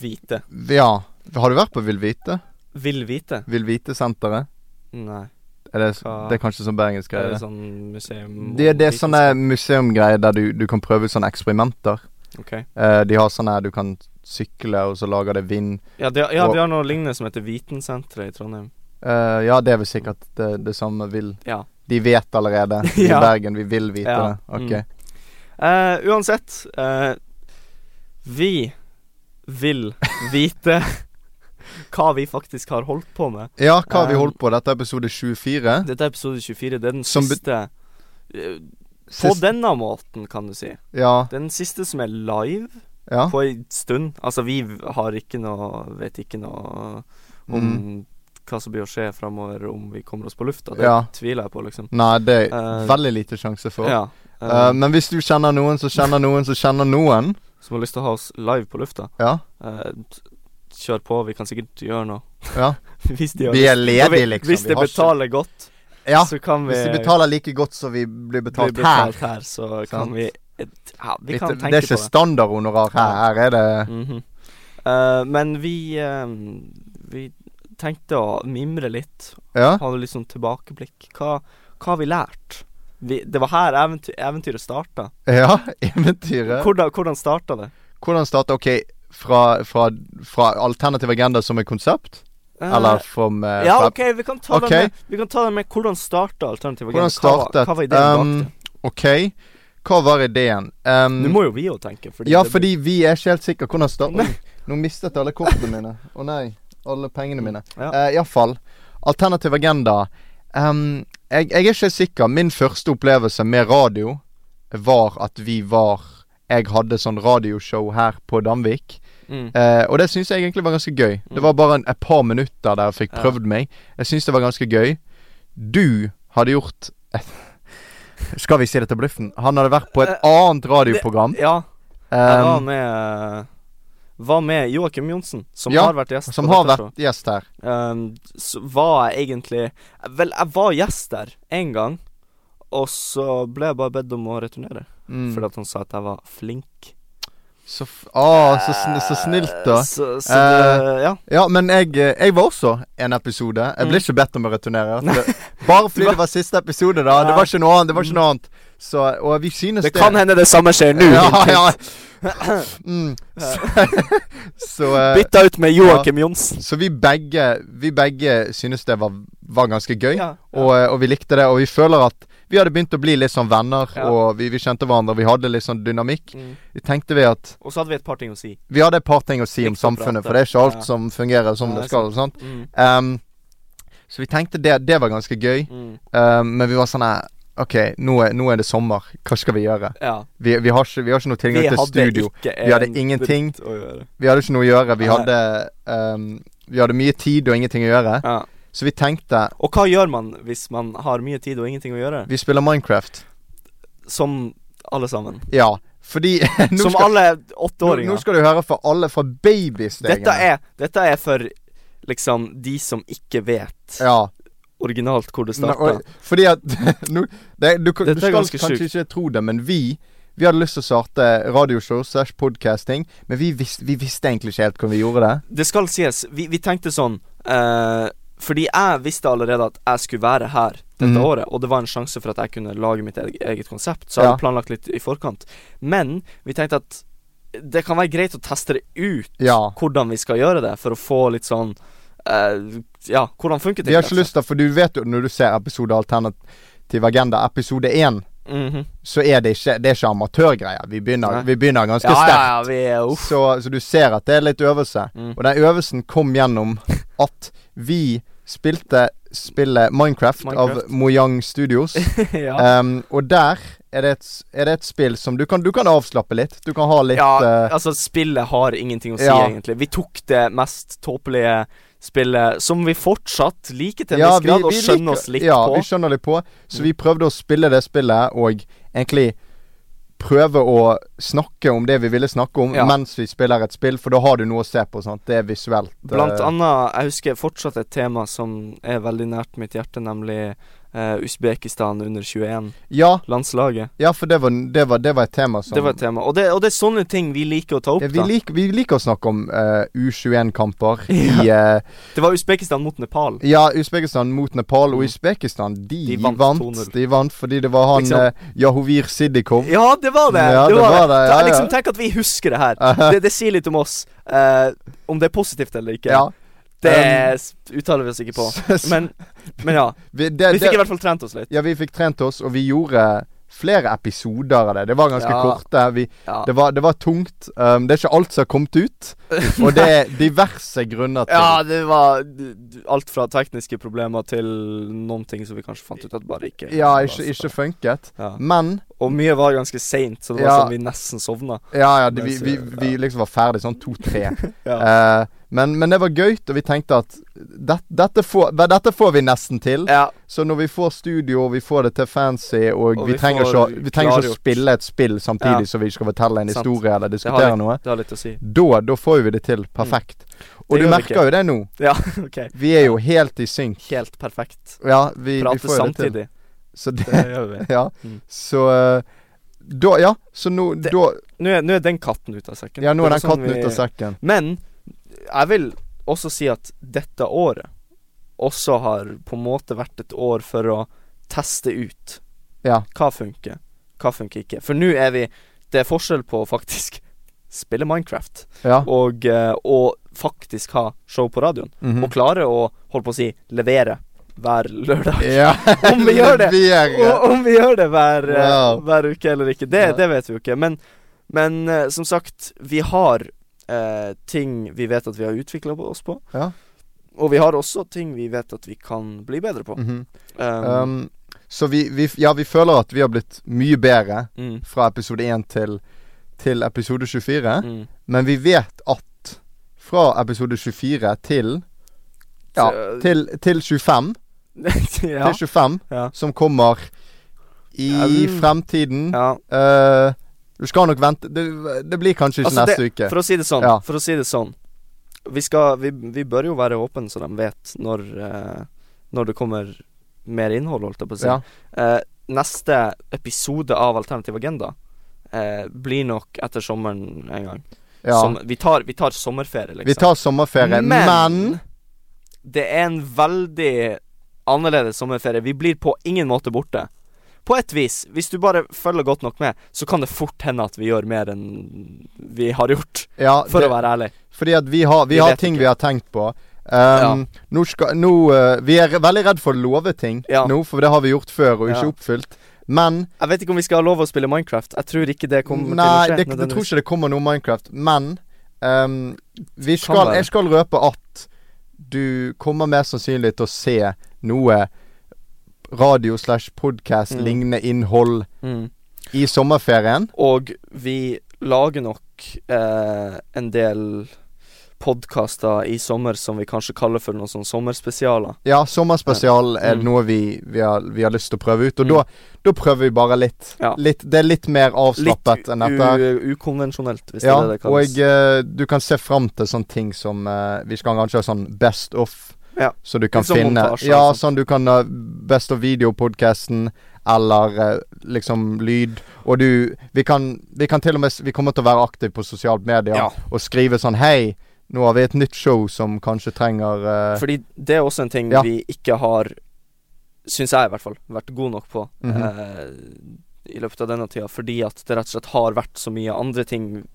Speaker 2: vite?
Speaker 3: Ja. Har du vært på Vil vite?
Speaker 2: Vil vite?
Speaker 3: Vil vite-senteret?
Speaker 2: Nei.
Speaker 3: Er det,
Speaker 2: Hva-
Speaker 3: det er kanskje sånn bergensk
Speaker 2: Er
Speaker 3: greie?
Speaker 2: det sånn museum
Speaker 3: Det, det er
Speaker 2: vitenskap?
Speaker 3: sånne museumgreier der du, du kan prøve ut sånne eksperimenter.
Speaker 2: Ok.
Speaker 3: Eh, de har sånne du kan sykle, og så lager det vind.
Speaker 2: Ja, de, ja,
Speaker 3: Og-
Speaker 2: de har noe lignende som heter Vitensenteret i Trondheim.
Speaker 3: Eh, ja, det er vel sikkert det, det samme vil
Speaker 2: Ja.
Speaker 3: De vet allerede
Speaker 2: Ja.
Speaker 3: i Bergen. Vi vil vite
Speaker 2: Ja.
Speaker 3: det. Ok.
Speaker 2: Mm. Eh, uansett eh, Vi vil vite hva vi faktisk har holdt på med.
Speaker 3: Ja, hva har vi
Speaker 2: Um,
Speaker 3: holdt på? Dette er episode 24.
Speaker 2: Dette er episode 24. Det er den
Speaker 3: Som be-
Speaker 2: siste eh, På
Speaker 3: Sist-
Speaker 2: denne måten, kan du si.
Speaker 3: Ja.
Speaker 2: Den siste som er live
Speaker 3: ja.
Speaker 2: på ei stund. Altså, vi har ikke noe Vet ikke noe om
Speaker 3: Mm.
Speaker 2: hva som blir å skje framover om vi kommer oss på lufta. Det
Speaker 3: Ja.
Speaker 2: tviler jeg på, liksom.
Speaker 3: Nei, det er
Speaker 2: Eh,
Speaker 3: veldig lite sjanse for.
Speaker 2: Ja.
Speaker 3: Eh,
Speaker 2: eh,
Speaker 3: men hvis du kjenner noen som kjenner noen som kjenner noen
Speaker 2: som har lyst til å ha oss live på lufta.
Speaker 3: Ja.
Speaker 2: Eh, t- kjør på, vi kan sikkert gjøre noe.
Speaker 3: ja.
Speaker 2: Hvis de har
Speaker 3: Vi er
Speaker 2: lyst.
Speaker 3: ledige,
Speaker 2: Og vi-
Speaker 3: liksom.
Speaker 2: Hvis
Speaker 3: Vi
Speaker 2: det
Speaker 3: har ikke-
Speaker 2: betaler godt.
Speaker 3: Ja,
Speaker 2: så kan vi
Speaker 3: hvis de betaler like godt som vi blir
Speaker 2: blir
Speaker 3: betalt,
Speaker 2: betalt her, så
Speaker 3: Sant.
Speaker 2: kan vi ja, Vi
Speaker 3: her.
Speaker 2: kan tenke
Speaker 3: Litt- det
Speaker 2: på
Speaker 3: er ikke
Speaker 2: det.
Speaker 3: standardhonorar her. Her er det
Speaker 2: Mhm. Eh, men vi eh, Vi tenkte å mimre litt.
Speaker 3: Ja?
Speaker 2: Hadde litt sånn tilbakeblikk. Hva, hva har vi lært? Vi, det var her eventy eventyret starta.
Speaker 3: Ja, eventyret.
Speaker 2: Hvordan, hvordan starta det?
Speaker 3: Hvordan starte Ok, fra, fra, fra Alternativ Agenda som et konsept?
Speaker 2: Eh,
Speaker 3: Eller from eh,
Speaker 2: Ja,
Speaker 3: fra-
Speaker 2: OK, vi kan ta
Speaker 3: Ok.
Speaker 2: den med Vi kan ta den med hvordan starta Alternativ Agenda.
Speaker 3: Hvordan startet
Speaker 2: Hva, var- hva var ideen
Speaker 3: um,
Speaker 2: bak det?
Speaker 3: Ok, hva var ideen? Um,
Speaker 2: Nå må jo vi jo tenke. Fordi
Speaker 3: ja,
Speaker 2: det blir-
Speaker 3: fordi vi er ikke helt sikre hvordan starten
Speaker 2: Nei.
Speaker 3: Nå mistet jeg alle kortene mine. Å nei. Alle pengene mine.
Speaker 2: Ja.
Speaker 3: Eh, i hvert fall, Alternativ agenda. Em, jeg, jeg er ikke sikker. Min første opplevelse med radio var at vi var Jeg hadde sånn radioshow her på Danvik.
Speaker 2: mm.
Speaker 3: Eh, og det syns jeg egentlig var ganske gøy.
Speaker 2: Mm.
Speaker 3: Det var bare en, et par minutter der jeg fikk
Speaker 2: Ja.
Speaker 3: prøvd meg. Jeg syns det var ganske gøy. Du hadde gjort et, Skal vi si det til Bluffen? Han hadde vært på et
Speaker 2: Eh,
Speaker 3: annet radioprogram.
Speaker 2: Ja, jeg var
Speaker 3: em,
Speaker 2: med Var med Joakim Johnsen, som
Speaker 3: Ja,
Speaker 2: har vært gjest.
Speaker 3: som
Speaker 2: på
Speaker 3: har
Speaker 2: dette
Speaker 3: vært gjest her.
Speaker 2: Um, så var jeg egentlig Vel, jeg var gjest der én gang, og så ble jeg bare bedt om å returnere.
Speaker 3: Mm.
Speaker 2: Fordi at han sa at jeg var flink. Eh,
Speaker 3: Så, f ah, så, sn så snilt, da. Eh,
Speaker 2: Så, så det, ja.
Speaker 3: Ja, men jeg, eh, jeg var også en episode. Jeg ble
Speaker 2: Mm.
Speaker 3: ikke bedt om å returnere. Det, bare fordi det var siste episode, da. Det
Speaker 2: Ja.
Speaker 3: var ikke noe annet. Det var ikke noe annet. Så, og vi synes
Speaker 2: Det
Speaker 3: det.
Speaker 2: kan hende det samme skjer nå.
Speaker 3: Ja,
Speaker 2: Hinting.
Speaker 3: ja. Mm. Så, så, eh,
Speaker 2: Bytta ut med Joakim Johnsen.
Speaker 3: så vi begge Vi begge synes det var, var ganske gøy,
Speaker 2: Ja, ja.
Speaker 3: Og, eh, og vi likte det. Og vi føler at vi hadde begynt å bli litt sånn venner,
Speaker 2: Ja.
Speaker 3: og vi, vi kjente hverandre. Vi hadde litt sånn dynamikk.
Speaker 2: Mm.
Speaker 3: Vi tenkte vi at
Speaker 2: Og så hadde vi et par ting å si.
Speaker 3: Vi hadde et par ting å si om
Speaker 2: Likt å prate.
Speaker 3: samfunnet, for det er ikke alt
Speaker 2: Ja.
Speaker 3: som fungerer som
Speaker 2: Ja,
Speaker 3: det
Speaker 2: det er
Speaker 3: skal. Sant?
Speaker 2: Mm.
Speaker 3: Ehm, så vi tenkte det, det var ganske gøy,
Speaker 2: Mm.
Speaker 3: Ehm, men vi var sånn her Ok, nå er, nå er det sommer. Hva skal vi gjøre?
Speaker 2: Ja.
Speaker 3: Vi, vi, har, ikke, vi har ikke noe tilgang til studio.
Speaker 2: ikke
Speaker 3: Vi hadde
Speaker 2: en
Speaker 3: ingenting.
Speaker 2: dritt å gjøre.
Speaker 3: Vi hadde ikke noe å gjøre. Vi
Speaker 2: Nei.
Speaker 3: hadde, ehm, vi hadde mye tid og ingenting å gjøre.
Speaker 2: Ja.
Speaker 3: Så vi tenkte
Speaker 2: Og hva gjør man hvis man har mye tid og ingenting å gjøre?
Speaker 3: Vi spiller Minecraft.
Speaker 2: Som alle sammen.
Speaker 3: Ja, fordi nå,
Speaker 2: Som
Speaker 3: skal,
Speaker 2: alle
Speaker 3: nå, nå
Speaker 2: åtteåringer.
Speaker 3: skal du høre fra alle fra babystegene.
Speaker 2: Dette er, dette er for liksom de som ikke vet
Speaker 3: Ja.
Speaker 2: originalt hvor det
Speaker 3: Nei,
Speaker 2: starta.
Speaker 3: og- fordi at nå, det, du, kan-
Speaker 2: Dette
Speaker 3: du
Speaker 2: er
Speaker 3: skal
Speaker 2: ganske
Speaker 3: kanskje ikke tro det, men vi Vi hadde lyst til å starte radioshow slash podcasting, men vi, vis, vi visste egentlig ikke helt hvordan vi gjorde det.
Speaker 2: Det skal sies, vi, vi tenkte sånn eh, Fordi jeg visste allerede at jeg skulle være her dette
Speaker 3: Mhm.
Speaker 2: året, og det var en sjanse for at jeg kunne lage mitt eget, eget konsept, så jeg
Speaker 3: Ja.
Speaker 2: hadde planlagt litt i forkant. Men vi tenkte at det kan være greit å teste det ut,
Speaker 3: Ja.
Speaker 2: hvordan vi skal gjøre det, for å få litt sånn eh, Ja, hvordan funker ting?
Speaker 3: Vi har ikke lyst til For du vet jo når du ser episode Alternativ Agenda, episode én,
Speaker 2: Mhm.
Speaker 3: så er det ikke Det er ikke amatørgreier. Vi begynner,
Speaker 2: Nei.
Speaker 3: vi begynner ganske
Speaker 2: Ja, ja,
Speaker 3: sterkt.
Speaker 2: ja, vi er uff.
Speaker 3: Så, så du ser at det er litt øvelse.
Speaker 2: Mm.
Speaker 3: Og den øvelsen kom gjennom at vi spilte spillet Minecraft,
Speaker 2: Minecraft.
Speaker 3: av Mojang Studios.
Speaker 2: ja.
Speaker 3: Um, og der er det, et, er det et spill som du kan, du kan avslappe litt. Du kan ha litt
Speaker 2: Ja,
Speaker 3: eh,
Speaker 2: altså spillet har ingenting å si,
Speaker 3: ja.
Speaker 2: egentlig. Vi tok det mest tåpelige spillet, som vi fortsatt liker til en
Speaker 3: ja,
Speaker 2: viss grad, og skjønner
Speaker 3: liker-
Speaker 2: oss litt
Speaker 3: ja,
Speaker 2: på. Mm.
Speaker 3: vi skjønner litt på. Så vi prøvde å spille det spillet og egentlig prøve å snakke om det vi ville snakke om
Speaker 2: Ja.
Speaker 3: mens vi spiller et spill, for da har du noe å se på. Sant? Det er visuelt. eh,
Speaker 2: Blant annet, jeg husker fortsatt et tema som er veldig nært mitt hjerte, nemlig eh, Usbekistan under 21,
Speaker 3: ja,
Speaker 2: landslaget.
Speaker 3: ja, for det var, det, var, det var et tema som
Speaker 2: Det var et tema. Og det, og det er sånne ting vi liker å ta opp,
Speaker 3: Ja, vi,
Speaker 2: da.
Speaker 3: lik, vi liker å snakke om eh, U21-kamper i eh,
Speaker 2: Det var Usbekistan mot Nepal.
Speaker 3: Ja, Usbekistan mot Nepal, og
Speaker 2: Mm.
Speaker 3: Usbekistan, de,
Speaker 2: De
Speaker 3: vant.
Speaker 2: vant 2-0.
Speaker 3: De vant fordi det var han
Speaker 2: Liksom-
Speaker 3: eh, Jahovir Sidikov.
Speaker 2: Ja, det var det!
Speaker 3: Ja, det var det, ja,
Speaker 2: Ta- liksom,
Speaker 3: ja.
Speaker 2: tenk at vi husker det her.
Speaker 3: Eh,
Speaker 2: Det, det sier litt om oss. Eh, om det er positivt eller ikke,
Speaker 3: ja.
Speaker 2: det
Speaker 3: Um,
Speaker 2: s- uttaler vi oss ikke på.
Speaker 3: Så- så
Speaker 2: Men, men ja.
Speaker 3: vi, det,
Speaker 2: Vi fikk i
Speaker 3: det,
Speaker 2: hvert fall trent oss litt.
Speaker 3: ja, vi fikk trent oss, og vi gjorde flere episoder av det. Det var ganske
Speaker 2: Ja.
Speaker 3: korte. Vi,
Speaker 2: Ja.
Speaker 3: det, var, det var tungt. Um, det er ikke alt som har kommet ut, og det er diverse grunner til.
Speaker 2: Ja, det var d- d- alt fra tekniske problemer til noen ting som vi kanskje fant ut at bare ikke
Speaker 3: Ja, ikke, ikke funket.
Speaker 2: Ja.
Speaker 3: Men
Speaker 2: Og mye var ganske seint, så det var
Speaker 3: Ja.
Speaker 2: sånn vi nesten sovna.
Speaker 3: Ja, ja, det, vi,
Speaker 2: Mens,
Speaker 3: vi,
Speaker 2: ja.
Speaker 3: vi liksom var ferdig sånn to-tre.
Speaker 2: Ja.
Speaker 3: Eh, men, men det var gøy, og vi tenkte at det, dette, får, vel, dette får vi nesten til.
Speaker 2: ja.
Speaker 3: Så når vi får studio, og vi får det til fancy, og,
Speaker 2: Og
Speaker 3: vi,
Speaker 2: vi
Speaker 3: trenger
Speaker 2: får
Speaker 3: ikke, å- vi trenger ikke å
Speaker 2: klargjort.
Speaker 3: spille et spill samtidig
Speaker 2: Ja.
Speaker 3: som vi skal fortelle en
Speaker 2: Sant.
Speaker 3: historie eller
Speaker 2: Det har
Speaker 3: diskutere
Speaker 2: litt,
Speaker 3: noe,
Speaker 2: det har litt å si.
Speaker 3: da, da får vi det til perfekt.
Speaker 2: Mm. Det
Speaker 3: Og
Speaker 2: gjør
Speaker 3: du
Speaker 2: vi
Speaker 3: merker
Speaker 2: ikke.
Speaker 3: jo det nå.
Speaker 2: Ja, OK.
Speaker 3: Vi er jo helt i synk.
Speaker 2: Helt perfekt.
Speaker 3: Ja, vi, vi
Speaker 2: Prate
Speaker 3: får jo det til.
Speaker 2: samtidig.
Speaker 3: Så
Speaker 2: Det
Speaker 3: det
Speaker 2: gjør vi.
Speaker 3: Ja.
Speaker 2: Mm.
Speaker 3: Så eh, da Ja, så nå
Speaker 2: Det-
Speaker 3: da,
Speaker 2: Nå er, nå er den katten ute av sekken.
Speaker 3: Ja, nå
Speaker 2: Det var
Speaker 3: er den
Speaker 2: sånn
Speaker 3: katten
Speaker 2: vi-
Speaker 3: ute av sekken.
Speaker 2: Men jeg vil også si at dette året også har på en måte vært et år for å teste ut
Speaker 3: Ja.
Speaker 2: hva funker, hva funker ikke. For nå er vi Det er forskjell på å faktisk spille Minecraft
Speaker 3: Ja.
Speaker 2: og, eh, og faktisk ha show på radioen.
Speaker 3: mhm.
Speaker 2: Og klare å, holdt på å si, levere hver lørdag.
Speaker 3: ja.
Speaker 2: Om vi gjør det.
Speaker 3: Vi er-
Speaker 2: Og om vi gjør det hver, eh,
Speaker 3: Wow.
Speaker 2: hver uke eller ikke, det,
Speaker 3: Ja.
Speaker 2: det vet vi jo ikke. Men, men eh, som sagt, vi har eh, ting vi vet at vi har utvikla oss på.
Speaker 3: Ja.
Speaker 2: Og vi har også ting vi vet at vi kan bli bedre på.
Speaker 3: Mhm.
Speaker 2: Um,
Speaker 3: Um, så vi, vi Ja, vi føler at vi har blitt mye bedre
Speaker 2: mm,
Speaker 3: fra episode 1 til, til episode 24.
Speaker 2: mm.
Speaker 3: Men vi vet at fra episode 24 til Ja,
Speaker 2: Så-
Speaker 3: til, til 25,
Speaker 2: ja.
Speaker 3: til 25
Speaker 2: Ja.
Speaker 3: som kommer i
Speaker 2: Ja.
Speaker 3: fremtiden
Speaker 2: ja.
Speaker 3: Eh, Du skal nok vente Det, det blir kanskje ikke
Speaker 2: Altså,
Speaker 3: neste uke.
Speaker 2: For å si det sånn,
Speaker 3: Ja.
Speaker 2: for å si det sånn Vi skal Vi, vi bør jo være åpne så de vet når eh, Når det kommer mer innhold, holdt jeg på å si.
Speaker 3: Ja.
Speaker 2: Eh, neste episode av Alternativ agenda eh, blir nok etter sommeren en gang.
Speaker 3: Ja.
Speaker 2: Som, vi, tar, vi tar sommerferie, liksom.
Speaker 3: Vi tar sommerferie, men,
Speaker 2: det er en veldig annerledes sommerferie. Vi blir på ingen måte borte. På et vis, hvis du bare følger godt nok med, så kan det fort hende at vi gjør mer enn vi har gjort,
Speaker 3: ja,
Speaker 2: for
Speaker 3: det,
Speaker 2: å være ærlig.
Speaker 3: Fordi at vi har, vi
Speaker 2: Vi
Speaker 3: har
Speaker 2: vet
Speaker 3: ting
Speaker 2: ikke.
Speaker 3: vi har tenkt på. Um,
Speaker 2: Ja.
Speaker 3: Nå skal nå, eh, Vi er veldig redd for å love ting
Speaker 2: Ja.
Speaker 3: nå, for det har vi gjort før og ikke
Speaker 2: Ja.
Speaker 3: oppfylt. Men
Speaker 2: Jeg vet ikke om vi skal ha lov å spille Minecraft. Jeg tror ikke det kommer
Speaker 3: Nei,
Speaker 2: til å skje.
Speaker 3: det, jeg tror ikke det kommer noe Minecraft, men ehm, vi skal,
Speaker 2: være.
Speaker 3: jeg skal røpe at du kommer mest sannsynlig til å se noe radio slash podcast
Speaker 2: Mm.
Speaker 3: lignende innhold
Speaker 2: Mm.
Speaker 3: i sommerferien.
Speaker 2: Og vi lager nok eh, en del podkaster i sommer som vi kanskje kaller for noen sånne sommerspesialer.
Speaker 3: Ja, sommerspesial er
Speaker 2: Mm.
Speaker 3: noe vi, vi, har, vi har lyst til å prøve ut, og
Speaker 2: Mm.
Speaker 3: da, da prøver vi bare litt.
Speaker 2: Ja.
Speaker 3: litt. Det er litt mer
Speaker 2: Litt
Speaker 3: avslappet enn dette. her.
Speaker 2: u ukonvensjonelt, hvis
Speaker 3: Ja,
Speaker 2: det er det det
Speaker 3: og
Speaker 2: kalles.
Speaker 3: eh, du kan se fram til sånne ting som eh, Vi skal kanskje ha sånn best of.
Speaker 2: Ja,
Speaker 3: Så du kan
Speaker 2: litt sånn
Speaker 3: finne
Speaker 2: montasje og
Speaker 3: Ja,
Speaker 2: sånt.
Speaker 3: sånn du kan ha best of video-podkasten eller eh, liksom lyd. Og du Vi kan, vi kan til og med s- Vi kommer til å være aktive på sosiale medier
Speaker 2: Ja.
Speaker 3: og skrive sånn Hei, nå har vi et nytt show som kanskje trenger eh,
Speaker 2: Fordi det er også en ting
Speaker 3: Ja.
Speaker 2: vi ikke har, syns jeg i hvert fall, vært god nok på
Speaker 3: Mhm.
Speaker 2: eh, i løpet av denne tida, fordi at det rett og slett har vært så mye andre ting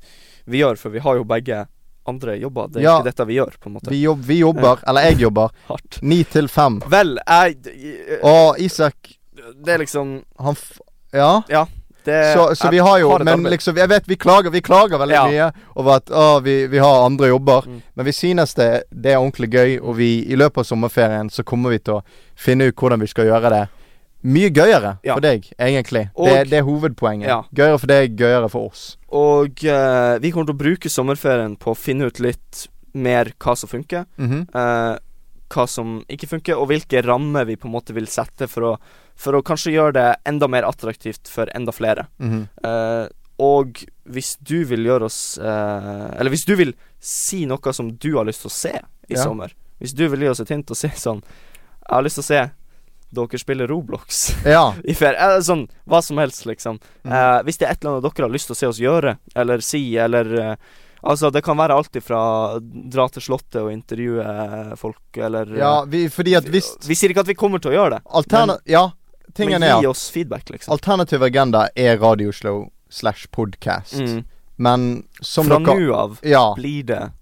Speaker 2: vi gjør, for vi har jo begge andre jobber. Det er
Speaker 3: Ja.
Speaker 2: ikke dette vi gjør, på en måte.
Speaker 3: vi, jobb, vi jobber, eller jeg jobber,
Speaker 2: Hardt.
Speaker 3: ni til fem.
Speaker 2: Vel, jeg d-
Speaker 3: Og Isak,
Speaker 2: Det er liksom
Speaker 3: han f... Ja?
Speaker 2: det,
Speaker 3: Så, så vi
Speaker 2: Eh, jeg
Speaker 3: har jo
Speaker 2: et
Speaker 3: Men
Speaker 2: arbeid.
Speaker 3: liksom, jeg vet vi klager Vi klager veldig
Speaker 2: Ja.
Speaker 3: mye over at å, vi, vi har andre jobber.
Speaker 2: Mm.
Speaker 3: Men vi synes det, det er ordentlig gøy, og vi i løpet av sommerferien så kommer vi til å finne ut hvordan vi skal gjøre det mye gøyere
Speaker 2: Ja.
Speaker 3: for deg, egentlig.
Speaker 2: Og-
Speaker 3: det, det er hovedpoenget.
Speaker 2: Ja.
Speaker 3: Gøyere for deg, gøyere for oss.
Speaker 2: Og eh, vi kommer til å bruke sommerferien på å finne ut litt mer hva som funker.
Speaker 3: Mhm.
Speaker 2: eh, hva som ikke funker, og hvilke rammer vi på en måte vil sette for å, for å kanskje gjøre det enda mer attraktivt for enda flere.
Speaker 3: Mhm.
Speaker 2: Eh, og hvis du vil gjøre oss eh, Eller hvis du vil si noe som du har lyst til å se i
Speaker 3: Ja.
Speaker 2: sommer Hvis du vil gi oss et hint og si sånn Jeg har lyst til å se dere spiller Roblox
Speaker 3: Ja.
Speaker 2: i ferie. Eller sånn hva som helst, liksom.
Speaker 3: Mhm.
Speaker 2: Eh, hvis det er et eller annet dere har lyst til å se oss gjøre, eller si, eller eh, Altså, det kan være alt ifra dra til Slottet og intervjue eh, folk, eller eh,
Speaker 3: ja vi, fordi at hvis
Speaker 2: Vi sier ikke at vi kommer til å gjøre det,
Speaker 3: Alterna... Ja, tingen
Speaker 2: men
Speaker 3: er
Speaker 2: gi
Speaker 3: at
Speaker 2: oss feedback, liksom.
Speaker 3: Alternativ agenda er radioshow slash podcast.
Speaker 2: Mm.
Speaker 3: Men som
Speaker 2: Fra
Speaker 3: dere
Speaker 2: nå av
Speaker 3: Ja.
Speaker 2: blir det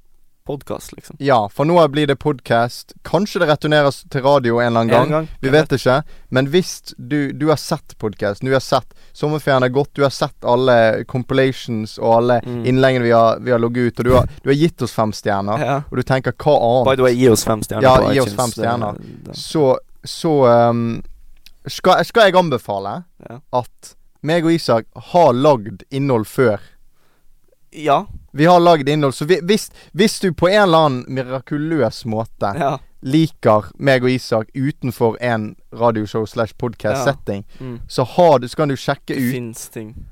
Speaker 2: podkast, liksom.
Speaker 3: Ja, for nå blir det podkast. Kanskje det returneres til radio en eller annen gang. Vi vet ikke. Men hvis du, du har sett podkast, du har sett Sommerferien er gått, du har sett alle compilations og alle
Speaker 2: Mm.
Speaker 3: innleggene vi har, vi har logget ut, og du har, du har gitt oss fem stjerner,
Speaker 2: Ja.
Speaker 3: og du tenker hva
Speaker 2: By
Speaker 3: annet
Speaker 2: the way, gi oss fem stjerner
Speaker 3: Ja,
Speaker 2: på
Speaker 3: gi oss
Speaker 2: iTunes. eh,
Speaker 3: fem
Speaker 2: Det-
Speaker 3: stjerner.
Speaker 2: det-
Speaker 3: um, Så, så ehm, skal, skal jeg anbefale
Speaker 2: Ja.
Speaker 3: at meg og Isak har lagd innhold før.
Speaker 2: Ja.
Speaker 3: Vi har lagd innhold, så vi, hvis, hvis du på en eller annen mirakuløs måte
Speaker 2: ja.
Speaker 3: liker meg og Isak utenfor en radioshow slash podcast
Speaker 2: Ja.
Speaker 3: setting,
Speaker 2: Mm.
Speaker 3: så, har du, så kan du sjekke
Speaker 2: Det
Speaker 3: ut
Speaker 2: fins ting.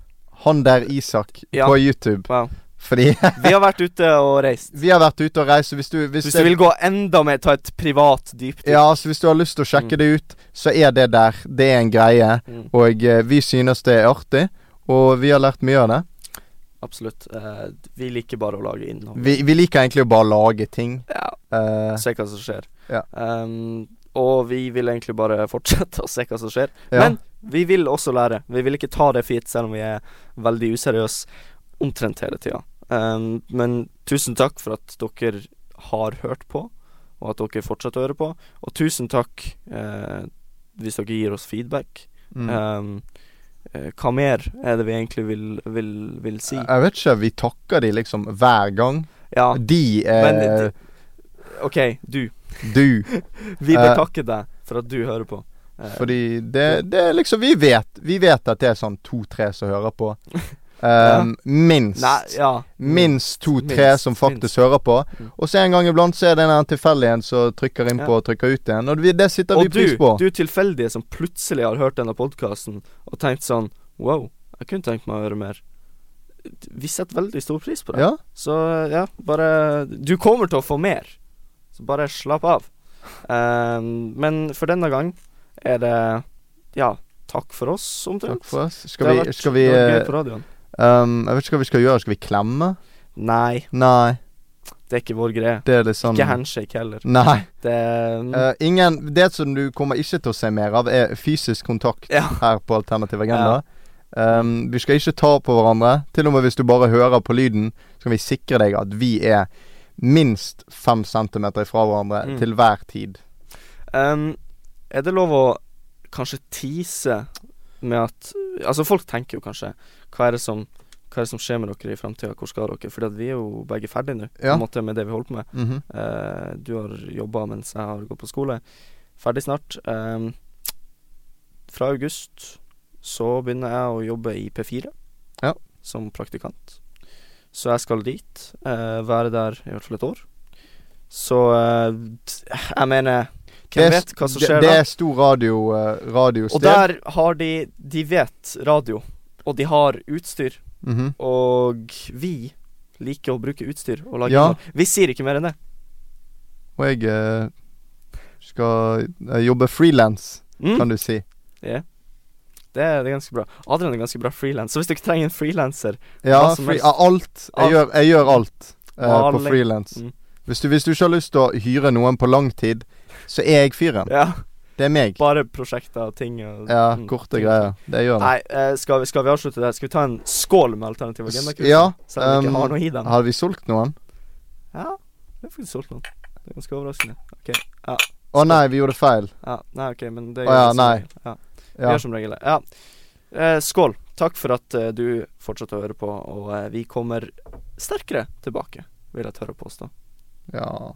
Speaker 3: han der Isak
Speaker 2: Ja.
Speaker 3: på YouTube.
Speaker 2: Wow.
Speaker 3: Fordi
Speaker 2: Vi har vært ute og reist.
Speaker 3: vi har vært ute og reist, så hvis du hvis
Speaker 2: Hvis du
Speaker 3: det-
Speaker 2: vil gå enda mer, ta et privat dypdykk.
Speaker 3: Ja, så hvis du har lyst til å
Speaker 2: Mm.
Speaker 3: sjekke det ut, så er det der. Det er en greie.
Speaker 2: Mm,
Speaker 3: Og eh, vi synes det er artig, og vi har lært mye av det.
Speaker 2: absolutt. Eh, vi liker bare å lage innhold.
Speaker 3: Vi, vi liker egentlig å bare lage ting.
Speaker 2: Ja,
Speaker 3: Eh,
Speaker 2: se hva som skjer.
Speaker 3: Ja.
Speaker 2: Ehm, og vi vil egentlig bare fortsette å se hva som skjer.
Speaker 3: ja.
Speaker 2: Men vi vil også lære. Vi vil ikke ta det for gitt, selv om vi er veldig useriøse omtrent hele tida. Ehm, men tusen takk for at dere har hørt på, og at dere fortsetter å høre på. Og tusen takk eh, hvis dere gir oss feedback.
Speaker 3: mm.
Speaker 2: Ehm, eh, hva mer er det vi egentlig vil, vil, vil si?
Speaker 3: Jeg vet ikke. Vi takker de liksom hver gang.
Speaker 2: Ja,
Speaker 3: De er
Speaker 2: men det- OK, du.
Speaker 3: du.
Speaker 2: Vi vil
Speaker 3: Eh,
Speaker 2: takke deg for at du hører på. Eh,
Speaker 3: Fordi det, det er liksom Vi vet Vi vet at det er sånn to-tre som hører på. Um, Minst.
Speaker 2: Nei, ja.
Speaker 3: Minst to-tre
Speaker 2: Minst,
Speaker 3: som faktisk hører på.
Speaker 2: Mm.
Speaker 3: Og så en gang iblant så er det en eller annen tilfeldig en som trykker innpå
Speaker 2: Ja.
Speaker 3: og trykker ut igjen. Og vi, det sitter vi
Speaker 2: Og du,
Speaker 3: pris på.
Speaker 2: du tilfeldige som plutselig har hørt denne podkasten og tenkt sånn Wow, jeg kunne tenkt meg å høre mer. Vi setter veldig stor pris på det.
Speaker 3: ja?
Speaker 2: Så eh, ja, bare Du kommer til å få mer. Så bare slapp av. Ehm, men for denne gang er det Ja, takk for oss, omtrent.
Speaker 3: Takk for oss.
Speaker 2: Det
Speaker 3: Skal
Speaker 2: har
Speaker 3: vi,
Speaker 2: vært-
Speaker 3: skal vi
Speaker 2: det har vært
Speaker 3: eh,
Speaker 2: gøy på radioen.
Speaker 3: um, Jeg vet ikke hva vi skal gjøre. Skal vi klemme?
Speaker 2: Nei,
Speaker 3: Nei,
Speaker 2: det er ikke vår greie.
Speaker 3: det er litt sånn
Speaker 2: Ikke Mm. handshake heller.
Speaker 3: Nei.
Speaker 2: Det
Speaker 3: Eh, ingen Det som du kommer ikke til å se mer av, er fysisk kontakt
Speaker 2: Ja.
Speaker 3: her på Alternativ Agenda. Um, vi skal ikke ta på hverandre. Til og med hvis du bare hører på lyden, så kan vi sikre deg at vi er minst fem centimeter ifra hverandre
Speaker 2: Mm.
Speaker 3: til hver tid.
Speaker 2: Ehm, er det lov å kanskje tease med at Altså, folk tenker jo kanskje Hva er det som, hva er det som skjer med dere i framtida? Hvor skal dere? Fordi at vi er jo begge ferdige nå, på
Speaker 3: Ja.
Speaker 2: en måte, med det vi holder på med.
Speaker 3: Mhm.
Speaker 2: Eh, du har jobba mens jeg har gått på skole. Ferdig snart. Ehm, fra august så begynner jeg å jobbe i P4
Speaker 3: Ja.
Speaker 2: som praktikant. Så jeg skal dit. eh, være der i hvert fall et år. Så eh, t- jeg mener Hvem
Speaker 3: Det er s-
Speaker 2: vet hva som
Speaker 3: det-
Speaker 2: skjer
Speaker 3: Det
Speaker 2: da?
Speaker 3: er stor radio, eh, radiosted.
Speaker 2: Og der har de De vet radio, og de har utstyr.
Speaker 3: Mhm.
Speaker 2: Og vi liker å bruke utstyr og lage
Speaker 3: Ja.
Speaker 2: innhold. Vi sier ikke mer enn det.
Speaker 3: Og jeg eh, skal eh, jobbe frilans,
Speaker 2: Mm.
Speaker 3: kan du si.
Speaker 2: Det er, det er ganske bra. Adrian er ganske bra frilans, så hvis dere trenger en frilanser
Speaker 3: Ja,
Speaker 2: Hva som
Speaker 3: fri,
Speaker 2: helst.
Speaker 3: ja, alt. Jeg
Speaker 2: Alt.
Speaker 3: gjør, jeg gjør alt eh, på
Speaker 2: Maling.
Speaker 3: frilans.
Speaker 2: Mm.
Speaker 3: Hvis, du- hvis du ikke har lyst til å hyre noen på lang tid, så er jeg fyren.
Speaker 2: Ja,
Speaker 3: Det er meg.
Speaker 2: bare prosjekter og ting og
Speaker 3: Ja,
Speaker 2: mm,
Speaker 3: korte
Speaker 2: ting.
Speaker 3: greier. Det gjør det.
Speaker 2: Nei, eh, skal vi, skal vi avslutte det? her? Skal vi ta en skål med alternativ agenda?
Speaker 3: S- ja,
Speaker 2: Selv om vi
Speaker 3: um,
Speaker 2: ikke har noe i den.
Speaker 3: Hadde vi solgt noen?
Speaker 2: Ja, det er faktisk solgt noen. Det er ganske overraskende.
Speaker 3: Å nei, vi gjorde feil.
Speaker 2: Ja, nei, ok, men det
Speaker 3: Å ja,
Speaker 2: vi som
Speaker 3: nei.
Speaker 2: regel. Ja, vi
Speaker 3: Ja.
Speaker 2: gjør som regel det. Ja. Eh, skål. Takk for at eh, du fortsetter å høre på, og eh, vi kommer sterkere tilbake, vil jeg tørre å påstå.
Speaker 3: ja.